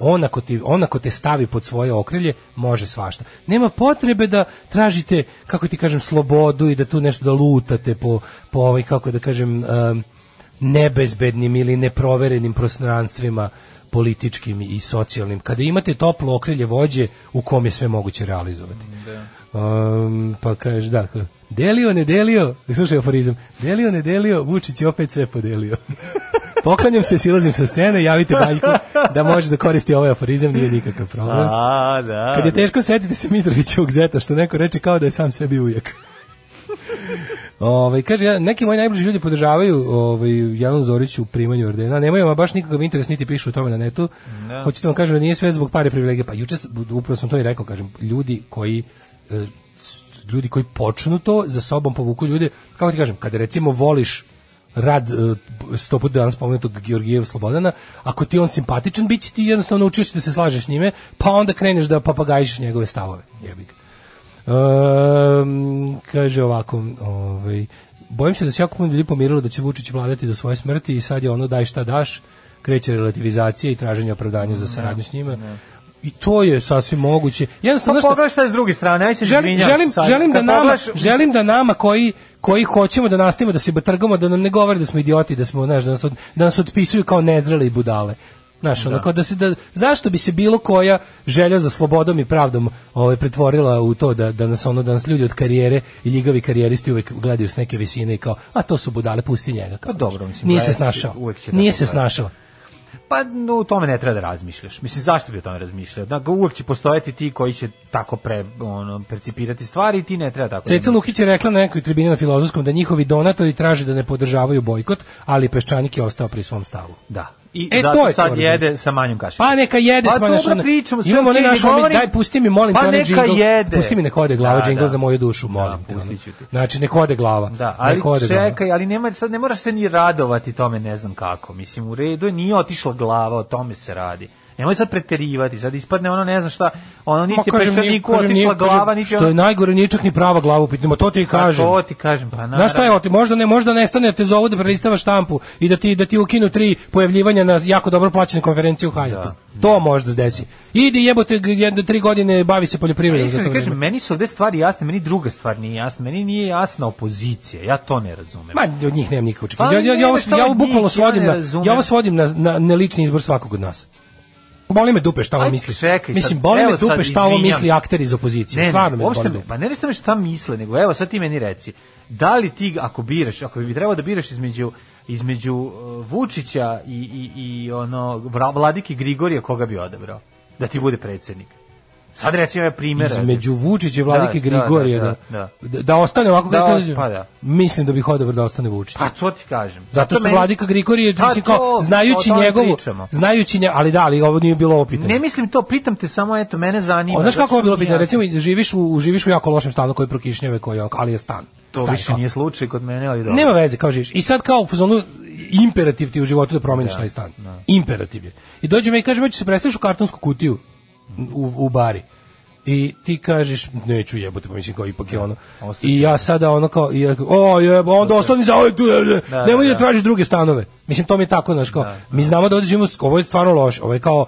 On ako, ti, on ako te stavi pod svoje okrilje, može svašta. Nema potrebe da tražite, kako ti kažem, slobodu i da tu nešto da lutate po, po ovaj, kako da kažem, em, nebezbednim ili neproverenim prostranstvima političkim i socijalnim. Kada imate toplo okrilje vođe u kom je sve moguće realizovati. Em, pa kaže, da, ka- delio, ne delio, slušaj aforizam, delio, ne delio, Vučić je opet sve podelio. Poklanjam se, silazim sa scene, javite Baljku da može da koristi ovaj aforizam, nije nikakav problem. A, da. Kad je teško setiti se Mitrovićevog zeta, što neko reče kao da je sam sebi uvijek. Ovaj kaže ja, neki moji najbliži ljudi podržavaju ovaj Janu Zorić u primanju ordena. Nemaju ma baš nikakav interes niti pišu o tome na netu. Da. Hoćete vam kažem da nije sve zbog pare privilegije. Pa juče sam- upravo sam to i rekao, kažem, ljudi koji e, s- ljudi koji počnu to za sobom povuku ljude. Kako ti kažem, kada recimo voliš rad e, sto puta danas pomenutog Georgijeva Slobodana, ako ti je on simpatičan, bit će ti jednostavno naučio si da se slažeš s njime, pa onda kreneš da papagajiš njegove stavove. Jebi ga. Ehm, kaže ovako, ovaj Bojim se da se jako puno ljudi pomirilo da će Vučić vladati do svoje smrti i sad je ono daj šta daš, kreće relativizacija i traženje opravdanja za saradnju s njima. I to je sasvim moguće. Jednostavno, Pa znaš šta- pogledaj šta je s druge strane, aj se želim, izvinjavam želim, sad. želim da Kad nama, pogledaš- želim da nama koji koji hoćemo da nastavimo da se batrgamo, da nam ne govore da smo idioti, da smo, znaš, da nas, od, da nas otpisuju kao nezrele i budale. Znaš, ono, kao da se, da, zašto bi se bilo koja želja za slobodom i pravdom ovaj, pretvorila u to da, da nas ono, da nas ljudi od karijere i ljigavi karijeristi uvek gledaju s neke visine i kao, a to su budale, pusti njega. Kao, Pa dobro, mislim, Nije se gledat će- snašao. uvek će Nije tako se gledat. snašao. Pa no, u tome ne treba da razmišljaš. Mislim, zašto bi o tome razmišljao? Dakle, uvek će postojati ti koji će tako pre, ono, percipirati stvari i ti ne treba tako. da Ceca Lukić je rekla na nekoj tribini na filozofskom da njihovi donatori traže da ne podržavaju bojkot, ali Peščanik je ostao pri svom stavu. Da. I E, e, to je zato to, sad razumem. jede sa manjom kašicom. Pa neka jede pa, sva naša- dobro, pričamo, sve Imamo ne okej, ne našu, govorim- daj pusti mi molim Pa te onaj neka džingl. jede. Pusti mi neka ode glava Da, džingl da. za moju dušu, molim. te, pustit ću ono. ti. Znači neka ode glava. Da, ali Neka ode glava. čekaj, ali nema, sad ne moraš se ni radovati tome, ne znam kako. Mislim, u redu je, nije otišla glava, o tome se radi. Nemoj sad preterivati, sad ispadne ono, ne znam šta, ono, Ma, niti je kažem, nije- pečaniku kažem, nije- otišla glava, kažem, niti Što je ono... najgore, nije čak ni prava glava u pitanju, ma to ti i kažem. Pa to ti kažem, pa naravno. Znaš šta je oti? Možda ne, možda nestane da te zovu da prelistavaš štampu i da ti da ti ukinu tri pojavljivanja na jako dobro plaćene konferencije u Da. Hajatu. To možda se desi. Idi jebote g- jedno tri godine bavi se poljoprivredom za Iskreno to Pa, ti kažem, vreme. meni su ovde stvari jasne, meni druga stvar nije jasna, meni nije jasna opozicija, ja to ne razumem. Ma od njih nemam nikakve Pa, očekivanja. Ja, ja, ja, ovo, nema šta ja ovo od bukvalno njih, svodim ja na ne razumem. ja ovo svodim na, na, na lični izbor svakog od nas. Boli me dupe šta ovo Ajde, misli. čekaj sad, Mislim, boli me evo sad, dupe šta ovo izvinjam misli se. akter iz opozicije. Stvarno me uopšte boli me- dupe. Pa ne nešto me šta misle, nego evo sad ti meni reci, da li ti ako biraš, ako bi trebao da biraš između između uh, Vučića i, i, i ono Vra- Vladike Grigorija koga bi odabrao da ti bude predsednik. Sad reci ove primere. između Vučića i Vladike Da, da, Grigorija da, da, da, da. ostane ovako Da, kako se pa da. mislim da bih odabrao da ostane Vučić Pa to ti kažem. Zato što meni- Vladika Grigorije, Pa mislim kao, to, znajući o tome njegovu, pričamo. znajući nje, ali da, ali ovo nije bilo ovo pitanje. Ne mislim to, pitam te samo, eto, mene zanima. O, znaš zato kako je što bilo mi pitanje, nije recimo živiš u, živiš u jako lošem stanu koji prokišnjave, koji, je ok, ali je stan. jasno. To Stan, više kao. nije slučaj kod mene, ali dobro. Nema veze, kao živiš. I sad kao u fazonu imperativ ti je u životu da promeniš taj stan. Imperativ je. I dođe me i kaže, već se preseliš u kartonsku kutiju u, u bari. I ti kažeš, neću jebote, pa mislim kao ipak je ono. I ja sada ono kao, i ja, o jebo, onda ostani za ovaj tu, ne, ne, Da, nemoj da, da da. tražiš druge stanove. Mislim, to mi je tako, znaš, kao, mi znamo da ovdje živimo, ovo je stvarno loše, ovo je kao,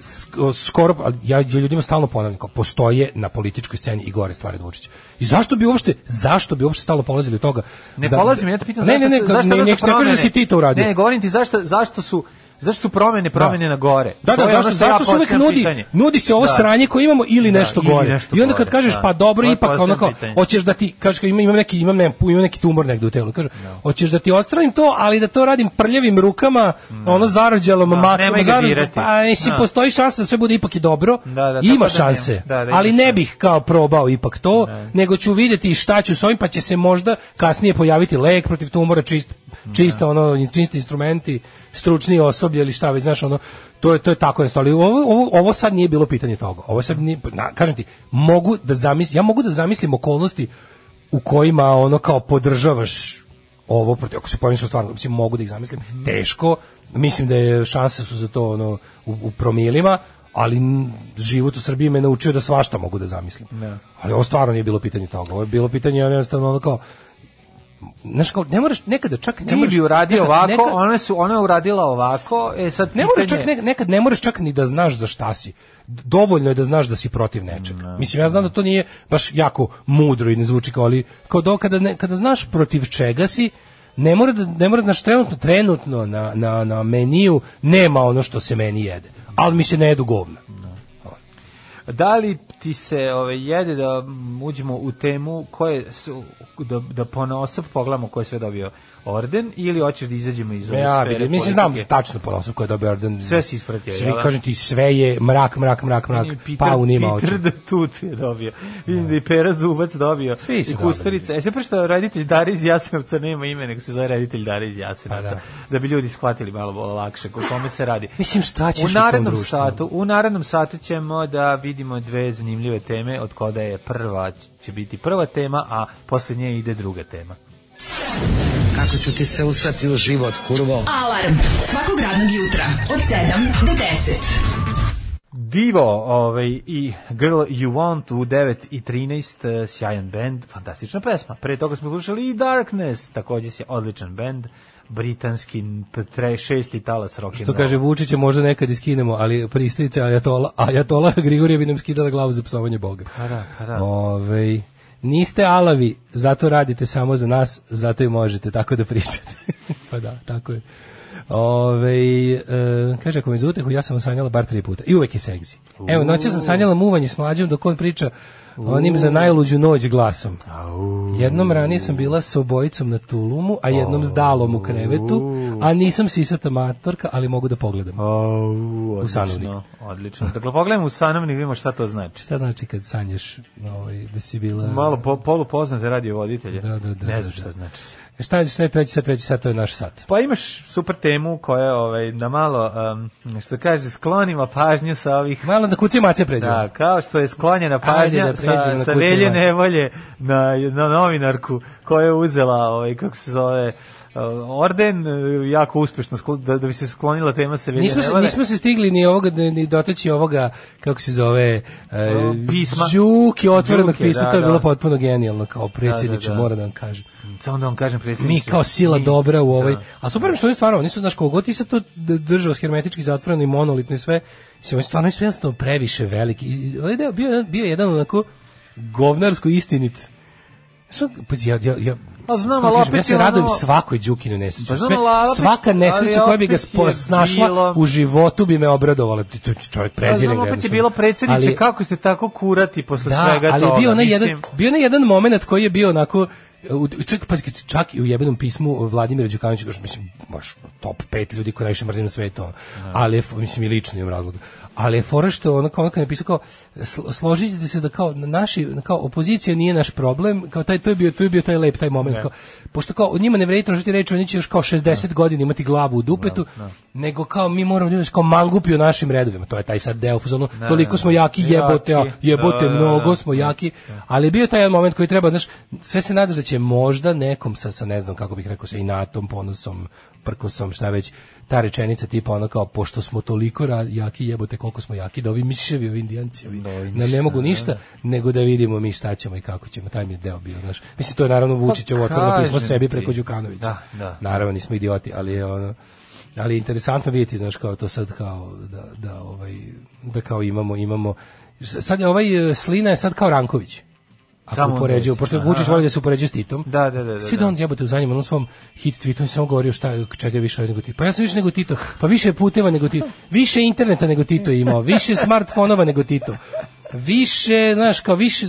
sk- skoro, ali ja ljudima stalno ponavljam, kao, postoje na političkoj sceni i gore stvari od Vučića. I zašto bi uopšte, zašto bi uopšte stalno polazili od toga? Ne polazim, ja te pitam Da, ne, zašto ne, ne, su- zašto ne, zašto ne, ne, su promene? kaže da si ti to uradio. Ne, ne, govorim ti zašto, zašto su zašto su promene promene na gore. Da, To da, je ono zašto, što ja zašto se uvek postavljam nudi, pitanje. nudi se ovo Da. sranje koje imamo ili Da, nešto ili gore. nešto I onda kad gore, kažeš, da. pa dobro, To je ipak, posebno ono kao, pitanje. hoćeš da ti, kažeš, kao, imam, imam, neki, imam, ne, imam neki tumor negde u telu, kažeš, hoćeš da ti odstranim to, ali da to radim prljavim rukama, ono zarođalom, Da, makom, nemoj ga zarođalom, dirati. pa mislim, Da. postoji šansa da sve bude ipak i dobro, Da, da, tako ima da šanse, nema. Da, da, ima ali ne šanse. Da. bih kao probao ipak to, nego ću vidjeti šta ću s ovim, pa će se možda kasnije pojaviti lek protiv tumora, čist, Da. čista ono, čisti instrumenti, stručni osoblje ili šta već, znaš, ono, to je, to je tako jednostavno, ali ovo, ovo, ovo sad nije bilo pitanje toga, ovo sad nije, na, kažem ti, mogu da zamislim, ja mogu da zamislim okolnosti u kojima ono kao podržavaš ovo protiv, ako se pojavim su stvarno, mislim, mogu da ih zamislim, teško, mislim da je šanse su za to ono, u, u promilima, ali n- život u Srbiji me naučio da svašta mogu da zamislim. Ali ovo stvarno nije bilo pitanje toga, ovo je bilo pitanje ono, jednostavno ono kao, znaš kao, ne moraš nekada čak... Ne Ti moraš, bi uradio znaš šta, ovako, neka- ona su ona je uradila ovako, e sad ne moraš pitanje čak ne- nekad ne moraš čak ni da znaš za šta si. D- Dovoljno je da znaš da si protiv nečeg. Mislim ja znam da to nije baš jako mudro i ne zvuči kao ali kao do kada ne- kada znaš protiv čega si ne mora da ne mora da znaš trenutno trenutno na, na, na meniju nema ono što se meni jede. Ali mi se ne jedu govna. Da li ti se ove, jede da mm, uđemo u temu koje su, da, da ponosop pogledamo ko je sve dobio orden ili hoćeš da izađemo iz ove Ja, sfere vidim, mislim znam politike? tačno ponosno ko je dobio orden. Sve si ispratio, Sve, jel da? kažem ti, sve je mrak, mrak, mrak, mrak. Peter, pa u nima oči. Peter da tut je dobio. Vidim da i Pera Zubac dobio. Svi su I Kusturica. E, sve što reditelj Dari iz Jasenovca nema ime, nego se zove reditelj Dari iz Jasenovca. Pa da. Da. bi ljudi shvatili malo bolo lakše o kome se radi. Mislim, šta ćeš u u tom narednom društvu? satu, u narednom satu ćemo da vidimo dve zanimljive teme, od koda je prva će biti prva tema, a posle nje ide druga tema. Kako ću ti se usrati u život, kurvo? Alarm svakog radnog jutra od 7 do 10. Divo ovaj, i Girl You Want u 9 i 13, eh, sjajan band, fantastična pesma. Pre toga smo slušali i Darkness, takođe se odličan band, britanski p- tre, šesti talas rock and Što kaže Vučića možda nekad iskinemo, ali pristrice Ajatola, Ajatola (laughs) Grigorija bi nam skidala glavu za psovanje Boga. Pa da, pa da. Ovaj, niste alavi, zato radite samo za nas, zato i možete, tako da pričate. (laughs) pa da, tako je. Ove, e, kaže, ako me za utehu, ja sam sanjala bar tri puta. I uvek je seksi. Evo, noće sam sanjala muvanje s mlađom dok on priča onim za najluđu noć glasom. Jednom ranije sam bila sa obojicom na tulumu, a jednom s dalom u krevetu, a nisam sisata matorka, ali mogu da pogledam. Au, sanovniku. odlično, odlično. Dakle, pogledajmo u sanovnik, vidimo šta to znači. Šta znači kad sanjaš ovaj, da si bila... Malo po, polupoznate radio voditelje. Da, da, da, ne da, znam da. šta znači. Šta je, šta je treći sat, treći sat, to je naš sat. Pa imaš super temu koja ovaj, na malo, um, što kaže, sklonima pažnju sa ovih Malo da kuci mace pređemo. Da, kao što je sklonjena Ajde pažnja da pređemo sa, na sa kućne Velje vatre. nevolje na, na novinarku koja je uzela, ovaj, kako se zove, eh, orden eh, jako uspešno sklo- da, da bi se sklonila tema sa Velje Nismo se, nevolje. nismo se stigli ni ovoga ni dotaći ovoga kako se zove e, O, pisma. Đuki otvorenog Đuke, pisma, da, to je da. bilo potpuno genijalno kao predsjedniče, da, da. moram da vam kažem. Samo da vam kažem Mi predsjedniče. kao sila mi- dobra u ovoj. Da. A super mi što oni stvarno, oni su znaš kogo ti se to d- držao hermetički zatvoreno i monolitno i sve. Mislim oni stvarno su jednostavno previše veliki. I Onaj deo bio jedan- bio jedan onako govnarsko istinit. Su, pa ja, ja, ja, Pa znam, kako ti kažem, ali ja opet se je radujem ono- svakoj Đukinu nesreći. Pa znam, Sve, ali opet- svaka nesreća ali koja bi ga opet je spo- našla bilo- u životu bi me obradovala. Ti- ti- ti Čovjek Pa prezire znam, ga. opet je jednostavno. bilo predsjedniče, Ali- Da, kako ste tako kurati posle svega ali toga. je bio onaj mislim. jedan bio onaj jedan momenat koji je bio onako u- čak pa čak i u jebenom pismu Vladimira Đukanovića kaže mislim baš top 5 ljudi koji najviše mrzim na svetu. ono. Da. Ali je f- mislim i lično imam razlog. Ali je fora što ono kao on kad je napisao kao slo- složit ćete se da kao naši kao opozicija nije naš problem, kao taj to je bio to je bio taj lep taj Da. moment kao pošto kao od njima ne vredi tražiti reč, oni će još kao 60 godina imati glavu u dupetu, Da, nego kao mi moramo da budemo kao mangupi u našim redovima. To je taj sad deo u fazonu, Da. toliko smo jaki jebote, a, Jaki. jebote Da, da, mnogo da. smo jaki, ali bio je taj jedan moment koji treba, znaš, sve se nadaš da će možda nekom sa, sa ne znam kako bih rekao, sa inatom, ponosom, prkosom, šta već, ta rečenica tipa ono kao, pošto smo toliko ra- jaki, jebote koliko smo jaki, da ovi miševi, ovi indijanci, Da, ovi, nam ne mogu ništa, nego da vidimo mi šta ćemo i kako ćemo, taj mi je deo bio, znaš. Mislim, to je naravno Vučićevo otvoreno Pa kažem pismo sebi ti. preko Đukanovića. Da, da. Naravno, nismo idioti, ali je ono, ali je interesantno vidjeti, znaš, kao to sad kao, da, da, ovaj, da kao imamo, imamo, sad je ovaj e, Slina je sad kao Ranković. Ako Samo on upoređuju, dođe. pošto Aha. Vučić voli da se upoređuje s Titom. Da, da, da, da, Sid da. on jebote u zadnjem onom svom hit tweetu on je samo govorio šta čega je više nego Tito. Pa ja sam više nego Tito, pa više puteva nego Tito, više interneta nego Tito je imao, više smartfonova nego Tito. Više, znaš, kao više,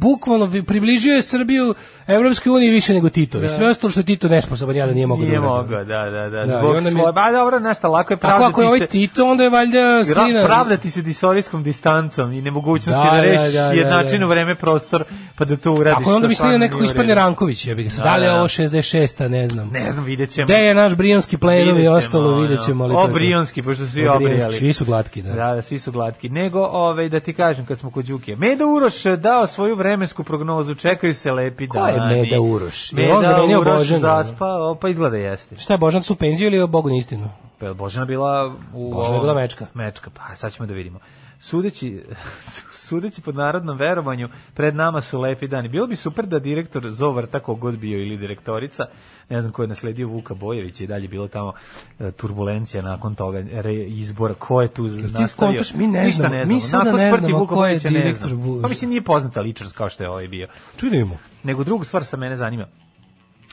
bukvalno vi- približio je Srbiju Evropskoj uniji više nego Tito. I sve ostalo što je Tito nesposoban, ja da nije mogao Da. Nije da uradi. mogao, da, da, da. Da, i Zbog onda mi- svoje... Ba, dobro, nešto, lako je Tako ako je pravdati ovaj se... Tito, onda je valjda Ra- Slina... pravdati se disorijskom distancom i nemogućnosti Da, da, da, rešiš da, da, jednačinu da. vreme prostor pa da to uradiš. Ako je onda to mislio stvarno neko nije u ispadne redu. Ranković, je bih se. Da li je Da, da. ovo 66-a, ne znam. Ne znam, vidjet ćemo. Gde je naš brijanski plenum Vidjet i ćemo, ostalo, ono. vidjet ćemo. ali to je to. Obrijanski, pošto svi Obrijanski, obrijali. Svi su glatki, da. Da, da, svi su glatki. Nego, ovaj, da ti kažem, kad smo kod Đuke, Meda Uroš je dao svoju vremensku prognozu, čekaju se lepi Ko je dani. Meda Uroš? Je on Meda zamenio Uroš Božanu? zaspao, pa izgleda jeste. Šta je Božan su u penziju ili je Bogu na istinu? Pa je Božana bila u Božana je bila mečka. Mečka, pa sad ćemo da vidimo. Sudeći (laughs) sudeći pod narodnom verovanju, pred nama su lepi dani. Bilo bi super da direktor Zovar tako god bio ili direktorica, ne znam ko je nasledio Vuka Bojevića i dalje je bilo tamo e, turbulencija nakon toga re, izbora, ko je tu nastavio. kontaš, mi ne Ništa znamo, ne mi znamo. sada Nakon ne smrti znamo ko Vuka je Bojevića ne direktor znamo. Vujević. Pa mislim nije poznata ličnost kao što je ovaj bio. Čudimo. Nego druga stvar sa mene zanima.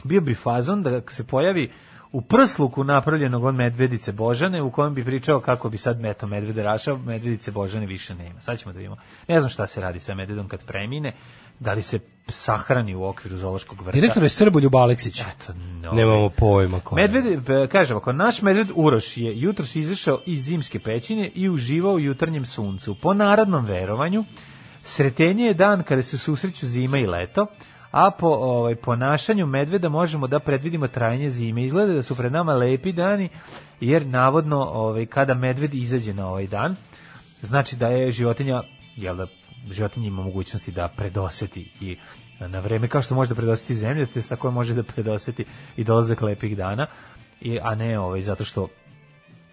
Bio bi fazon da se pojavi u prsluku napravljenog od Medvedice Božane u kojem bi pričao kako bi sad meto Medvede rašao, Medvedice Božane više nema. Sad ćemo da vidimo. Ne znam šta se radi sa Medvedom kad premine, da li se sahrani u okviru Zološkog vrta. Direktor je Srboljub Aleksić. Eto, no. Nemamo pojma ko je. Medved, e, kažem, ako naš medved Uroš je jutros izašao iz zimske pećine i uživao u jutarnjem suncu. Po narodnom verovanju, sretenje je dan kada se susreću zima i leto, a po ovaj, ponašanju medveda možemo da predvidimo trajanje zime. Izgleda da su pred nama lepi dani, jer navodno ovaj, kada medved izađe na ovaj dan, znači da je životinja, jel da životinja ima mogućnosti da predoseti i na vreme, kao što može da predoseti zemlja, te tako može da predoseti i dolazak lepih dana, i, a ne ovaj, zato što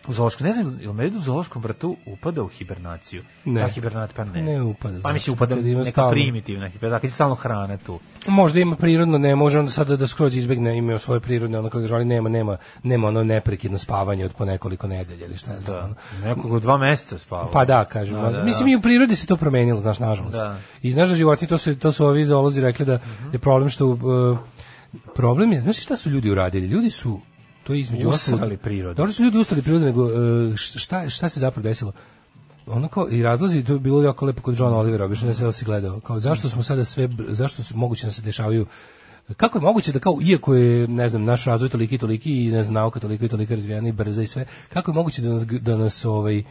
u zoološkom, ne znam, ili med u zoološkom vrtu upada u hibernaciju? Ne. Ta hibernat, pa ne. Ne upada, Pa mi se zato upada kad ima neka stalno. primitivna hibernat, kad je stalno hrana tu. Možda ima prirodno, ne može onda sada da skroz izbegne ime svoje prirodne, ono kako žali, nema, nema, nema ono neprekidno spavanje od po nekoliko nedelja ili šta ja znam. ono. Nekog dva meseca spava. Da. Pa da, kažem. Da, da, Mislim da. i u prirodi se to promenilo, znaš, nažalost. Da. Mhm. I znaš da životinje, to su, to su ovi zoolozi rekli da je problem što... uh, problem je, znaš šta su ljudi uradili? Ljudi su, to je između Usrali ostalog- prirodu. Dobro su ljudi ustali prirodu, nego uh, šta, šta se zapravo desilo? ono kao i razlozi to je bilo jako lepo kod Johna Olivera obično ne znam da li si gledao kao zašto smo sada sve zašto su moguće da se dešavaju kako je moguće da kao iako je ne znam naš razvoj toliki i toliki i ne znam nauka toliko i toliko razvijena i brza i sve kako je moguće da nas da nas ovaj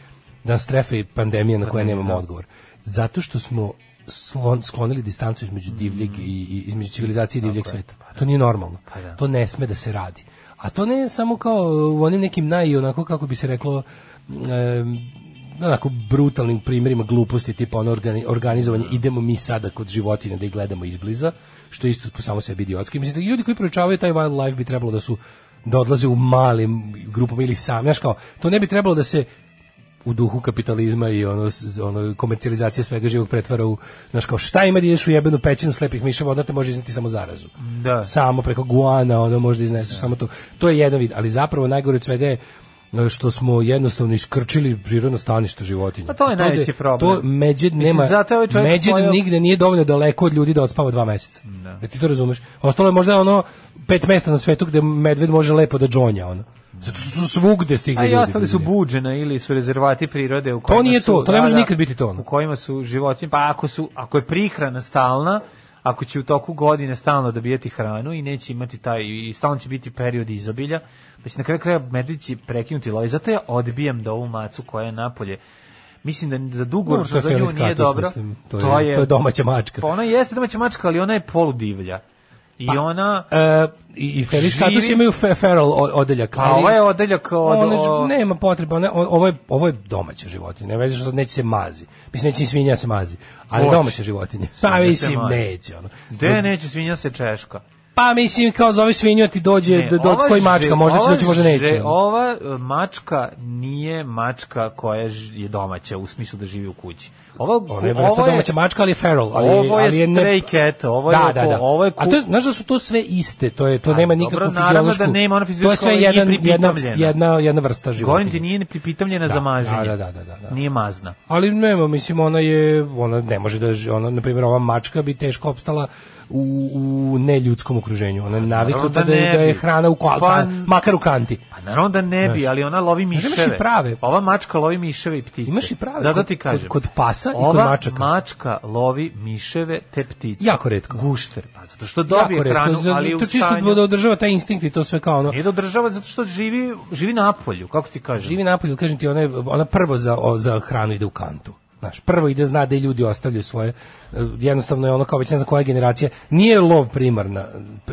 da nas trefe pandemija da. na koje nemamo odgovor zato što smo slon, sklonili distancu između divljeg i, i između civilizacije i divljeg sveta to nije normalno to ne sme pa da se radi a to ne samo kao u onim nekim naj onako kako bi se reklo em, onako brutalnim primjerima gluposti tipa ono organi, organizovanje idemo mi sada kod životinja da ih gledamo izbliza što je isto po samo sebi idiotski mislim da ljudi koji proučavaju taj wildlife bi trebalo da su da odlaze u malim grupama ili sam znaš kao to ne bi trebalo da se u duhu kapitalizma i ono, s- ono komercijalizacije svega živog pretvara u znaš kao šta ima da ideš u jebenu pećinu slepih miševa onda te može izneti samo zarazu Da. samo preko guana ono možda izneseš samo to to je jedan vid ali zapravo najgore od svega je e, što smo jednostavno iskrčili prirodno stanište životinja. Pa to je da najveći problem. To međed Mislim, nema, zato je ovaj čovjek međed pojeo- nigde nije dovoljno daleko od ljudi da odspava dva meseca. Da. ti to razumeš? Ostalo je možda ono pet mesta na svetu gde medved može lepo da džonja ono. Zato što su svugde stigli A i ljudi. ostali su ljudi. buđena ili su rezervati prirode u kojima nije su, to, to ne da, može da, nikad biti to, ono. U kojima su životinje, pa ako, su, ako je prihrana stalna, ako će u toku godine stalno dobijati hranu i neće imati taj, i stalno će biti period izobilja, pa će na kraju kraja medved će prekinuti lov. I zato ja odbijam da ovu macu koja je napolje. Mislim da za Dobro, dugoročno to je za nju Felis nije Catus, dobro. mislim, to je- to je domaća mačka. Pa ona jeste domaća mačka, ali ona je poludivlja. I ona... E, i, i Felis Živi- Catus imaju fe, feral o- odeljak. Pa ali- ovo je odeljak od... One ž- o- nema potrebe, one, o- ovo, je, ovo je domaća životinja, ne veze što sad neće se mazi. Mislim, neće i svinja se mazi, ali Hoće. domaća životinja. Pa Svinja se mislim, mazi. neće. Ono. Gde neće svinja se češka? Pa mislim, kao zove svinju, a ti da dođe Ne, do, do E, ova koji mačka, ži- možda će ova doći, možda ži- neće. ono. Ova e, mačka nije mačka koja ž- je domaća, u smislu da živi u kući. Ova, Ona je vrsta domaća mačka, ali je feral. Ali, ovo je ali je ne- stray cat, ovo je da, ko- da, da. ovo je ku- A to, je- znaš da su to sve iste, to, je, to A, nema dobro, nikakvu naravno da fiziološku... nema, ona to je sve fiziološki nije jedan, jedna, pripitomljena. jedna, jedna vrsta Govorim ti životinja. nije ni pripitamljena Da, za maženje. da, da, da, da, da. Nije mazna. Ali nema, mislim, ona je, ona ne može da, ži- ona, na primjer, ova mačka bi teško opstala u, u neljudskom okruženju. Ona je navikla naravno da, da da, je- ne da je bi. hrana u kal, Pa- pa, makar u kanti. Pa naravno da ne bi, Znaš. ali ona lovi Znaš, imaš i miševe. prave. Ova mačka lovi miševe i ptice. Imaš i prave Zato kod- ti kod- kažem. kod pasa i kod Ova mačaka. mačka lovi miševe te ptice. Jako retko. Gušter. Pa, zato što dobije Jako retko, hranu, za- ali je u to čisto stanju... da održava taj instinkt i to sve kao ono. Nije da održava zato što živi, živi na polju, kako ti kažem. Živi napolju, da kažem ti, ona, je- ona prvo za, o- za hranu ide u kantu. Znaš, prvo ide zna da i ljudi ostavljaju svoje, e, jednostavno je ono kao već ne znam koja je generacija, nije lov primarna,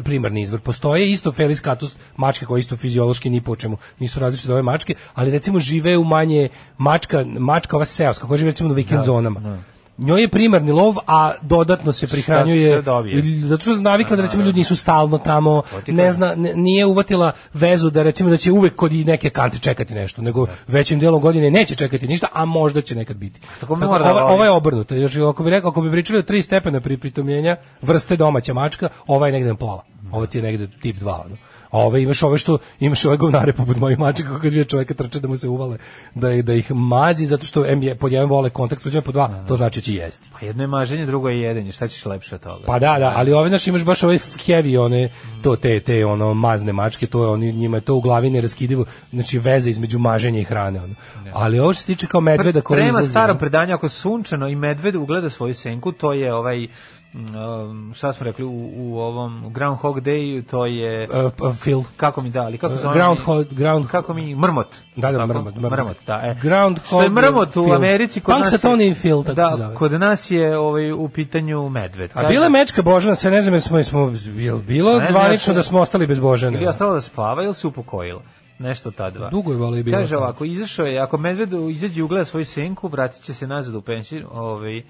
primarni izvor, postoje isto Felis catus mačke koje isto fiziološki ni po čemu nisu različite od ove mačke, ali recimo žive u manje, mačka, mačka ova seoska koja žive recimo u vikend zonama. Njoj je primarni lov, a dodatno se prihranjuje šta dobije? i zato što je navikla da recimo ljudi nisu stalno tamo, ti ne kažem. zna, ne- nije uvatila vezu da recimo da će uvek kod i neke kante čekati nešto, nego većim delom godine neće čekati ništa, a možda će nekad biti. Tako mora da ova, voli. ova je obrnuta. Znači, ako bi rekao, ako bi pričali o tri stepena pri pritomljenja vrste domaća mačka, ova je negde na pola. Ova ti je negde tip 2. Ono. A ove imaš ove što imaš ove govnare poput mojih mačaka kako dvije čoveka trče da mu se uvale da ih- da ih mazi zato što em je pod jedan vole kontakt s ljudima pod dva to znači da će jesti. Pa jedno je maženje, drugo je jedenje. Šta ćeš lepše od toga? Pa da, da, ali ove znaš imaš baš ove heavy one to te te ono mazne mačke, to je oni njima je to u glavi neraskidivo, znači veze između maženja i hrane ono. Ali ovo što se tiče kao medveda koji Prema izlazi, da. starom ono, predanju, ako sunčano i medved ugleda svoju senku, to je ovaj, um, šta smo rekli, u, u ovom Groundhog Day, to je... e, p- Phil Kako mi da, ali kako E, zove? Groundhog- ground- Kako mi, mrmot. Da, da, Tako? mrmot, mrmot. da, e. Groundhog Što je mrmot u Phil. Americi, kod nas je... Punxsutawney Phil, tako da, se zove. kod nas je ovaj, u pitanju medved. A bila je mečka Božana, se ne znam jer smo, jer smo jel bilo Ne znam, zvanično ja sam- da smo ostali bez Božane. Ili je ostala da spava ili se upokojila. Nešto ta dva. Dugo je valjda i bila Kaže tamo. ovako, izašao je, ako medved izađe i ugleda svoju senku, vratit će se nazad u penšir, ovaj, uh,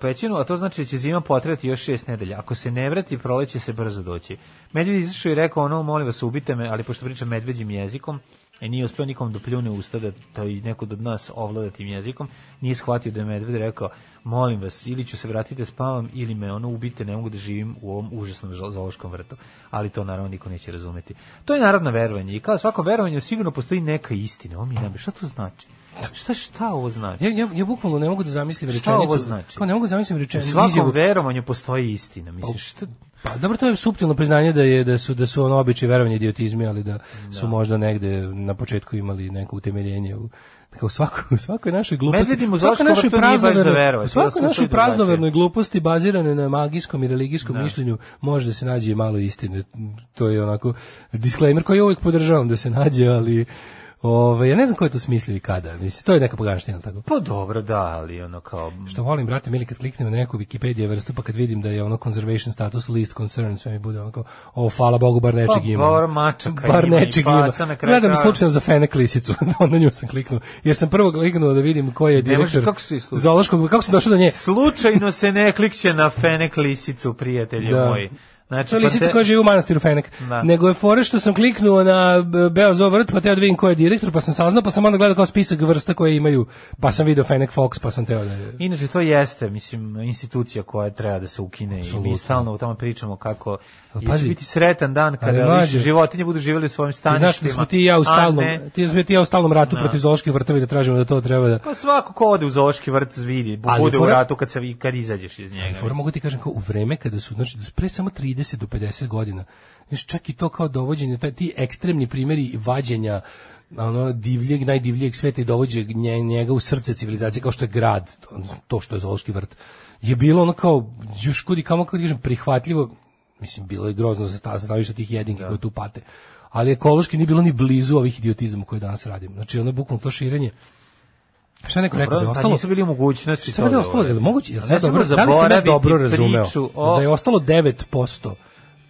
pećinu, a to znači da će zima potrati još šest nedelja. Ako se ne vrati, proleće se brzo doći. Medved izašao i rekao, ono, molim vas, ubite me, ali pošto pričam medveđim jezikom, i nije uspeo nikom da pljune usta da, da i neko od nas ovlada tim jezikom, nije shvatio da je medved rekao, molim vas, ili ću se vratiti da spavam, ili me ono ubite, ne mogu da živim u ovom užasnom zo- zoološkom vrtu. Ali to naravno niko neće razumeti. To je narodno verovanje i kao svako verovanje sigurno postoji neka istina. Ovo mi je najbolje. Šta to znači? Šta, šta ovo znači? Ja, ja, ja bukvalno ne mogu da zamislim Šta rečenicu. ovo znači? Kao ne mogu da zamislim U rečenicu. svakom izjavu- verovanju postoji istina. Mislim, šta, Pa dobro, to je suptilno priznanje da je da su da su ono običaj verovanje idiotizmi, ali da, su možda negde na početku imali neko utemeljenje u kao svako (laughs) u svakoj našoj gluposti. Medvedim u u svakoj Zološkom vrtu nije baš za verovati, u svakoj da su našoj sve drugačije. praznovernoj gluposti bazirane na magijskom i religijskom mišljenju može da se nađe i malo istine. To je onako disclaimer koji uvijek podržavam da se nađe, ali Ove, ja ne znam ko je to smislio i kada. Mislim, to je neka poganština, jel tako? Pa dobro, da, ali ono kao... Što Da volim, brate, mili, kad kliknem na neku Wikipedia vrstu, pa kad vidim da je ono conservation status list concern, sve mi bude onako, o, hvala Bogu, bar nečeg Pa, ima. bar mačaka bar ima i nečeg ima. pasa na kraju Gledam krajeva. slučajno za fene (laughs) klisicu, onda nju sam kliknuo, jer sam prvo kliknuo da vidim ko je Ne možeš, direktor kako si Znači, slučajno? zoološkog, kako sam došao do nje. Slučajno se ne klikće na fenek lisicu, prijatelji Da. moji. Znači, To je lisica se- koja živi u manastiru Fenek. Da. Nego je fore što sam kliknuo na e, Beozov vrt, pa teo da vidim ko je direktor, pa sam saznao, pa sam onda gledao kao spisak vrsta koje imaju, pa sam video Fenek Fox, pa sam teo da... je- Inače, to jeste, mislim, institucija koja treba da se ukine i mi Apsolutno. stalno u tome pričamo kako Ali će pazi, biti sretan dan ali kada više mlađe, životinje budu živjeli u svojim Ti staništima. znaš da smo ti i ja u a stalnom, ne- ti smo ti i ja u stalnom ratu protiv zooloških vrtova i da tražimo da to treba da Pa svako ko ode u zoološki vrt vidi, Ali bude u fora- ratu kad, se, vi- kad izađeš iz njega. Fora mogu ti kažem kao u vreme kada su, znači, pre samo 30 do 50 godina, znaš, čak i to kao dovođenje, taj, ti ekstremni primjeri vađenja ono divljeg, najdivljeg sveta i dovođe nje- njega u srce civilizacije kao što je grad, to- to što je Zološki vrt, je bilo ono kao, još kudi kamo, kako ti kažem, prihvatljivo, mislim, bilo je grozno za sta- stanovišta tih jedinki Da. koji tu pate, ali ekološki nije bilo ni blizu ovih idiotizama koje danas radimo. Znači, ono je bukvalno to širenje. Šta je neko rekao da je Dobro, pa ostalo? nisu bili u mogućnosti Šta da je da ostalo? Je li urade. moguće? Je li Ne sad smemo dobro, da li sam ja zaboraviti dobro razumeo? priču o- Da je ostalo 9%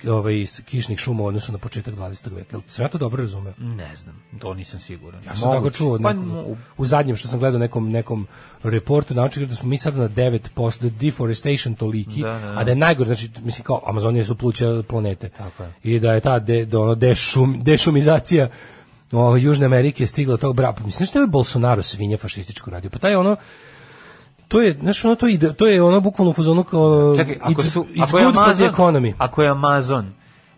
ovaj, s- kišnih šuma u odnosu na početak 20. veka. Je li sam ja to dobro razumeo? Ne znam, to nisam siguran. Ja sam tako Moguće. čuo od Pa, nekog- mo- u zadnjem što sam gledao nekom nekom reportu naučili da smo mi sad na 9% da je deforestation toliki, Da, da, da. a da je najgore, znači mislim kao Amazonije su pluća planete. Tako je. I da je ta de, da ono dešum, dešumizacija ovaj, Južne Amerike stigla do tog brapa. Mislim što je ovaj Bolsonaro svinja fašističko radio. Pa taj ono to je, znaš, ono, to, ide, to je ono bukvalno u fazonu kao Čekaj, ako it's- su it's ako je good for the Amazon, economy. ako je Amazon eh,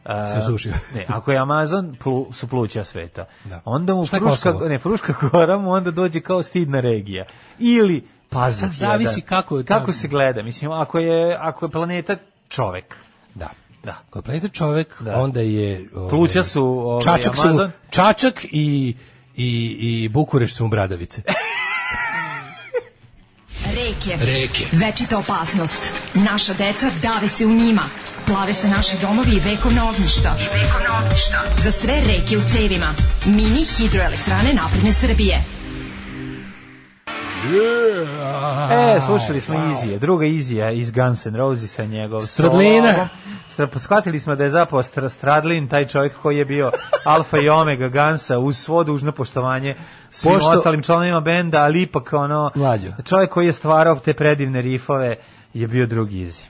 a, Se osušio. ne, ako je Amazon plu, su pluća sveta. Da. Onda mu Šta je Fruška, Kosovo? ne, Fruška gora mu onda dođe kao stidna regija. Ili Pazar. Sad zavisi kako je ta- kako se gleda. Mislim, ako je ako je planeta čovek. Da. Da. Kao planeta čovek, Da. onda je... ovaj, Pluća su, ovaj, čačak su, Amazon. Čačak i, i, i Bukureš su mu bradavice. Reke. Reke. Večita opasnost. Naša deca dave se u njima. Plave se naši domovi i vekovna ognjišta. I vekovna ognjišta. Za sve reke u cevima. Mini hidroelektrane napredne Srbije. E, slušali smo Izije, druga Izija iz Guns N' Roses-a njegov. Stradlina. solo. Stra, shvatili smo da je zapravo Stra- Stradlin, taj čovjek koji je bio alfa i omega Gansa, uz svo dužno poštovanje svim Pošto- ostalim članovima benda, ali ipak ono, Mlađo. čovjek koji je stvarao te predivne rifove je bio drugi Izi.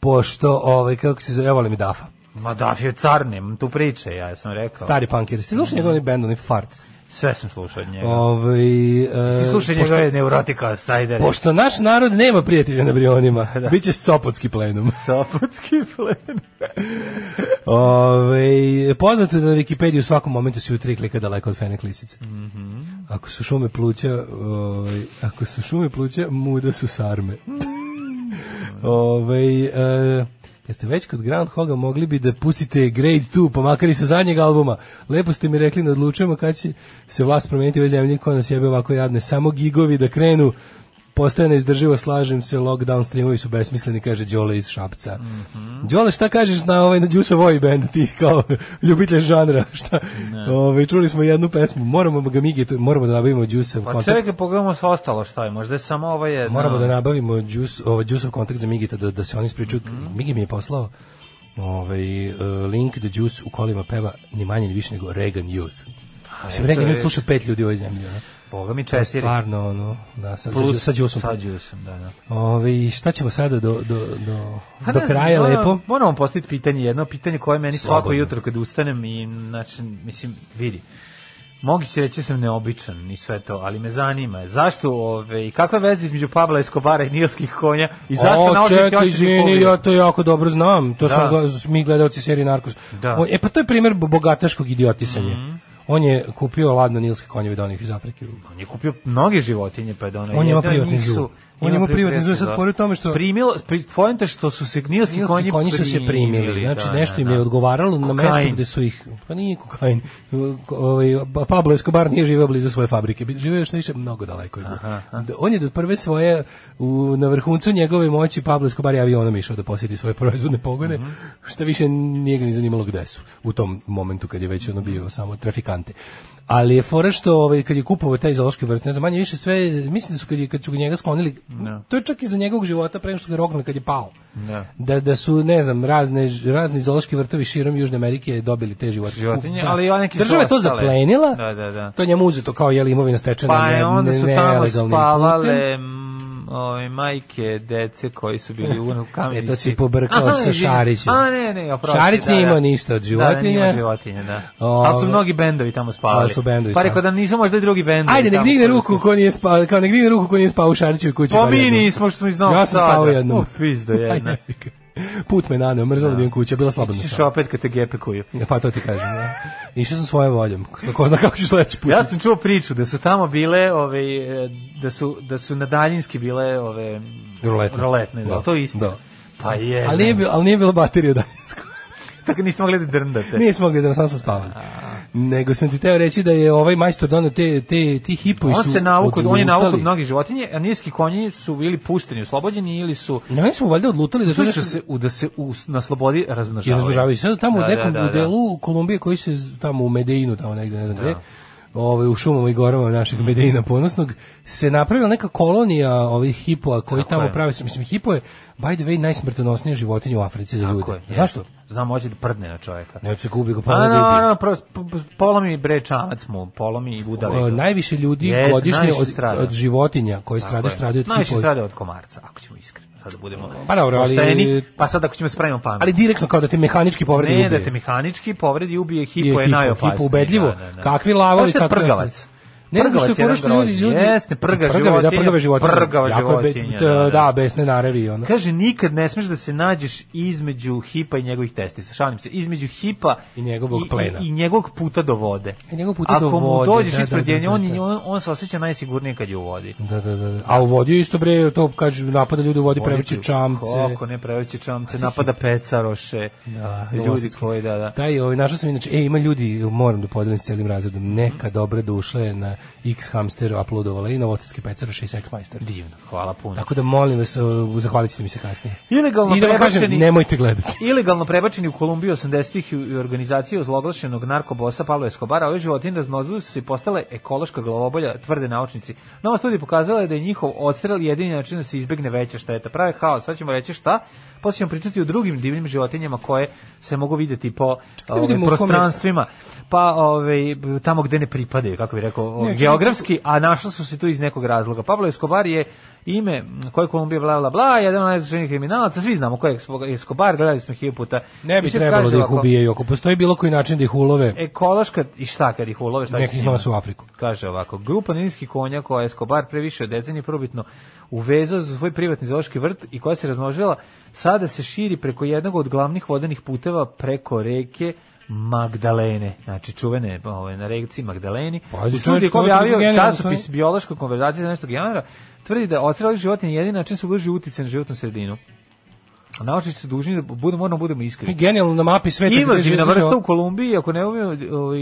Pošto, ovaj, kako se zove, ja volim i Dafa. Ma da, je car, nemam tu priče, ja sam rekao. Stari punkir. Ste slušali njegov onaj band, onaj Farts? Sve sam slušao od njega. Ovaj, e, Slušanje pošto- što je neurotika, sajder. Pošto naš narod nema prijatelja na Brionima, (laughs) Da. bit će Sopotski plenum. Sopotski (laughs) plen. Ove, poznato je da na Wikipediji u svakom momentu si u tri klika daleko od fene klisice. Mhm. Ako su šume pluća, ovaj, ako su šume pluća, muda su sarme. Ove, e, kad ste već kod Groundhoga mogli bi da pustite Grade 2, pa makar i sa zadnjeg albuma. Lepo ste mi rekli da odlučujemo kad će se vlast promijeniti u ovoj zemlji koja nas jebe ovako jadne. Samo gigovi da krenu Postaje neizdrživo, slažem se, lockdown streamovi su besmisleni, kaže Đole iz Šapca. Đole, šta kažeš na ovaj na Đusa Voj band, ti kao (laughs) ljubitelj žanra? Šta? Ovaj, čuli smo jednu pesmu, moramo ga migiti, moramo da nabavimo Đusa u Pa kontakt. čekaj, pogledamo sa ostalo šta je, možda je samo ovaj ovo jedno. Moramo da nabavimo džus, ovaj džusov kontakt za Migita da da se oni ispričaju. Mhm. Migi mi je poslao ovaj e, link da džus u kolima peva ni manje ni više nego Reagan Youth. Mislim, Reggae Noise sluša pet ljudi u ovoj zemlji. Ono. Boga mi To je četiri. stvarno, ono, da, sad, Plus, sad džusom. Sa džusom, da, da. Ove, šta ćemo sada do, do, do, Pa do ne znam, kraja moramo- lepo? Moramo postaviti pitanje, jedno pitanje koje meni svako Slobodno. jutro kad ustanem i, znači, mislim, vidi, Mogu se reći da sam neobičan i sve to, ali me zanima zašto ove i kakva je veza između Pabla Escobara i nilskih konja i zašto o, naočiš čekaj, izvini, ja to jako dobro znam. To Da. da. smo gla- mi gledalci serije Narkos. Da. Mhm. On, e, pa to je primjer bo- bogataškog idiotisanja. On je kupio ladno nilske konjeve da donih iz Afrike. On je kupio mnoge životinje, pa je donao. On ima Jedan od privatni njih zoo. su- On ima privatni zoo, sad da. fora je u tome što- Primilo, pri, poenta što su se gnilski, Nilski konji, su se primili, znači nešto im je odgovaralo na da, Kokain. mestu gde su ih, pa nije kokain, Ko- ovaj, Pablo Escobar nije živeo blizu svoje fabrike, bi- živeo je što više mnogo daleko. je bio. Da, On je do prve svoje, u, na vrhuncu njegove moći, Pablo Escobar je avionom išao da posjeti svoje proizvodne pogone, što više nije ga ni zanimalo gde su u tom momentu kad je već ono bio samo trafikante. Ali je fora što ovaj, kad je kupovao taj zoološki vrt, ne znam, manje više sve, mislim da su kad, je, kad su njega sklonili, to je čak i za njegovog života pre nego što ga rognuli kad je pao Da. da, da su, ne znam, razne, razni zoološki vrtovi širom Južne Amerike dobili te životinje. Da. Životinje, ali i one ki su Država je to ostale. zaplenila, Da, da, da. to je njemu uzeto kao jeli imovina stečena Pa je ne, onda ne- su tamo nelegalnim putem. spavale mm, ove majke dece koji su (laughs) bili u kamenici. E, to si pobrkao sa izvini. Šarićem. A ne, ne, oprosti. Šarić da, nije da. imao ništa od Da, da, nije životinja. imao životinja, da. Ove. Ali su mnogi bendovi tamo spavali. Ali su bendovi Pa rekao da nisu možda i drugi bendovi. Ajde, nek tamo digne koji ruku su- ko nije spao, kao nek digne ruku ko nije spao u Šarićevoj kući. Pa bar mi jednom. nismo što smo iz Novog Ja sam spao Sada. jednom. O, pizdo jedna. Aj, jebi ga. Put me naneo, mrzalo da imam kuća, bila slabodna Ćeš sam. opet kad te gepekuju. Pa to ti kažem, ja. Išao sam svojom voljom, ko zna kako ću sledeći put. Ja sam čuo priču da su tamo bile, ove, e, da su, da su na daljinski bile ove, Roletne. roletne da, Da, to je isto. da. Pa je. Ali nije, ne. bilo- ali nije bilo baterije daljinsko. Tako nismo mogli da drndate. Nismo mogli da sam sam spavali. Nego sam ti teo reći da je ovaj majstor donio te, te, ti hipovi su On se navuku, on je navuku od odlutali. mnogih životinje, a nilski konji su ili pušteni, oslobođeni ili su Ne, oni smo valjda odlutali da to Slušaj nešto da se u da se u, na slobodi i razmnožavaju. razmnožavaju. Sad tamo Da, u nekom da, da, da. delu Kolumbije koji se z- tamo u Medinu, tamo negde, ne znam gde, ovaj, u šumama i gorama našeg Mm. Medina ponosnog, se napravila neka kolonija ovih hipoa koji Tako tamo je. prave se. Mislim, hipo je, by the way, najsmrtonosnije životinje u Africi za Tako ljude. je, Zašto? Znam, hoće da prdne na čovjeka. Ne, od se gubi ga pa Pa, onda no, da ubije. no, no, prvo, p- p- polomi bre čamac mu, polomi i udavi O, ga. najviše ljudi Jeste, godišnje najviše od, strada. od životinja koje Tako strade, je. strade od Najviše hipo- strade od komarca, ako ćemo iskreno. Sad da budemo Pa dobro, ali- pošteni, pa sad ako ćemo spravimo pamet. ali direktno kao da te mehanički povredi ne, ubije. da te mehanički povredi i ubije hipo Je je, hipo, najopasniji. hipo ubedljivo. Da, da, da. Kakvi lavovi, Znaš šta je kakve prgavac. ostale? Ne, nego što je jedan fora što ljudi, grozni. ljudi... Jeste, prga prgave, životinja. Da, prgave životinje. Prgava Jako je be- životinja, t- da, da. da, besne narevi. Ono. Kaže, nikad ne smeš da se nađeš između hipa i njegovih testisa. Šalim se, između hipa I njegovog plena. I, i njegovog puta do vode. I njegovog puta Ako do mu vode, dođeš da, da, ispred da, nje, da, on, da. on, on se osjeća najsigurnije kad je u vodi. Da, da, da. da. A u vodi je isto bre, to kaže napada ljudi u vodi previše čamce. Kako ne preveće čamce, napada pecaroše. Da, ljudi novosadski. koji, da, da. Taj, ovaj, našao sam inače, e, ima ljudi, moram da podelim s celim razredom, neka Mhm. dobre duše na X hamsteru uploadovala i novosadski pecaroše i sex majster. Divno, hvala puno. Tako da molim vas, o, zahvalit ćete mi se kasnije. Ilegalno I da vam prebačeni- kažem, nemojte gledati. Ilegalno prebačeni u Kolumbiju 80-ih i organizacije ozloglašenog narkobosa Pablo Escobara, ove životinje razmnožile su se i postale ekološka glavobolja, tvrde naučnici. Nova studija pokazala je da je njihov odstrel jedini način da se izbegne veća šteta. Prave haos, sad ćemo reći šta, posle ćemo pričati o drugim divnim životinjama koje se mogu videti po ovaj, da ove, vidimo u kome- prostranstvima, pa ove, tamo gde ne pripadaju, kako bih rekao, Ne, geografski, a našli su se tu iz nekog razloga. Pablo Escobar je ime koje Kolumbija bla bla bla, jedan od najzaslušnijih kriminalaca, svi znamo ko je Escobar, gledali smo ih hiljadu puta. Ne bi I sad trebalo kaže da ih ovako, E, ubijaju. Ako postoji bilo koji način da ih ulove, Ekološka i šta kad ih ulove, šta će s nekih njima? nosa u Afriku. Kaže ovako, grupa ninskih konja koja je Escobar previše od decenije probitno uvezao za svoj privatni zoološki vrt i koja se razmnožila, sada se širi preko jednog od glavnih vodenih puteva preko reke Magdalene, znači čuvene ove, na reci Magdaleni. Pazi, U čoveče, studiji koji je ovo je objavio genijalno, časopis biološka konverzacija 11. januara, tvrdi da odstrelali životinje jedini način su uloži uticaj na životnu sredinu. A naučnici su dužni da budemo, moramo da budemo E, iskreni. Genijalno na mapi sveta. Invazivna gde žive- vrsta u Kolumbiji, ako ne umiju ovaj,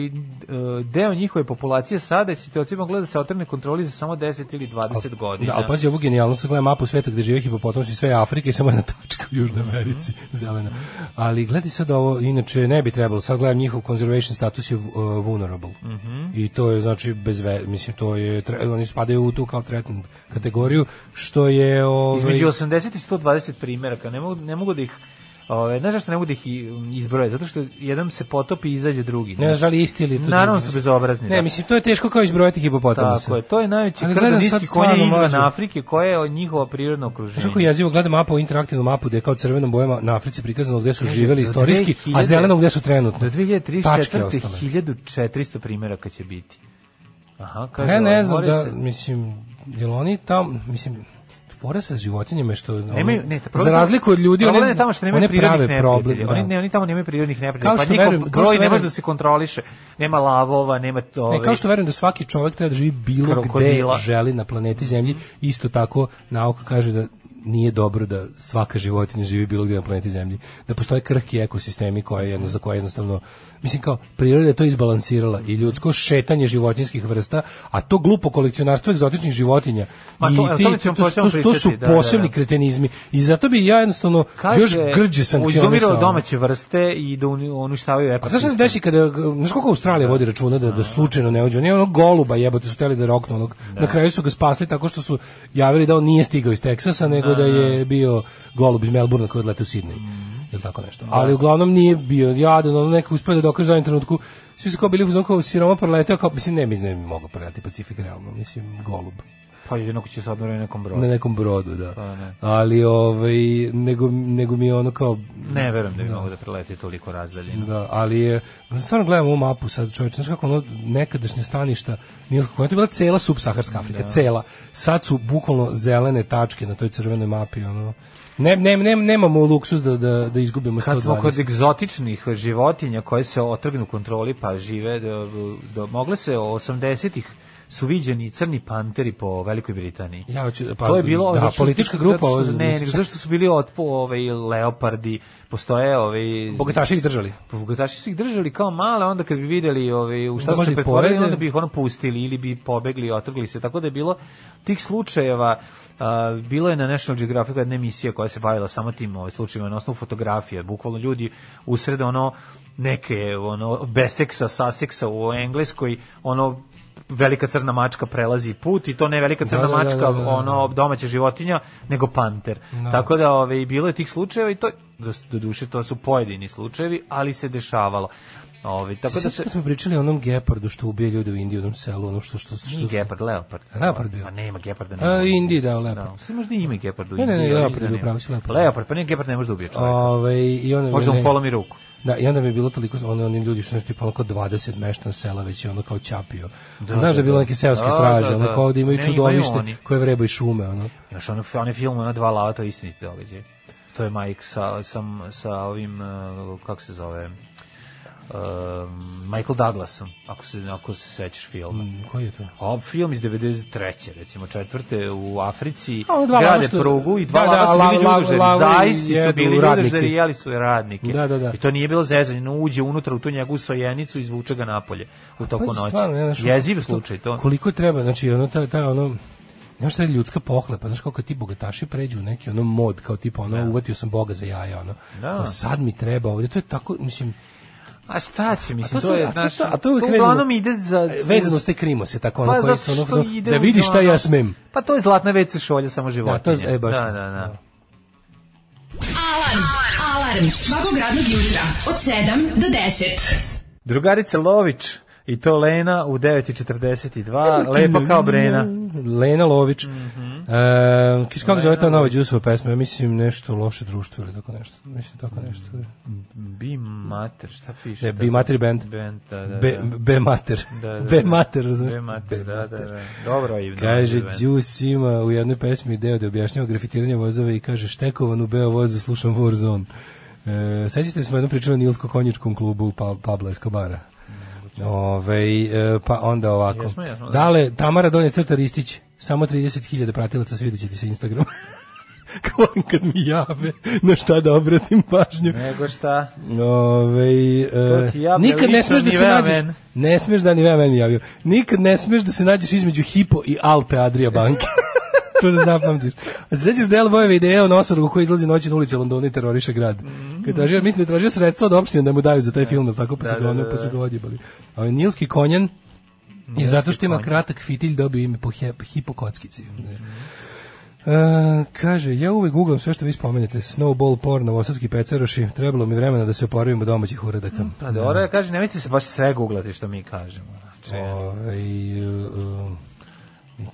deo njihove populacije sada, je situacija mogla da se otrne kontroli za samo 10 ili 20 godina. Da, ali pazi, ovo genijalno se gleda mapu sveta gde žive hipopotamci sve je Afrika i (laughs) samo jedna tačka u Južnoj Americi, Mhm. zelena. Ali gledaj sad ovo, inače ne bi trebalo, sad gledam njihov conservation status je uh, vulnerable. Mhm. I to je znači bez ve, mislim to je tre- oni spadaju u tu kao threatened kategoriju što je ovaj Između 80 i 120 primjeraka, ne mogu, ne mogu da ih Ove, znaš zašto ne bude ih i- um, izbroje? Zato što jedan se potopi i izađe drugi. Ne znam da li isti ili to. Naravno su bezobrazni, Ne, da. mislim to je teško kao izbrojati hipopotamuse. Tako je, to je najveći Ali krda gledam niski sad konje stvarno izvan mlađu. Afrike, koje je njihovo prirodno okruženje. Znaš kako je jezivo, gledam mapu, interaktivnu mapu gde je kao crvenom bojama na Africi prikazano gde su živeli do istorijski, 2000 a zeleno gde su trenutno. Do Tačke 2034. ostale. 1400 primjeraka će biti. Aha, kaže, Ja ovaj, ne znam mora da, se- mislim, jel oni tam, mislim, fora sa životinjama je što ono, Nemaju, ne, problem- za razliku od ljudi problem oni, je tamo što nemaju one prirodnih prave problem. da. neprijatelja. Oni, ne, oni tamo nemaju prirodnih neprijatelja, Kao pa što njihov verujem- kao broj što ne može verujem- da se kontroliše. Nema lavova, nema to. Ne, kao što verujem da svaki čovjek treba da živi bilo ovaj Krokodila. gde želi na planeti Zemlji, isto tako nauka kaže da nije dobro da svaka životinja živi bilo gde na planeti Zemlji. Da postoje krhki ekosistemi koje jedno, za koje jednostavno... Mislim kao, priroda je to izbalansirala i ljudsko šetanje životinjskih vrsta, a to glupo kolekcionarstvo egzotičnih životinja. Ma to- I e, o tome ćemo to, počnemo to, to, to su pričati, da, da, posebni da. kretenizmi. I zato bi ja jednostavno još grđe sankcionisao. uzumirao domaće vrste i da uni- uništavaju A znaš šta se ekosistem. desi kada, znaš koliko Australija vodi računa da, da slučajno ne uđe, oni onog goluba jebote su teli da roknu onog, na kraju su ga spasli tako što su javili da on nije stigao iz Teksasa, nego da Mm. je bio golub iz Melbourna koji odlete u Sidney, ili tako nešto. Ali uglavnom nije bio jadan, ono neko uspio da dokaže u zadnjem trenutku, svi su kao bili uzom kao siroma proleteo, kao, mislim, ne, mislim, da ne bi mogao proletati Pacifik realno, mislim, golub Pa jedino ko će se odmoriti nekom broju. na Ne, nekom brodu, da. Pa ne. Ali, ovaj, nego, nego mi je ono kao, verujem da bi mogu da preleti toliko razdaljina. Da, ali je, stvarno gledam ovu mapu sad, čovječ, znaš kako ono nekadašnje staništa Nilskog konja, to je bila cela subsaharska Da. Afrika, cela. Sad su bukvalno zelene tačke na toj crvenoj mapi, ono. Ne, ne, ne, nemamo luksuz da, da, da izgubimo 120. Kad smo kod egzotičnih životinja koje se otrgnu kontroli pa žive, do, do, mogle se 80-ih su viđeni crni panteri po Velikoj Britaniji. Ja hoću, pa, to je bilo da, zato što- politička grupa. zato ovo- što, ne, nego zašto su bili otpo ovaj leopardi postoje ovaj Bogataši ih držali. bogataši su ih držali kao male onda kad bi videli ovaj u šta Onda su se bi pretvorili pojede. onda bi ih ono pustili ili bi pobegli i otrgli se tako da je bilo tih slučajeva a, bilo je na National Geographic jedna emisija koja se bavila samo tim ovaj, slučajima na osnovu fotografija. Bukvalno ljudi usred ono neke ono beseksa, saseksa u Engleskoj ono velika crna mačka prelazi put i to ne velika crna Da, da, da, mačka, da, da, da. ono domaća životinja, nego panter. Tako da ove, bilo je tih slučajeva i to, do duše, to su pojedini slučajevi, ali se dešavalo. Ove, tako da Sjećaš se... kad smo pričali o onom gepardu što ubije ljude u Indiji, u onom selu, ono što... što, što, Nije gepard, leopard. Leopard bio. Pa nema geparda. A, Nema. Indiji, da, leopard. Da, sve možda i ima gepardu. Ne, ne, ne, Indiji, ali leopard mislim je da bio nema. pravi, si leopard. Leopard, pa nije gepard ne može da ubije čovjeka. Ovaj, i onda, Možda mu polomi ruku. Da, i onda mi je bilo toliko, ono, oni ljudi što nešto tipa ono kao 20 meštan sela već je ono kao ćapio. Da, Znaš da je bilo neke seoske Da, straže, da, ono da. kao ovdje imaju Ne, imaju čudovište oni. koje vrebaju šume, ono. Imaš ono, one film, ona dva lava, to je istiniti događaj. To je Mike sa, sam, sa ovim, uh, kako se zove, um, Michael Douglasom, ako se, ako se sećaš filma. Koji je to? A film iz 93. recimo četvrte u Africi A, ono dva lava grade što- prugu i dva da, da, lava su la- bili la- ljudožeri. lavovi Zaisti su jedu bili radnike. ljudožeri, jeli su radnike. Da, da, da. I to nije bilo zezanje, no uđe unutra u tu njegovu sojenicu i izvuče ga napolje u toku Pazi, noći. Pa, stvarno, ne, znaš, Jeziv ono, slučaj to. Koliko treba, znači, ono, ta, ta, ono, Znaš šta je ljudska pohlepa, znaš kako ti bogataši pređu u neki ono mod, kao tipa ono, uvatio sam boga za jaja, ono, Da. kao sad mi treba ovdje, to je tako, mislim, A šta će, to mislim, su- to je, a to znaš, su- a to je uvijek uglavnom vezano- e, ide za... vezano ste krimo se, tako ono, E, Pa koji zato su ono, što fazon, ide da uz vidi šta ja ono- smem. Pa to je zlatna WC šolja samo životinje. Da, to je, e, baš Da, to. da, da. Alarm, alarm, svakog radnog jutra, od 7 do 10. Drugarica Lović i to Lena u 9.42, lepa kao Brena. Lena Lović. Mm Mhm. kako zove ta nova Đusova pesma? Ja mislim nešto loše društvo ili tako nešto. Mislim tako nešto. Mhm. Bi mater, šta piše? Ne, tamo? Be Mater Band. Band, da, da, da. Be, be mater. Da, da, Be da. mater, razumiješ? Be mater, da, da, da. Dobro je. Kaže, dobro je. Đus ima u jednoj pesmi deo da objašnjava grafitiranje vozova i kaže, štekovan u beo vozu slušam Warzone. E, sećate se smo jednom pričali o Nilsko-konjičkom klubu pa, Pablo Escobara. Ove, pa onda ovako. Jesmo, jesmo, da. Dale, Tamara Donja Crta Ristić, samo 30.000 pratilaca, svidjet će ti se Instagram. (laughs) Kao volim kad mi jave na šta da obratim pažnju. Nego šta? Pa Ove, To ti ja nikad ne prilično smeš da se Nivea nađeš. men. Ne smeš da ni meni javio. Nikad ne smeš da se nađeš između Hipo i Alpe Adria (laughs) banke. to da zapamtiš. A se sećaš Del Bojeve ideje o nosorgu koji izlazi noću na ulice Londona i teroriše grad. Mhm. Kad je tražio, mislim da je tražio sredstva od opštine da mu daju za taj film, jel Da, tako pa su ga ono- pa su ga odjebali. A ovaj Nilski konjen je zato što ima kratak fitilj dobio ime po he- hipokockici. Ne. Mhm. E, kaže, ja uvek googlam sve što vi spomenete. Snowball porn, novosadski pecaroši. Trebalo mi vremena da se oporavim od domaćih uradaka. Pa dobro, ja kaže, nemojte se baš sve googlati što mi kažemo. Znači, Ovaj, e, um,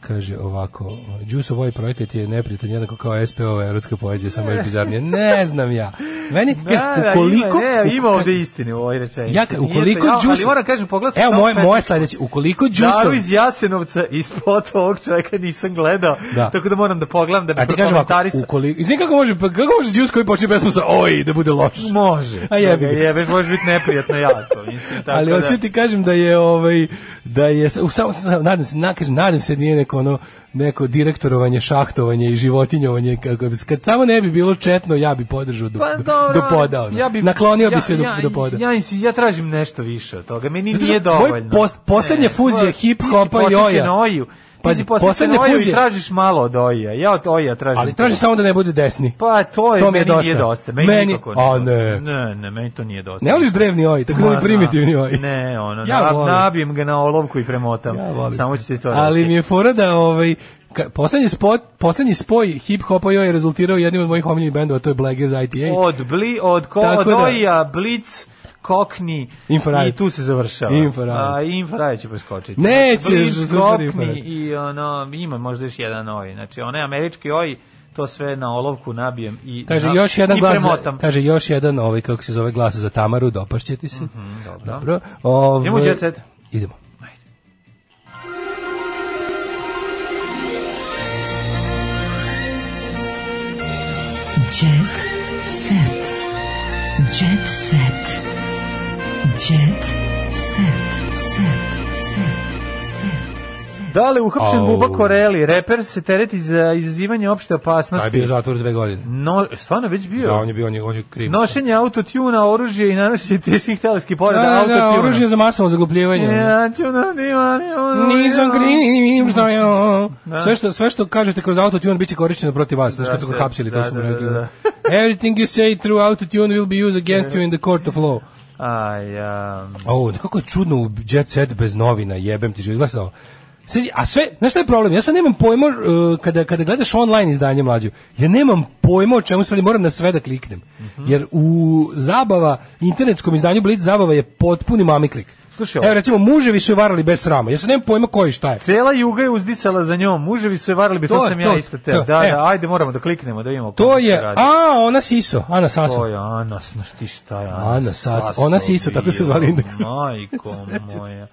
kaže ovako, Đuso ovaj projekat je nepritan jednako kao SPO erotska poezija, samo još (laughs) bizarnije. Ne znam ja. Meni (laughs) kad- ukoliko Da, ima, ne, ima uko- ovde istine u ovoj rečenici. Ja, ka- ukoliko Nije to- ja, Đuso... Ali moram kažem, pogledaj Evo, moje, moje sledeće. Ukoliko Daru Đuso... iz Jasenovca ispod ovog čoveka nisam gledao, Da. tako da moram da pogledam da A bi ti kažem ovako, prokomentarisao. ukoliko... Izvim kako može, pa kako može Đuso koji počne pesmu sa oj, da bude loš. Mm, Može. A jebi ga. Jebeš, može biti neprijatno jako. Mislim, tako ali hoću ti kažem da je ovaj da je u samo samo- nadam se na kažem nadam se da nije neko ono neko direktorovanje šahtovanje i životinjovanje kako bi kad samo ne bi bilo četno ja bi podržao Pa do, do, do poda ono. naklonio bi se do, do poda Ja, ja, ja tražim nešto više od toga. Meni Zato što nije dovoljno. moj post- poslednje E, fuzije moj- hip-hopa ti si i oja. posvećen Oju. Pa, Pazi, ti si posvećen poslednje Oju i fuzije- tražiš malo od Oja. Ja od Oja tražim. ali traži samo da ne bude desni Pa to je, to mi meni je nije dosta. dosta. Meni, Meni- nikako a, nije ne. dosta. Ne, ne, meni to nije dosta. ne voliš drevni oj tako da Ma, mi primitivni oj Ne, ono, Ja ja volim. nabijem ga na olovku i premotam. Ja volim. Samo ću ti to Ali reći. mi je fora da ovaj ka, poslednji spot, poslednji spoj hip hopa joj je rezultirao jednim od mojih omiljenih bendova, to je Black Gears IPA. Od, bli, od, ko, Tako od da- Oja, Blitz, Kokni Infrared. i tu se završava. Infrared. A, infrared će preskočiti. Nećeš, Blitz, super Kokni Infrared. i ono, ima možda još jedan Oj. Znači, onaj američki Oj, to sve na olovku nabijem i, Kaže na, još jedan i glas, za, premotam. kaže još jedan ovaj kako se zove glas za Tamaru, dopašće ti se. dobro. dobro. Ovaj, Mhm, Idemo u Jet Set. Idemo. Jet set. Jet set. Jet set. Set. Set. Set. Dale, Da uhapšen Au. Buba Koreli, reper se tereti za izazivanje opšte Taj je bio opasnosti. u zatvoru dve godine. No, stvarno već bio. Da, on je bio on je, on je kriv. Nošenje autotuna, oružje i nanošenje teških teleskih da, porada da, da, autotuna. oružje za masovno zaglupljivanje. Ja ću da nima, nima, Nisam nima. kriv, šta je ovo? Da. Sve što, sve što kažete kroz autotune biće korišćeno protiv vas, znaš Da, kad su ga da, hapsili, da, to su mu da, da, rekli. da. (laughs) Everything you say through autotune will be used against you in the court of law. Aj, ja. O, da kako je čudno u Jet Set bez novina, jebem ti život, gledaj ovo. Sad, a sve, znaš šta je problem? Ja sad nemam pojma, uh, kada, kada gledaš online izdanje mlađu, ja nemam pojma o čemu se radi, moram na sve da kliknem. Mhm. Jer u zabava, internetskom izdanju Blitz zabava je potpuni mamiklik. Slušaj ovo. Evo recimo, muževi su je varali bez srama. Ja sad nemam pojma koji šta je. Cela juga je uzdisala za njom, muževi su je varali, bi to, To je sam to, ja isto te. Da, to, e. da, ajde moramo da kliknemo da vidimo To kako se je, radi. a, ona siso, Ana Saso. To je Anas, znaš ti šta je Ana Saso. Ona Sisa, tako se bio, zvali indeks. (laughs) Pa Majko moja.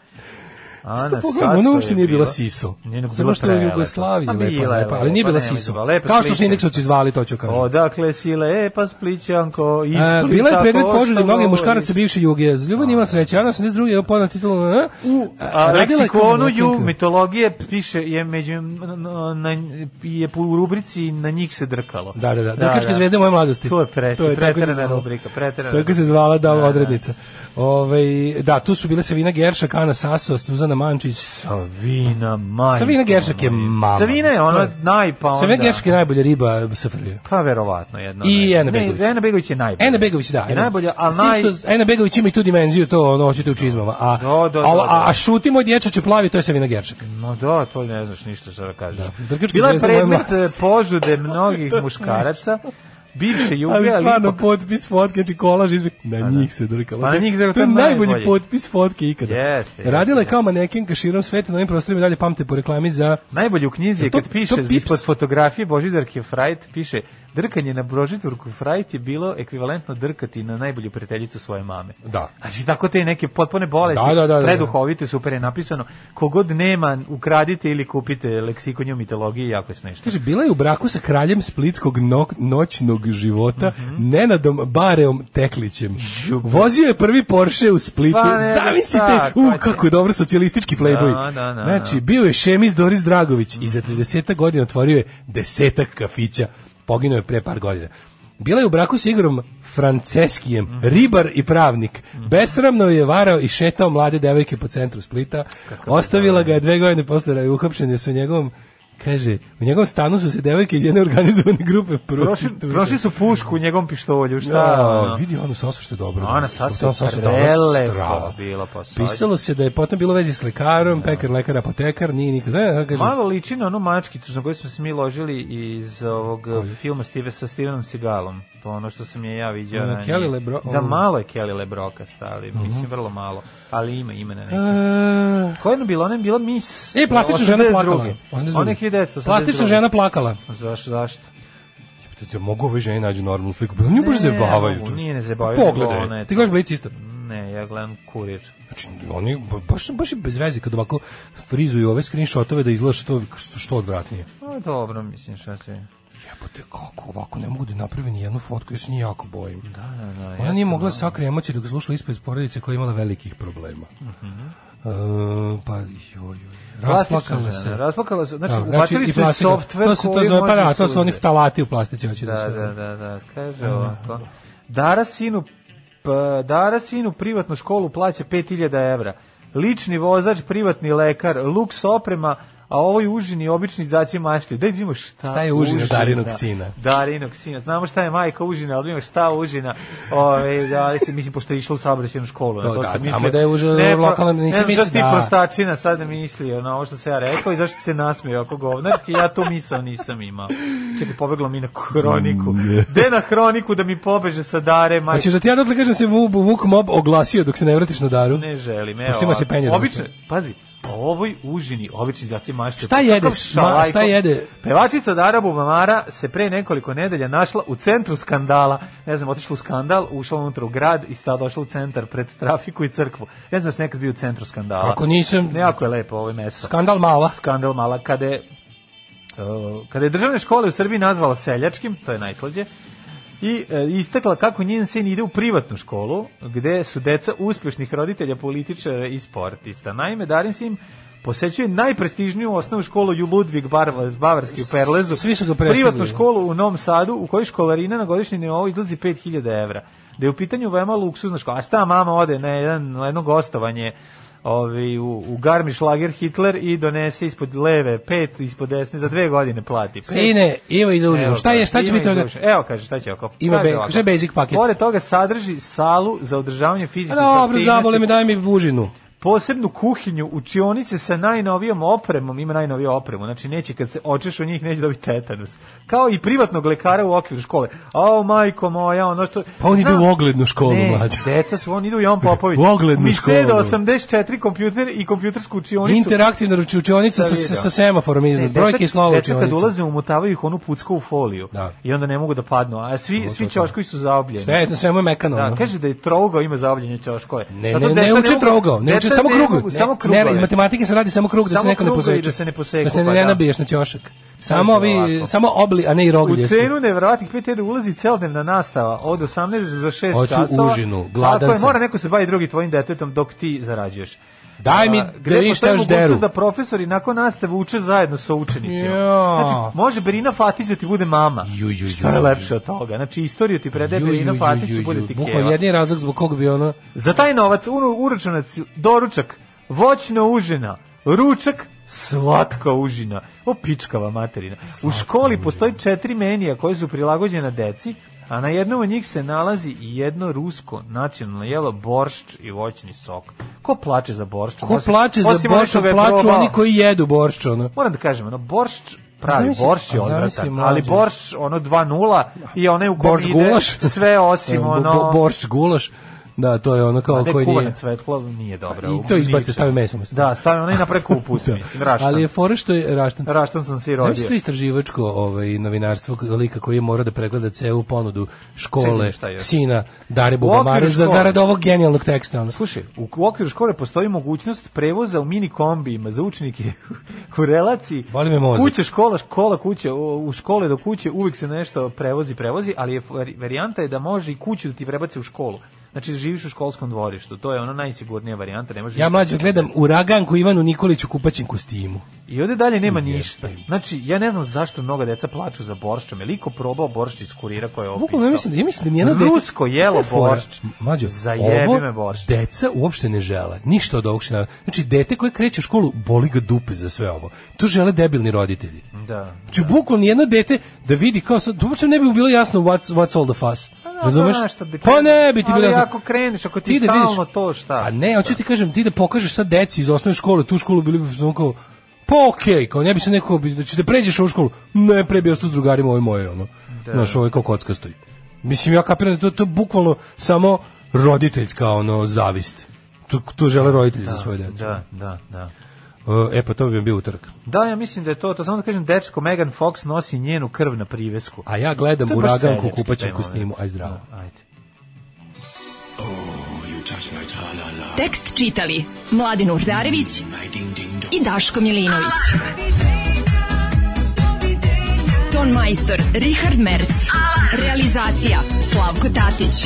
Ana Saso Pogledaj, ona je uopšte nije bila bila. Siso. Nije nego bila Samo što je u prelepa. Jugoslaviji Pa lepa, bila je lepa, ali nije lepa, bila nema Siso. dva, lepa Kao što su slika. Indeksovci zvali, to ću kažem. Odakle sile, e pa Splićanko, iz E, Splita. bila je predmet ko poželje šta mnogih govori? muškaraca bivše Jugije. Ljubav ima sreće, Ana 82. je podna titulu. a? U A, a, radila je kao leksikonu Nevenka. ju mitologije piše je među na, na, je u rubrici na njih se drkalo. Da, da, da. Drkačke zvezde moje mladosti. To je pre, tako se preterana zvala. rubrika, preterana. Tako se zvala da odrednica. Ovaj da, tu su bile Savina Geršak, Ana Saso, Suzana Mančić. Savina, majko. Savina Geršak je moja. mama. Savina je To ona je- najpa onda. Savina Geršak je najbolja riba SFRJ. Pa verovatno jedna. I najbolja. Ena Begović. Ne, Ena Begović je najbolja. Ena Begović da. Je najbolja, ali S tim naj... što Ena Begović ima i tu dimenziju, to ono hoćete u čizmama. A, Da, da, a, da, da. a, a šuti moj dječače plavi, to je Savina Geršak. No da, to ne znaš ništa šta da kažeš. Drkačka Bila je zvezda moje predmet e, mladosti. požude (laughs) mnogih muškaraca, bivše Juge, Ali stvarno ipak- potpis fotke, znači kolaž izbe... Na njih se drkalo. Da, Pa na njih se drkalo, To je to je najbolji najbolje. potpis fotke ikada. Jeste, da. jeste, Radila je jeste. kao manekenka širom sveta, na ovim prostorima i dalje pamte po reklami za... Najbolje u knjizi je To- kad to piše Pips. ispod fotografije Božidarke Frajt, piše drkanje na Božidarku Frajt je bilo ekvivalentno drkati na najbolju prijateljicu svoje mame. Da. Znači, tako te neke potpune bolesti, Da, da, da, da, da. preduhovite, super je napisano. Kogod nema, ukradite ili kupite leksikonju mitologije, jako je smešno. Kaže, bila je u braku sa kraljem splitskog no, noćnog života, Mhm. Nenadom Bareom Teklićem. Župe. Vozio je prvi Porsche u Splitu. Pa, ne, šta, Zamislite, ko u, će? kako je dobro socijalistički playboy. Da, da, da, znači, da. bio je šemis Doris Dragović i za 30 godina otvorio je desetak kafića. Poginuo je pre par godina. Bila je u braku s Igorom Franceskijem, ribar i pravnik. Besramno je varao i šetao mlade devojke po centru Splita. Ostavila ga je dve godine posle da je uhapšen jer su u njegovom Kaže, u njegovom stanu su se devojke iz jedne organizovane grupe Prošli, prostituta. prošli su pušku u njegovom pištolju, šta? Da, ono? vidi Anu Sasu što je dobro. Ana Što je Sasu tamo Sasu dala prelepo strava. bila po Sasu. Pisalo se da je potom bilo vezi s lekarom, pekar, lekar, apotekar, nije Da, nikad. Ne, kaže, Da. Malo liči na onu mačkicu na koju smo se mi ložili iz ovog filma Steve, sa Stevenom Seagalom. To je ono što sam je ja vidio. Ono, ranije. Kelly Lebro- Mhm. Da, malo je Kelly Lebroka stali. Mislim, vrlo malo. Ali ima imena neka. E, Koja je ono bila? Ona je bila mis... E, plastična žena 82. plakala. Ona je 1982. Plastična žena plakala. Zašto, zašto? Jebote, zar mogu ove žene nađu normalnu sliku. Nju baš Ne, zabavaju. mogu, čovječe. nije ne zabavaju, nego ona Pogledaj. je Ti to. gledaš Blitz isto. Ne, ja gledam kurir. Znači, oni ba- baš, baš je bez veze kad ovako frizuju ove screenshotove da izgleda što, što, što odvratnije. No, Pa dobro, mislim, šta će... Jebote, kako ovako ne mogu da naprave ni jednu fotku, ja se nje jako bojim. Da, Da, da, Ona nije mogla da sakrije emocije dok je slušala ispred porodice koja je imala velikih problema. E, pa, joj, joj. Rasplakala Mhm. Plastična žena, se. Rasplakala se, znači, Da, ubačili i su plastika. softver to se to koji zove, pa može da, to su suze. oni ftalati u plastici, hoće da, Da, se... da, da, da, kaže ovako. Dara sinu, p- Dara sinu privatnu školu plaća 5000 evra. Lični vozač, privatni lekar, luks oprema, a ovoj užini obični zaći mašti. Daj da vidimo šta, Šta je užina Darinog da. sina? Darinog sina. Znamo šta je majka užina, ali da vidimo šta užina. Ove, da, ali se, mislim, pošto je išla u saobraćenu školu. To na da, sam znamo mislio. da je užina Ne, pro- lokalna, nisi ne znam mislio šta ti da- prostačina sad mislio na ovo što se ja rekao i zašto se nasmio oko govnarski, ja tu misao nisam imao. Čekaj, pobeglo mi na hroniku. De na hroniku da mi pobeže sa dare, majke. Hoćeš da ti ja odatle kažem da se Vuk, Vuk Mob oglasio dok se ne vratiš na daru? Ne želim, evo. Pošto ima se penje ovako. Obično, društvo. pazi, po ovoj užini, obični zaci mašte. Šta Pa jede? kakav Ma- šta jede? Pevačica Dara Bubamara se pre nekoliko nedelja našla u centru skandala. Ne znam, otišla u skandal, ušla unutra u grad i sta došla u centar pred trafiku i crkvu. Ne znam da se nekad bio u centru skandala. Kako nisam, Nejako je lepo ovo mesto. skandal mala. Skandal mala kada je uh, kada je državne škole u Srbiji nazvala seljačkim, to je najslađe, i e, istakla kako njen sin ide u privatnu školu, gde su deca uspješnih roditelja, političara i sportista. Naime, Darin Sim posećuje najprestižniju osnovnu školu Ju Ludvig Barva- Bavarski u Perlezu, Svi su ga prestigli. privatnu školu u Novom Sadu, u kojoj školarina na godišnji nivou izlazi 5000 evra. Da je u pitanju veoma luksuzna škola. A šta mama ode na, jedan, na jedno gostovanje ovi, u, u Garmisch-Lager Hitler i donese ispod leve pet, ispod desne, za dve godine plati. Pet- Sine, evo i za Evo užinu. Šta ga, je, šta će ima biti toga? izuže. Evo kaže, šta će oko. Ima be- kaže basic paket. Pored toga sadrži salu za održavanje fizičke A Pa Dobro, aktivnosti, zabole mi, daj mi užinu. posebnu kuhinju, učionice sa najnovijom opremom, ima najnoviju opremu, znači neće kad se očeš u njih neće dobiti tetanus. Kao i privatnog lekara u okviru škole. A majko moja, ono što Pa on ide Znam- u oglednu školu, mlađe. Deca su, on ide u Jovan Popović. U oglednu Mi seda školu. 84 kompjuter i kompjutersku učionicu. Interaktivna ruči- učionica sa, sa, sa semaforom iznad, brojke i slova Deca kad učionica. ulaze umotavaju ih onu pucku u foliju Da. i onda ne mogu da padnu, a svi, svi čoškovi su zaobljeni. Sve, na svemu je mekano. Da, ono. kaže da je trougao ima zaobljene ćoškove. Ne, Zato ne, deca ne uči mogu- trougao, ne deca uči samo krug. mogu, samo Ne, krugove. iz matematike se radi samo krug da se Samo neko ne krugovi poseče. da se ne poseku, Da se ne, pa da. nabiješ na ćošak. Samo Sad je ovi, ovako. samo obli, a ne i rog U ljestu. cenu nevjerovatnih 5 eura ulazi celdnevna nastava od 18 do 6 Hoću časova. užinu, gladan Tako je, sam. mora neko se bavi drugi tvojim detetom dok ti zarađuješ. Daj mi A, da vidiš šta postoji još deru. mogućnost da profesori nakon nastave uče zajedno sa učenicima. Ja. Znači, može Berina Fatić da ti bude mama. Ju, ju, ju, Šta je ju. lepše od toga? Znači, istoriju ti predaje Ju, ju, Berina ju, Fatić ju, i bude ju. ti Bukvalno keva. jedini razlog zbog kog bi ono... Za taj novac uru- uračunac doručak, voćna užina, ručak, slatka užina. O pičkava materina. U školi postoji četiri menija koje su prilagođena deci, a na jednom od njih se nalazi i jedno rusko nacionalno jelo boršč i voćni sok. Ko plače za boršč? Ko plače za borš, plaču oni koji jedu borš, ono. Moram da kažem, ono, boršč pravi Zamisli- borš je a zamisli, odvratan, mlađe. ali borš ono 2-0 i onaj u kom Borš ide gulaš. sve osim Bo- bo- ono... Borš gulaš. Da, to je ono kao Ne, koji kuvana nije. cvetla nije dobro. I to izbaci, stavi meso umesto. Da. Da, stavi onaj na preko (laughs) upus, mislim, raštan. Ali je fora što je raštan. Raštan sam se i rodio. Znaš to istraživačko ovaj, novinarstvo lika koji mora da pregleda celu ponudu škole, Čekaj, šta je? sina Dare U Bubamare okviru za škole. zarad ovog genijalnog teksta. Ono. Slušaj, u u okviru škole postoji mogućnost prevoza u mini kombijima za učenike u relaciji. Boli me mozak. Kuća, škola, škola, kuća, u u škole do kuće uvijek se nešto prevozi, prevozi, ali je, varijanta je da može i kuću da ti prebaci u školu. znači živiš u školskom dvorištu, to je ona najsigurnija varijanta, ne da može. Ja mlađo gledam Uraganku Ivanu Nikoliću u kupaćem kostimu. I ovde dalje nema ništa. Znači, ja ne znam zašto mnoga deca plaču za borščom. Je liko probao boršč iz kurira koje je opisao? Bukvalno ja mislim da ja mislim da nijedno dete- Rusko jelo Šta je fora? boršč. Mlađo, Zajebi ovo me boršč. Deca uopšte ne žele. Ništa od ovog što nam- Znači dete koje kreće u školu boli ga dupe za sve ovo. To žele debilni roditelji. Da. Znači bukvalno nijedno dete da vidi kao sad uopšte ne bi mu bilo jasno what's what's all the fuss. Razumeš? znaš šta da Pa ne bi ti kreneš. bilo Ali jasno. da ako kreneš, ako ti stalno to, šta? A ne, hoću ti kažem, ti da pokažeš sad deci iz osnovne škole, tu školu bili bi samo kao pa okej, kao ne bi se neko, bi- znači da pređeš u ovu školu, ne, pre bi ostao s drugarima, ovo je moje, ono, Da. znaš, ovo je kao kocka stoji. Mislim, ja kapiram da je to, to je bukvalno samo roditeljska, ono, zavist. To, to žele roditelji za svoje djecu. Da, da, da. E, pa to bi mi bio utrk. Da, ja mislim da je to, to samo da kažem, dečko Megan Fox nosi njenu krv na privesku. A ja gledam To je baš uraganku seljački taj kupaćem moment. kostimu, aj zdravo. Da, Ajde. Tekst čitali Mladin Urdarević i Daško Milinović. Ton majstor Richard Merc. Realizacija Slavko Tatić.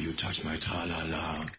You touch my tra-la-la.